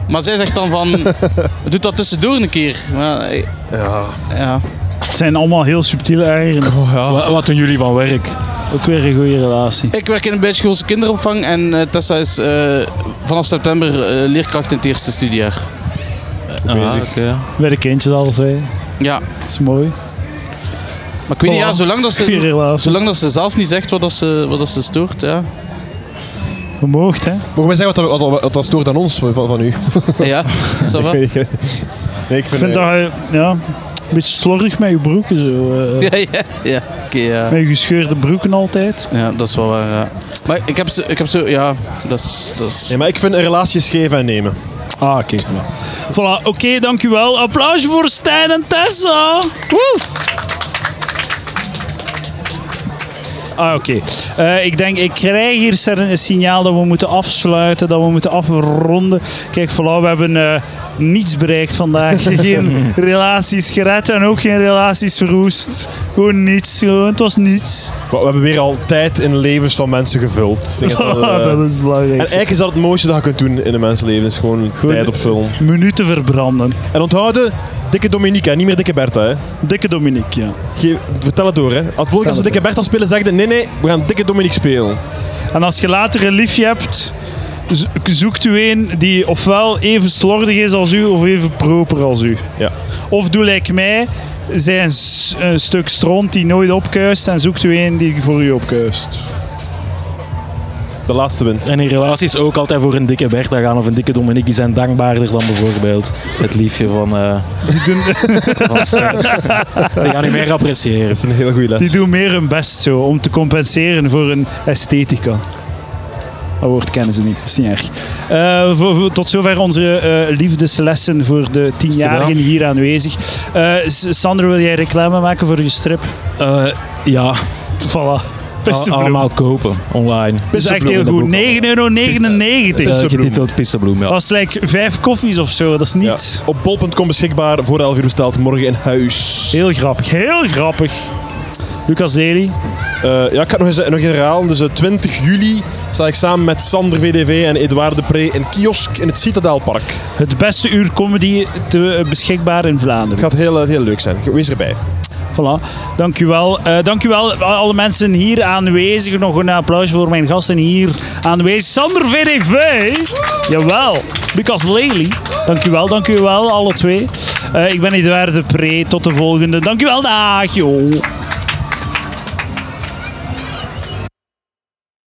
Maar zij zegt dan van, doe dat tussendoor een keer. Maar, eh, ja.
Het zijn allemaal heel subtiele eieren.
Wat, wat doen jullie van werk?
Ook weer een goede relatie.
Ik werk in een bijschoolse kinderopvang en eh, Tessa is eh, vanaf september eh, leerkracht in het eerste studiejaar.
Ah, oké.
Bij de kindjes alles, hè.
Ja,
Dat is mooi.
maar ik weet niet, ja, zolang, dat
Goede
ze,
relatie.
zolang dat ze zelf niet zegt wat, dat ze, wat dat ze stoort, ja.
Je moogt, hè.
Mogen wij zeggen wat, dat- wat, wat, wat dat stoort aan ons van, van u?
Ja, ça va?
nee, ik vind,
Ik vind
eh,
dat je ja, een beetje slordig met je broeken, zo. eh,
Ja, ja, ja. Oké, ja.
Met je gescheurde broeken altijd.
ja, dat is wel waar, ja. Maar ik heb, ze, ik heb zo, ja, dat is... Dat is
Nee, maar ik vind relaties geven en nemen.
Ah, oké. Voilà, oké, dankjewel. Applaus voor Stijn en Tessa. Woe! Ah, oké. Eh, ik denk, ik krijg hier ser- een signaal dat we moeten afsluiten, dat we moeten afronden. Kijk, voilà, we hebben eh, niets bereikt vandaag. Geen relaties gered en ook geen relaties verwoest. Gewoon niets, gewoon, het was niets.
We, we hebben weer al tijd in levens van mensen gevuld. Ik denk dat, eh,
dat is
en
belangrijk.
eigenlijk is dat het mooiste dat je kunt doen in een mensenleven. Is gewoon
Goed.
tijd op film.
Minuten verbranden.
En onthouden, dikke Dominique, hè, niet meer dikke Bertha. Hè.
Dikke Dominique, ja.
Ge- vertel het door. Hè. Als, volgende keer als we dikke Bertha spelen, zeg je nee, nee, we gaan dikke Dominique spelen.
En als je later een liefje hebt, zo- zoekt u een die ofwel even slordig is als u of even proper als u.
Ja.
Of doe lijkt mij, zij een, s- een stuk stront die nooit opkuist en zoekt u een die voor u opkuist.
De laatste wint.
En in relaties ook altijd voor een dikke Bertha gaan of een dikke Dominique. Die zijn dankbaarder dan bijvoorbeeld het liefje van, eh van Stijn. Die gaan u meer appreciëren.
Dat is een hele goede les.
Die doen meer hun best zo, om te compenseren voor een esthetica. Dat woord kennen ze niet, dat is niet erg. Eh, voor- voor- tot zover onze eh, liefdeslessen voor de tienjarigen hier aanwezig. Eh, S- Sander, wil jij reclame maken voor je strip?
Eh, ja,
Voilà.
al-
Pissenbloem.
allemaal kopen online.
Dat is echt heel goed. 9,99 euro.
Uh, getiteld Pissebloem, ja.
Dat is like vijf koffies of zo. Dat is
Ja.
niets.
Op bol.com beschikbaar voor 11 uur besteld, morgen in huis.
Heel grappig. Heel grappig. Lucas Lely.
Eh, ja, ik ga het nog eens, nog eens herhalen. Dus eh, 20 juli sta ik samen met Sander VDV en Edouard de Pre in kiosk in het Citadelpark.
Het beste uur comedy te eh, beschikbaar in Vlaanderen.
Het gaat heel, eh, heel leuk zijn. Wees erbij.
Voilà. Dankjewel. Eh dankjewel a- alle mensen hier aanwezig. Nog een applaus voor mijn gasten hier aanwezig. Sander VDV. Jawel. Lucas Lely. Dankjewel, dankjewel alle twee. Eh, ik ben Eduard de Pre. Tot de volgende. Dankjewel. Dag joh.